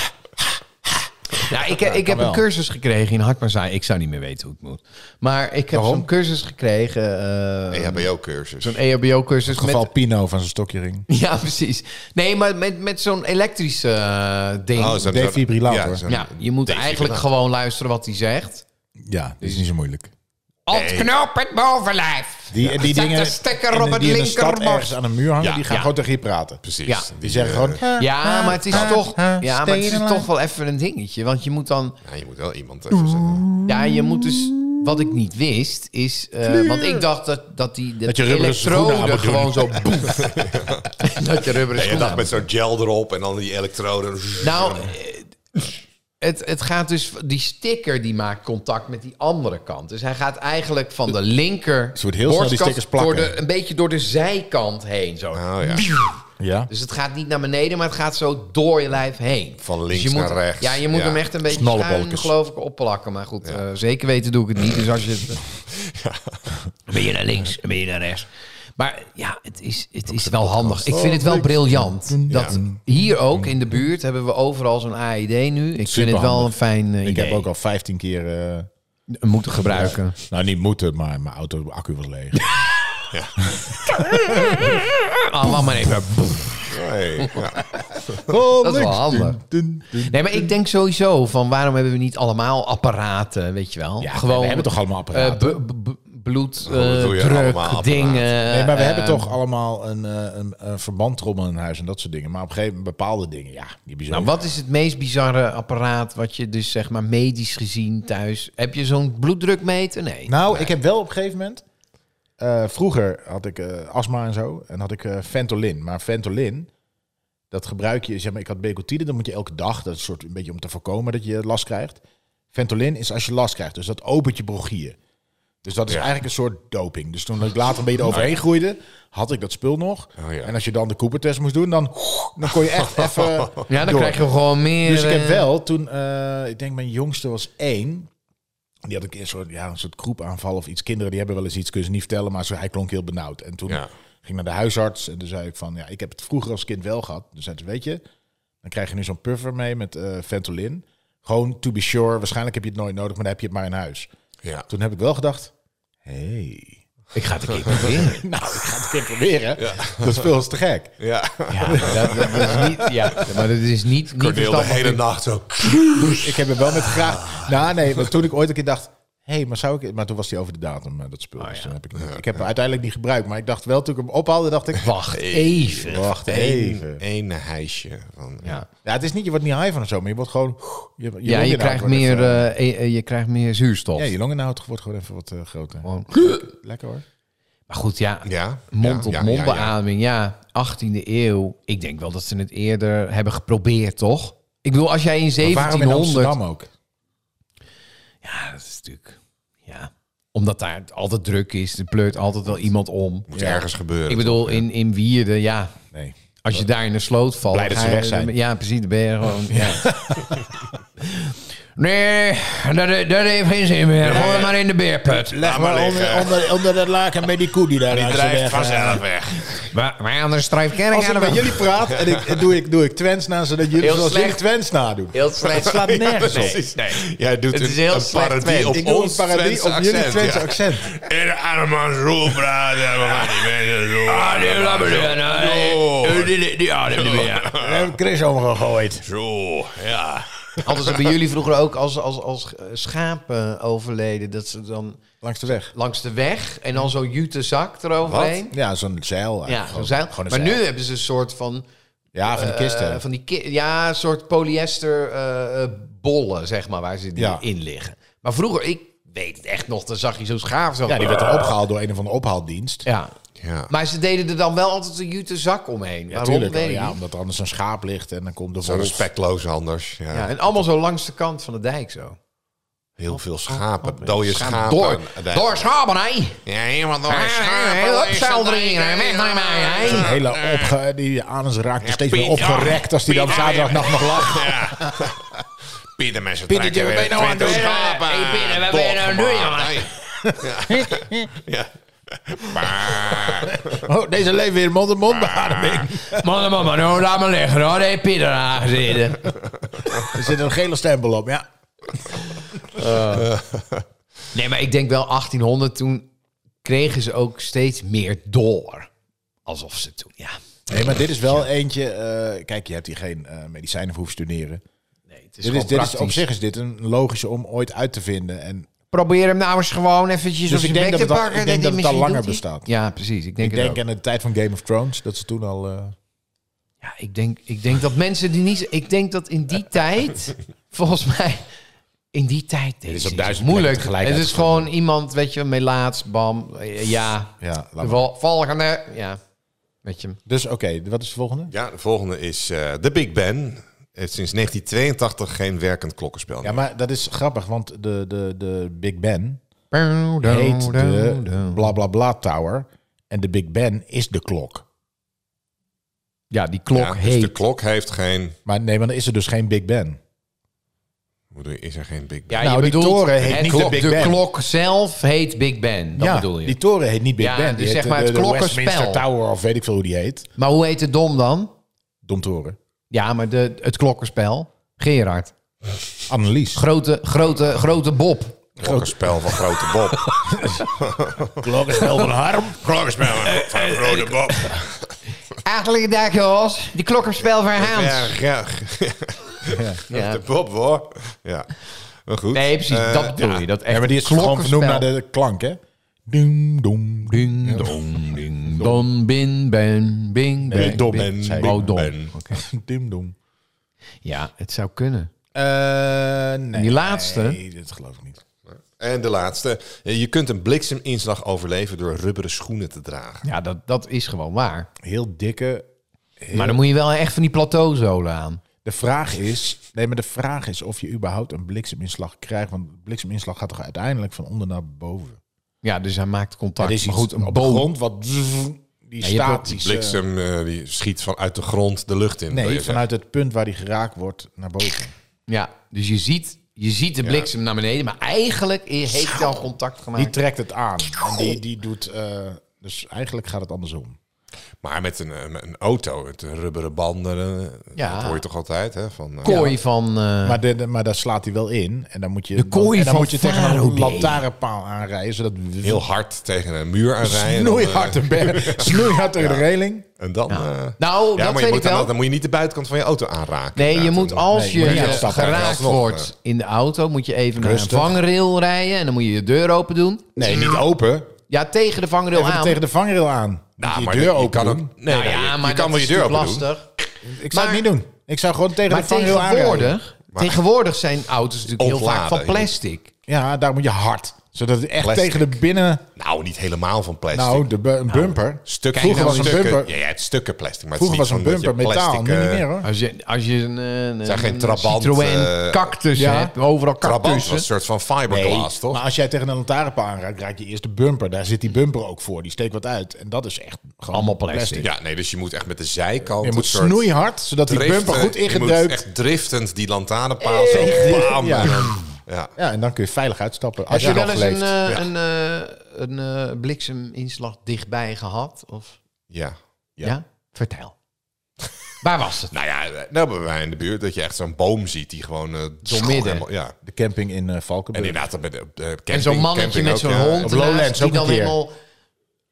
S4: Ja, ik, ik heb een
S3: wel.
S4: cursus gekregen in hartmassage. Ik zou niet meer weten hoe het moet. Maar ik heb zo'n cursus gekregen. eh, E
S2: EHBO-cursus.
S4: Zo'n EHBO-cursus.
S3: Geval
S4: Met,
S3: Pino van zijn stokje ring.
S4: ja, precies. Nee, maar met, met zo'n elektrisch eh, ding.
S2: Oh, zo'n-
S3: Defibrillator.
S2: Ja, zo'n-
S4: ja, je moet
S2: Deze
S4: eigenlijk
S2: gedaan.
S4: gewoon luisteren wat hij zegt.
S3: Ja, die is niet zo moeilijk.
S5: Ontknoop het bovenlijf.
S3: Die, die
S5: Zet
S3: dingen
S5: de stekker
S3: en
S5: op het
S3: die in de stad
S5: linkerborst.
S3: ergens aan een muur hangen,
S2: Ja,
S3: die gaan
S4: ja.
S3: gewoon tegen je praten.
S2: Precies. eh,
S4: Ja.
S3: Die eh, zeggen gewoon...
S4: Ja, maar het is toch, ja, maar het is
S3: stenen
S4: toch wel even een dingetje. Want je moet dan.
S2: Ja, je moet wel iemand even zeggen.
S4: Ja, je moet dus. Wat ik niet wist is. eh, want ik dacht dat, dat die.
S3: Dat je rubberen schoenen aan moet doen.
S4: gewoon zo. boef. dat je rubberen
S2: En je
S4: schoenen.
S2: dacht
S4: aan
S2: met zo'n gel erop en dan die elektroden.
S4: moet- Nou, eh, het, het gaat dus. Die sticker die maakt contact met die andere kant. Dus hij gaat eigenlijk van de linker.
S3: wordt heel snel die
S4: borstkas
S3: stickers plakken. Ah.
S4: Door de, een beetje door de zijkant heen zo.
S2: Nou ja.
S3: Ja.
S4: Dus het gaat niet naar beneden, maar het gaat zo door je lijf heen.
S2: Van
S4: Dus
S2: links
S4: je moet,
S2: naar rechts.
S4: Ja, je moet
S2: Ja.
S4: hem echt een beetje
S3: Snallebolkes.
S4: schuin, geloof ik, opplakken. Maar goed, eh, zeker weten doe ik het niet. Dus als je... het- Dan ben je naar links, dan ben je naar rechts. Maar ja, het is, het is wel handig. Ik vind het wel briljant. Dat hier ook in de buurt hebben we overal zo'n AED nu. Ik vind het wel een
S3: Superhandig.
S4: fijn eh,
S3: Ik
S4: idee.
S3: heb ook al 15 keer... eh,
S4: moeten gebruiken.
S3: nou, niet moeten, maar mijn auto accu was leeg.
S4: Ah, wacht maar even.
S2: Hey, ja.
S4: Dat is wel handig. Nee, maar ik denk sowieso van waarom hebben we niet allemaal apparaten, weet je wel?
S3: Ja,
S4: Gewoon,
S3: we hebben toch allemaal apparaten?
S4: eh, bu- bu- bu-
S2: dat doe je allemaal
S4: bloeddruk, dingen.
S3: Nee, maar we
S4: eh,
S3: hebben toch allemaal een, eh, een, een verbandtrommel in huis en dat soort dingen. Maar op een gegeven moment bepaalde dingen, ja, die bijzonder.
S4: Nou, wat is het meest bizarre apparaat wat je dus zeg maar medisch gezien thuis... Heb je zo'n bloeddrukmeter? Nee.
S3: Nou, ik heb wel op een gegeven moment. eh, vroeger had ik eh, astma en zo. En had ik eh, Ventolin. Maar Ventolin, dat gebruik je. Zeg maar, ik had Becotide, dan moet je elke dag. Dat is een soort een beetje om te voorkomen dat je last krijgt. Ventolin is als je last krijgt. Dus dat opent je bronchieën. Dus dat is eigenlijk een soort doping. Dus toen ik later een beetje
S4: Nou
S3: overheen groeide, had ik dat spul nog.
S2: Oh ja.
S3: En als je dan de Cooper-test moest doen, dan, dan kon je echt even.
S4: ja, dan
S3: door.
S4: krijg je gewoon meer...
S3: Dus ik heb
S4: eh,
S3: wel toen, eh, ik denk mijn jongste was één. Die had een keer een soort, ja, een soort kroepaanval of iets. Kinderen die hebben wel eens iets, kunnen ze niet vertellen, maar zo, hij klonk heel benauwd. En toen
S2: Ja.
S3: ging ik naar de huisarts en toen zei ik van, ja, ik heb het vroeger als kind wel gehad. Dus zei ze, weet je, dan krijg je nu zo'n puffer mee met eh, Ventolin. Gewoon to be sure, waarschijnlijk heb je het nooit nodig, maar dan heb je het maar in huis.
S2: Ja.
S3: Toen heb ik wel gedacht, hey, ik ga het een keer proberen. nou, ik ga het een keer proberen. Dat spul is te gek.
S2: Ja.
S4: Dat, dat is niet, ja, maar dat is niet... niet
S2: Cordeel de
S4: verstandig.
S2: hele nacht zo.
S3: Dus Ik heb hem wel met graag. Nou, nee, maar toen ik ooit een keer dacht. Hé, maar zou ik. Maar toen was hij over de datum, eh, dat
S4: Oh,
S3: spul. Dus toen heb ik, niet- ik heb hem uiteindelijk niet gebruikt. Maar ik dacht wel, toen ik hem ophaalde, dacht ik.
S4: Wacht even.
S3: Wacht even.
S2: Eén hijsje. Van,
S4: Ja,
S3: Ja, het is niet, je wordt niet high van of zo, maar je wordt gewoon. Je, je
S4: ja je,
S3: longinhoud
S4: krijgt
S3: wordt
S4: meer,
S3: even-
S4: eh, eh, eh, Oh. je krijgt meer zuurstof.
S3: ja, je longinhoud wordt gewoon even wat eh, groter.
S4: Gewoon-
S3: Lekker hoor.
S4: Maar goed, ja,
S2: Ja.
S4: mond op
S2: ja,
S4: mond
S2: ja, ja.
S4: beademing, ja, 18e eeuw. Ik denk wel dat ze het eerder hebben geprobeerd, toch? Ik bedoel, als jij in
S3: Maar waarom in
S4: 1700...
S3: Amsterdam ook?
S4: Ja, dat is natuurlijk... Ja, omdat daar het altijd druk is. Er pleurt altijd wel iemand om.
S2: Moet ergens gebeuren.
S4: Ik bedoel, in, in Wierden, ja...
S3: Nee.
S4: Als je daar in de sloot valt...
S3: Blij dat
S4: ga
S3: ze
S4: je
S3: weg zijn.
S4: er- Ja, precies, dan ben je gewoon... Ja. Nee, dat, dat heeft geen zin meer. Gooi maar in de beerput.
S3: Leg maar onder, onder, onder dat laken met die koe die daar
S2: Die
S3: langs de
S2: drijft
S3: weg, eh,
S2: vanzelf weg.
S4: Maar, maar anders strijft kerk
S3: Als ik
S4: aan de
S3: met jullie praat en ik, en doe, ik, doe ik Twents na, zodat jullie
S4: Heel
S3: zoals jullie
S4: slecht.
S3: Twents nadoen.
S4: Heel slecht. Het slaat nergens op.
S2: Precies. Jij doet
S4: Het is
S2: een,
S4: heel
S2: een
S4: slecht
S2: parodie
S4: Twents.
S2: op
S3: Ik doe een
S2: ons
S3: paradie
S2: Twents
S3: op jullie
S2: accent.
S3: Twents
S2: ja.
S3: accent.
S2: In Armans roep praten, we gaan die mensen zo. Ah, die
S4: laat maar doen, hè.
S2: Die
S3: ah,
S2: ademt
S3: We hebben Eh, Chris omgegooid.
S2: Zo, ja.
S4: Hadden ze bij jullie vroeger ook als, als, als eh, schapen overleden, dat ze dan
S3: Langs de weg.
S4: langs de weg en dan zo'n jute zak eroverheen.
S3: Ja, zo'n zeil. eigenlijk.
S4: Ja,
S3: Gewoon-
S4: zo'n zeil.
S3: Gewoon een
S4: Maar
S3: zeil.
S4: nu hebben ze een soort van,
S3: Ja, van de
S4: eh,
S3: kisten.
S4: van die ki- ja, een soort polyester eh, eh, bollen, zeg maar, waar ze die
S3: Ja.
S4: in liggen. Maar vroeger, ik weet het echt nog, dan zag je zo'n schaaf zo.
S3: ja, die werd er opgehaald door een of andere ophaaldienst.
S4: Ja.
S2: Ja.
S4: Maar ze deden er dan wel altijd een jute zak omheen. Waarom,
S3: Tuurlijk,
S4: weet ik
S3: ja,
S4: niet.
S3: omdat er anders een schaap ligt en dan komt de
S2: Zo
S3: wolf.
S2: respectloos anders. Ja.
S4: Ja, en allemaal zo langs de kant van de dijk zo.
S2: Heel veel schapen, dode
S4: Schaap-
S2: schapen.
S4: Door,
S2: Nee.
S4: door schapen, hè?
S2: Ja, helemaal door
S4: Ah, nee, nee,
S2: schapen.
S4: opzeil erin, hè. Weg naar mij, hè.
S3: Zo'n hele opge... Die anus raakte steeds meer
S2: Piet,
S3: opgerekt als die
S2: ja,
S3: dan op
S2: Piet,
S3: zaterdagnacht nog lag.
S2: Ja. Pieter mensen
S3: Pieter,
S2: trekken
S3: wat
S2: weer
S3: ben je nou aan het
S2: twintig
S3: doen?
S2: schapen.
S4: Hey, Pieter, wat ben je nou aan het doen,
S2: Doorgemaakt. Nee. Ja. Ja. Maar-
S3: Oh, deze leven weer mond-op-mond beademing.
S4: Man, man, man, oh, laat maar liggen hoor. Daar heeft Pieter aan gezeten.
S3: Er zit een gele stempel op, ja.
S4: Nee, maar ik denk wel 1800, toen kregen ze ook steeds meer door. Alsof ze toen, ja.
S3: Nee, maar dit is wel eentje... eh, kijk, je hebt hier geen eh, medicijnen voor hoeven studeren.
S4: Nee, het is
S3: Dit
S4: gewoon
S3: is, dit is,
S4: praktisch.
S3: op zich is dit een logische om ooit uit te vinden. En
S4: Probeer hem nou eens gewoon eventjes
S3: Dus
S4: op
S3: ik
S4: zijn bek
S3: denk dat
S4: te
S3: het al-
S4: pakken.
S3: ik denk
S4: hij
S3: dat het al
S4: misschien
S3: langer
S4: doet hij-
S3: bestaat.
S4: Ja, precies. Ik denk,
S3: ik
S4: ik
S3: denk aan de tijd van Game of Thrones, dat ze toen al... eh,
S4: Ja, ik denk, ik denk dat mensen die niet... Ik denk dat in die tijd, volgens mij... In die tijd deed
S3: is
S4: ze
S3: op
S4: niet zo
S3: duizend
S4: moeilijk.
S3: plekken tegelijk
S4: Het is gewoon iemand, weet je, melaats, bam, eh, ja.
S3: Ja, laat maar.
S4: De vol- volgende, ja. Weet je,
S3: Dus oké, wat is de volgende?
S2: Ja, de volgende is eh, de Big Ben. Heeft sinds 1982 geen werkend klokkenspel.
S3: Ja,
S2: meer.
S3: maar dat is grappig, want de, de, de Big Ben heet
S4: Heet
S3: de bla bla bla tower. En de Big Ben is de klok.
S4: Ja, die klok
S2: Ja, dus
S4: heet.
S2: de klok heeft geen...
S3: Maar nee, maar dan is er dus geen Big Ben.
S2: Hoe doe je- Is er geen Big Ben?
S4: Ja,
S3: Nou, die toren heet
S4: het
S3: niet de
S4: klok,
S3: Big Ben.
S4: klok zelf heet Big Ben. Dat
S3: ja,
S4: bedoel je.
S3: die toren heet niet Big
S4: Ja,
S3: Ben. Die
S4: dus
S3: heet
S4: zeg
S3: de-
S4: maar
S3: de,
S4: het
S3: de
S4: klokkenspel.
S3: Westminster Tower of weet ik veel hoe die heet.
S4: Maar hoe heet de dom dan?
S3: Domtoren.
S4: Ja, maar de, het klokkenspel. Gerard.
S3: Annelies.
S4: Grote, grote, grote Bob.
S2: Klokkenspel van Grote Bob.
S3: Klokkenspel van Harm.
S2: klokkenspel van Grote Bob.
S4: Eigenlijk dag, Jos. Die klokkenspel van
S2: Ja,
S4: Hans.
S2: ja.
S4: Ja.
S2: De Bob, hoor. Ja. Maar goed.
S4: Nee, precies.
S2: Eh,
S4: dat bedoel je. Dat echt
S3: Ja, maar die is gewoon
S4: klokkenspel.
S3: vernoemd naar de klank, hè? Ding, dong, ding,
S2: Dom, ding, dom.
S4: Don, bin, ben, bing,
S3: Nee,
S4: ben.
S2: Dom
S3: ben,
S2: en
S3: zei
S4: ik. Oh, dom.
S2: ben.
S3: Dim, dong.
S4: Ja, het zou kunnen.
S3: Eh, nee.
S4: Die laatste?
S3: Nee, dat geloof ik niet.
S2: En de laatste. Eh, Je kunt een blikseminslag overleven door rubberen schoenen te dragen.
S4: Ja, dat, dat is gewoon waar.
S3: Heel dikke. heel-
S4: Maar dan moet je wel echt van die plateauzolen aan.
S3: De vraag is, nee, maar de vraag is of je überhaupt een blikseminslag krijgt, want blikseminslag gaat toch uiteindelijk van onder naar boven.
S4: Ja, dus hij maakt contact.
S3: Er is
S4: maar
S3: iets
S4: goed, een
S3: op de
S4: boom.
S3: grond wat die
S4: je hebt ook
S3: staat.
S2: Bliksem eh, die schiet vanuit de grond de lucht in. wil je
S3: Dus, Nee,
S2: zeggen.
S3: vanuit het punt waar die geraakt wordt naar boven.
S4: Ja, dus je ziet, je ziet de bliksem naar beneden, maar eigenlijk heeft hij al contact
S3: Die
S4: gemaakt.
S3: trekt het aan. En die, die doet, eh, dus eigenlijk gaat het andersom.
S2: Maar met een, eh, met een auto, het rubberen banden, eh,
S4: Ja.
S2: dat hoor je toch altijd? Hè? Van, eh,
S4: kooi van... eh,
S3: Maar, de, de- maar daar slaat hij wel in. En dan moet je,
S4: De kooi
S3: en dan
S4: van
S3: moet je tegen een
S4: Faraday.
S3: lantaarnpaal aanrijden, zodat
S2: heel hard tegen een muur aanrijden.
S3: snoeihard
S2: En dan,
S3: te berg, snoeihard tegen de regeling.
S2: eh, en dan, eh,
S4: nou,
S2: ja,
S4: dat
S2: maar je
S4: weet ik
S2: moet dan,
S4: wel.
S2: dan moet je niet de buitenkant van je auto aanraken.
S4: Nee, je
S2: inderdaad.
S4: moet
S2: Dan-
S4: als
S3: Nee,
S4: je
S3: je moet niet
S4: eh,
S3: uitstappen.
S4: geraakt
S2: Alsnog,
S4: wordt in de auto, moet je even naar een
S3: Rustig.
S4: vangrail rijden en dan moet je je deur open doen.
S3: Nee, niet open.
S4: Ja, tegen de vangrail
S3: Even
S4: aan.
S3: tegen de vangrail aan.
S2: Nou,
S3: Nou, je
S2: maar
S3: deur
S2: je
S3: open
S2: kan
S3: doen.
S2: ook- nee,
S4: Nou
S2: nee,
S4: ja,
S2: je- je,
S4: maar
S2: kan wel je deur
S4: natuurlijk
S2: open doen.
S4: lastig.
S3: Ik zou het
S4: Maar-
S3: niet doen. Ik zou gewoon tegen
S4: Maar
S3: de vangrail aanrijden.
S4: tegenwoordig, tegenwoordig zijn auto's natuurlijk heel vaak
S2: Ontladen,
S4: van plastic.
S3: Ja, daar moet je hard. Zodat het echt
S2: Plastic.
S3: tegen de binnen...
S2: Nou, niet helemaal van plastic.
S3: Nou, de bu- een bumper.
S2: Stukken,
S3: Vroeger was een
S2: stukken,
S3: bumper,
S2: Ja, ja, het stukken plastic. Maar het is
S3: vroeger was
S2: niet van
S3: een
S2: dat je
S3: bumper metaal. Nu
S2: plastic,
S3: niet
S2: eh,
S3: meer hoor.
S4: Als je, als je een, eh,
S2: zijn
S4: een,
S2: geen
S4: een
S2: Trabant,
S4: Citroën
S2: eh,
S4: cactus
S3: ja.
S4: hebt, overal
S2: Trabant was
S4: cactussen.
S2: een soort van fiberglass, toch?
S3: Maar als jij tegen een lantaarnpaal aanraakt, raak je eerst de bumper. Daar zit die bumper ook voor. Die steekt wat uit. En dat is echt gewoon
S4: Allemaal plastic.
S2: ja, nee, dus je moet echt met de zijkant...
S3: Je
S2: een
S3: moet
S2: soort
S3: snoeihard, zodat die
S2: driften.
S3: bumper goed
S2: Je moet
S3: ingedeukt.
S2: echt driftend die lantaarnpaal zo bam.
S3: Ja.
S2: en dan- Ja.
S3: Ja, en dan kun je veilig uitstappen. Als
S4: Heb je
S3: je
S4: wel
S3: nog
S4: eens een,
S3: leeft.
S4: eh, een, eh, een eh, blikseminslag dichtbij gehad? Of,
S2: ja.
S4: ja. Vertel. Waar was het?
S2: Nou ja, eh, nou bij mij in de buurt dat je echt zo'n boom ziet die gewoon... eh,
S4: Doormidden.
S2: helemaal- Ja.
S3: De camping in eh,
S2: En
S3: Valkenburg.
S2: inderdaad, dat met de eh, camping,
S4: En zo'n mannetje
S2: camping
S4: met
S2: ook,
S4: zo'n
S2: ja.
S4: hond
S3: Lowlands
S4: ernaast,
S3: ook
S4: die dan
S3: een keer.
S4: helemaal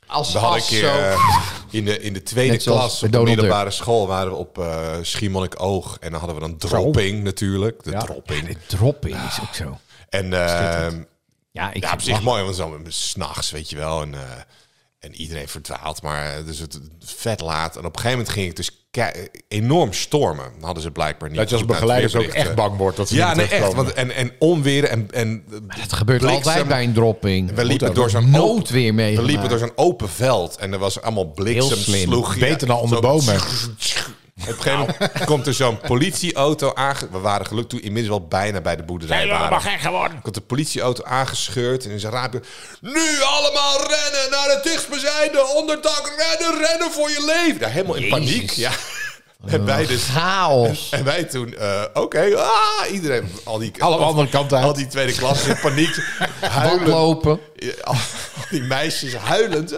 S4: als
S2: We hadden een
S4: as
S2: keer
S4: zo...
S2: eh, in, de, in de tweede
S4: Net zoals
S2: klas
S4: bij
S2: op de
S4: Donald
S2: middelbare school waren we op eh Schiermonnikoog. En dan hadden we dan dropping natuurlijk. De dropping.
S4: dropping is ook zo.
S2: En ehm
S4: Ja, ik
S2: ja, op
S4: vind-
S2: zich mooi, want dan s'nachts, weet je wel. En, eh, en iedereen verdwaalt, maar eh, dus het vet laat. En op een gegeven moment ging het dus ke- enorm stormen. Dat hadden ze blijkbaar niet.
S3: Dat je als
S2: goed naar het
S3: begeleider dus ook
S2: weerbericht,
S3: echt
S2: eh.
S3: bang wordt. Dat ze
S2: Ja,
S3: niet
S2: nee, echt.
S3: terugkomen.
S2: Want, en, en onweren en, en
S4: Het gebeurt altijd bij een dropping.
S2: We liepen door zo'n
S4: Nood
S2: open-
S4: weer mee.
S2: We liepen door zo'n open veld en er was allemaal bliksem,
S4: Heel slim.
S2: sloeg. ja,
S3: Beter dan onder
S2: zo-
S3: bomen.
S2: Op een gegeven
S4: Nou.
S2: moment komt er zo'n politieauto aange... We waren gelukkig toen inmiddels wel bijna bij de boerderij waren. Komt de politieauto aangescheurd en ze rapen... Nu allemaal rennen naar het dichtstbijzijnde onderdak. Rennen, rennen voor je leven. Ja, helemaal in paniek. Ja. En wij dus...
S4: Chaos.
S2: En wij toen, eh, oké, ah, iedereen, al die,
S3: Alle andere kant uit.
S2: al die tweede klas in paniek, huilen,
S4: Lopen.
S2: al die meisjes huilend.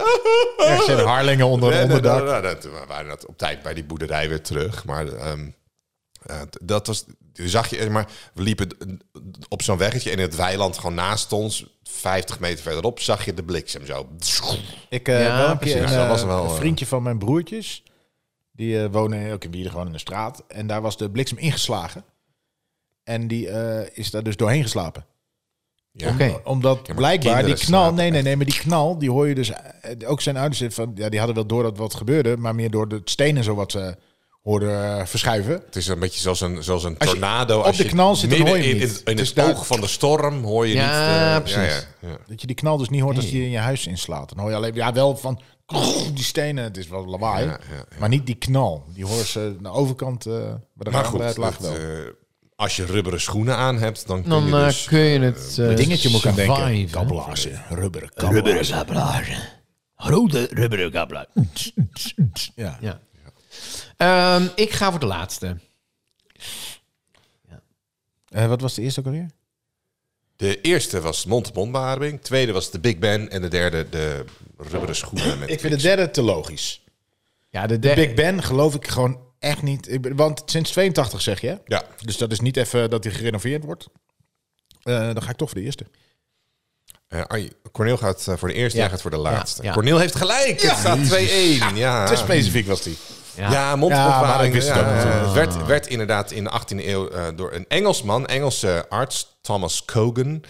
S3: Echt zijn Harlingen onder een
S2: Nee, nee,
S3: onderdak.
S2: nee, nee, nee, toen waren we dat op tijd bij die boerderij weer terug. Maar ehm, eh, t- dat was. toen Zag je, maar we liepen d- d- op zo'n weggetje en in het weiland gewoon naast ons, 50 meter verderop, zag je de bliksem zo.
S3: Ik eh
S4: Ja,
S3: wel een
S4: precies.
S3: keer een,
S2: Ja, dat was
S3: eh,
S2: wel,
S3: een
S2: eh,
S3: vriendje van mijn broertjes. Die eh, wonen ook in Wieren, gewoon in de straat. En daar was de bliksem ingeslagen. En die eh, is daar dus doorheen geslapen.
S2: Ja.
S4: Oké.
S3: Omdat blijkbaar die
S2: kinderen
S3: knal...
S2: slapen
S3: Nee, nee, nee, maar die knal, die hoor je dus... eh, ook zijn ouders eh, van, ja, die hadden wel door dat wat gebeurde. Maar meer door de stenen zo wat ze hoorden eh, verschuiven.
S2: Het is een beetje zoals een, zoals een
S3: Als je
S2: tornado. Als
S3: op de knal zit, dan
S2: midden
S3: hoor je
S2: in,
S3: hem
S2: in,
S3: niet.
S2: in
S3: Dus
S2: het
S3: daar-
S2: oog van de storm hoor je
S4: Ja,
S2: niet. eh,
S4: precies.
S2: Ja, ja, ja.
S3: Dat je die knal dus niet hoort als die in je huis inslaat. Dan hoor je alleen... Ja, wel van... Die stenen, het is wel lawaai.
S2: Ja, ja, ja.
S3: Maar niet die knal. Die hoor ze naar de overkant. eh bij de
S2: Maar
S3: raam, bij het
S2: goed,
S3: laag
S2: dat,
S3: wel.
S2: eh, als je rubberen schoenen aan hebt, dan kun
S4: Dan
S2: je
S4: eh,
S2: dus...
S4: kun je het eh,
S3: dingetje moet ik aan denken.
S4: surviven.
S3: Kabbelaarsen, rubberen
S5: Rubberen kabbelaarzen. Rode rubberen kabbelaarzen.
S3: Ja.
S4: Ja. Ehm, ik ga voor de laatste.
S3: Eh, wat was de eerste ook alweer?
S2: De eerste was mond-to-mond beademing. Tweede was de Big Ben. En de derde de rubberen schoenen. Met
S3: Ik vind de derde te logisch.
S4: Ja, de derde.
S3: Big Ben geloof ik gewoon echt niet. Ik ben- Want sinds 82 zeg je. hè?
S2: Ja,
S3: Dus dat is niet even dat hij gerenoveerd wordt. Eh, dan ga ik toch voor de eerste.
S2: eh, Arjen- Cornel gaat eh, voor de eerste,
S4: Ja.
S2: jij gaat voor de laatste.
S4: Ja, ja.
S3: Ah.
S2: Cornel heeft gelijk. Het staat 2-1. Ja.
S3: Te specifiek was die.
S2: Ja, mondopklaring.
S3: maar ik wist het ook
S2: ja,
S3: natuurlijk.
S2: het werd, werd inderdaad in de 18e eeuw eh, door een Engelsman, Engelse arts, Thomas Cogan.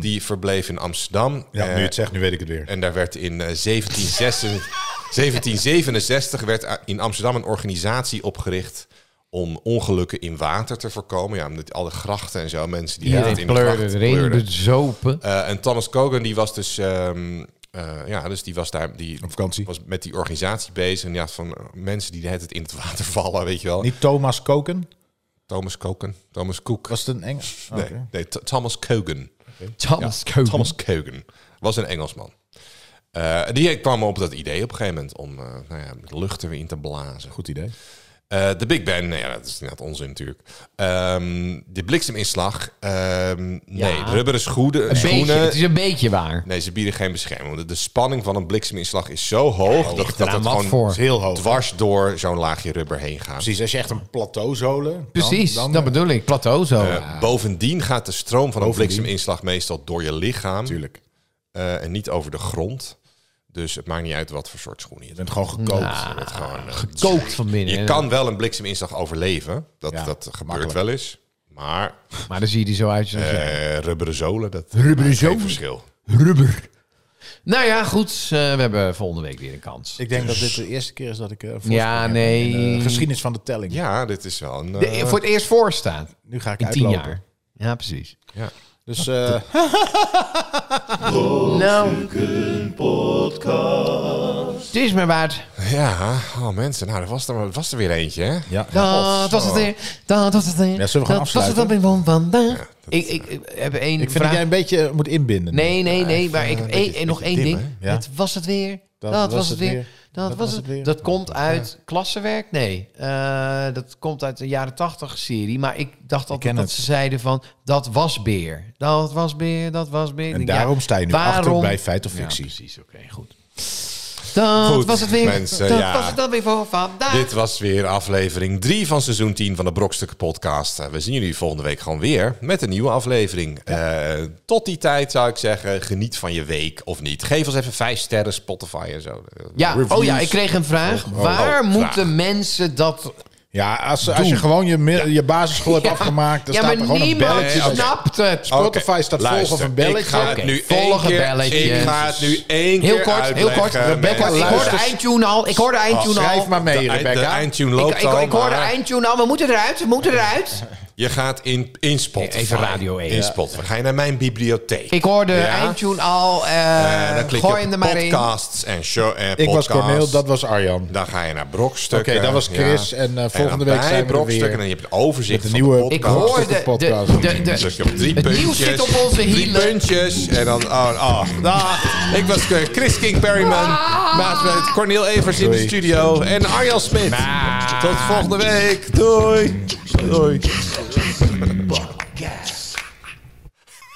S2: Die verbleef in Amsterdam.
S3: Ja,
S2: Eh,
S3: nu je het zegt, nu weet ik het weer.
S2: En daar werd in eh, 1766 1767 werd a- in Amsterdam een organisatie opgericht om ongelukken in water te voorkomen. Ja, omdat al de grachten en zo, mensen die altijd
S4: Iedereen
S2: in de
S4: pleurde
S2: gracht
S4: erin,
S2: pleurden.
S4: bezopen.
S2: Eh, en Thomas Cogan die was dus, ehm, eh, ja, dus die was daar, die
S3: Op vakantie.
S2: was met die organisatie bezig. En ja, van eh, mensen die de hele tijd in het water vallen, weet je wel.
S3: Niet Thomas Koken?
S2: Thomas Cogan, Thomas Cook.
S3: Was het een Engels?
S2: nee, nee, Th- Thomas Cogan.
S4: Thomas Cogan.
S2: Thomas Kogan was een Engelsman. Eh, die kwam op dat idee op een gegeven moment om eh, nou ja, de lucht er weer in te blazen.
S3: Goed idee.
S2: Eh, de Big Bang, nou ja, dat is inderdaad onzin natuurlijk. Ehm, de blikseminslag, ehm, nee, rubber is goede,
S4: Een beetje,
S2: schoenen.
S4: het is een beetje waar.
S2: Nee, ze bieden geen bescherming. Want de- de spanning van een blikseminslag is zo hoog dat, dat
S4: eraan
S2: het
S4: wat
S2: gewoon
S4: voor.
S3: is heel hoog.
S2: dwars door zo'n laagje rubber heen gaat.
S3: Precies, als je echt een plateau zolen...
S4: Precies,
S3: dan,
S4: dat bedoel ik. Plateau zo.
S2: Eh, Bovendien gaat de stroom van een
S3: Bovendien.
S2: blikseminslag meestal door je lichaam
S3: Natuurlijk.
S2: eh, en niet over de grond. Dus het maakt niet uit wat voor soort schoenen je
S3: Je bent gewoon gekookt.
S2: Je
S4: Nou. Ah,
S2: bent gewoon, eh,
S4: Kookt van binnen.
S2: je kan wel een blikseminslag overleven. Dat,
S3: Ja,
S2: dat gebeurt
S3: makkelijk.
S2: wel eens. Maar
S4: Maar dan zie je die zo uit. zoals je-
S2: eh rubberen zolen, dat
S4: Rubberen
S2: maakt geen
S4: zolen?
S2: verschil.
S4: Rubber. Nou ja, goed. eh, we hebben volgende week weer een kans.
S3: Ik denk dat dit de eerste keer is dat ik... eh, voorsprong
S4: Ja,
S3: heb
S4: nee.
S3: in eh, de geschiedenis van de telling.
S2: Ja, dit is wel een...
S4: De-
S2: eh,
S4: voor het eerst voor staat.
S3: Nu ga ik
S4: In tien
S3: uitlopen.
S4: jaar. Ja, precies.
S2: ja.
S3: Dus eh,
S4: Nou, het is me waard.
S2: ja, oh mensen, nou, dat was er, was er weer eeentje, hè?
S3: ja.
S4: Dat was het weer. Dat was het weer.
S3: Ja, zullen we gaan
S4: dat was het
S3: afsluiten?
S4: dan van vandaag. ik, ik, ik heb één
S3: Ik vind
S4: vraag.
S3: dat jij een beetje moet inbinden.
S4: Nee, nee, nee. Maar ik heb één-
S2: beetje-
S4: en nog één
S2: beetje
S4: ding.
S2: dim,
S3: hè? Ja.
S4: Het was het weer. Dat, was het weer. Dat, was het weer. Dat komt uit klassenwerk? Nee. Eh, dat komt uit de jaren tachtig serie. Maar ik dacht altijd
S3: ken
S4: dat
S3: het.
S4: ze zeiden van... Dat was beer. Dat was beer. Dat was beer. Ik
S3: En
S4: denk, ja,
S3: daarom sta je nu achter
S4: waarom-
S3: bij feit of
S4: Ja,
S3: fictie.
S4: precies. Oké, goed. Dat
S2: Goed,
S4: was het weer.
S2: mensen,
S4: dat
S2: ja.
S4: was het dan weer voor vandaag.
S2: Dit was weer aflevering 3 van seizoen 10 van de Brokstukken podcast. Eh, We zien jullie volgende week gewoon weer met een nieuwe aflevering. Eh, tot die tijd zou ik zeggen, geniet van je week of niet. Geef ons even 5 sterren, Spotify en zo.
S4: Ja, oh ja, ik kreeg een vraag. Waar
S2: oh,
S4: moeten
S2: vraag.
S4: mensen dat...
S3: Ja, als, als je gewoon je, mi- je basisschool hebt afgemaakt, dan
S4: ja,
S3: staat er
S4: maar
S3: gewoon een
S4: niemand
S3: belletje.
S2: Nee, oké.
S4: snapt het.
S3: Spotify
S2: Oké,
S3: staat
S2: luister,
S3: vol of een belletje.
S2: Ik ga het
S4: Oké,
S2: nu één
S4: volgen
S2: keer,
S4: belletjes.
S2: Ik ga het nu één
S4: Heel
S2: keer
S4: kort, heel kort.
S2: uitleggen,
S4: Rebecca,
S2: mensen.
S4: ik hoorde
S3: luister.
S4: eindtune al. Ik hoorde eindtune al.
S3: Schrijf maar
S2: De,
S3: mee,
S2: eind- de
S3: Rebecca.
S2: eindtune
S4: Ik,
S2: loopt
S4: ik,
S2: al,
S4: ik hoorde
S2: maar
S4: eindtune al. We moeten eruit. We moeten eruit.
S2: Je gaat in, in Spotify.
S4: Even Radio 1.
S2: In Spotify. Ga je naar mijn bibliotheek.
S4: Ik hoorde
S2: Ja?
S4: eindtune al. eh,
S2: Eh, dan klik
S4: gooi
S2: je
S4: hem er
S2: op
S4: maar in.
S2: podcasts en show eh, en
S3: Ik was
S2: podcasts.
S3: Corneel, dat was Arjan.
S2: Dan ga je naar Brokstukken.
S3: Oké, dat was Chris. En, eh, volgende
S2: dan
S3: week
S2: bij
S3: zijn we er
S2: Brokstukken.
S3: weer.
S2: En dan heb je het overzicht
S3: Met
S2: van
S3: de
S2: de
S3: nieuwe-
S2: podcast.
S4: Ik hoorde
S3: Brokstukken
S4: de,
S3: podcast.
S4: de, de,
S2: Dan druk je op drie
S4: het
S2: puntjes.
S4: nieuws zit op onze
S2: Drie
S4: hielen.
S2: puntjes. En dan... Oh, oh. Dag. Ik was eh, Chris King Perryman. Naast me het Cornel Evers in de
S3: Doei.
S2: studio. En Arjan Smit. Tot volgende week. Doei. Doei.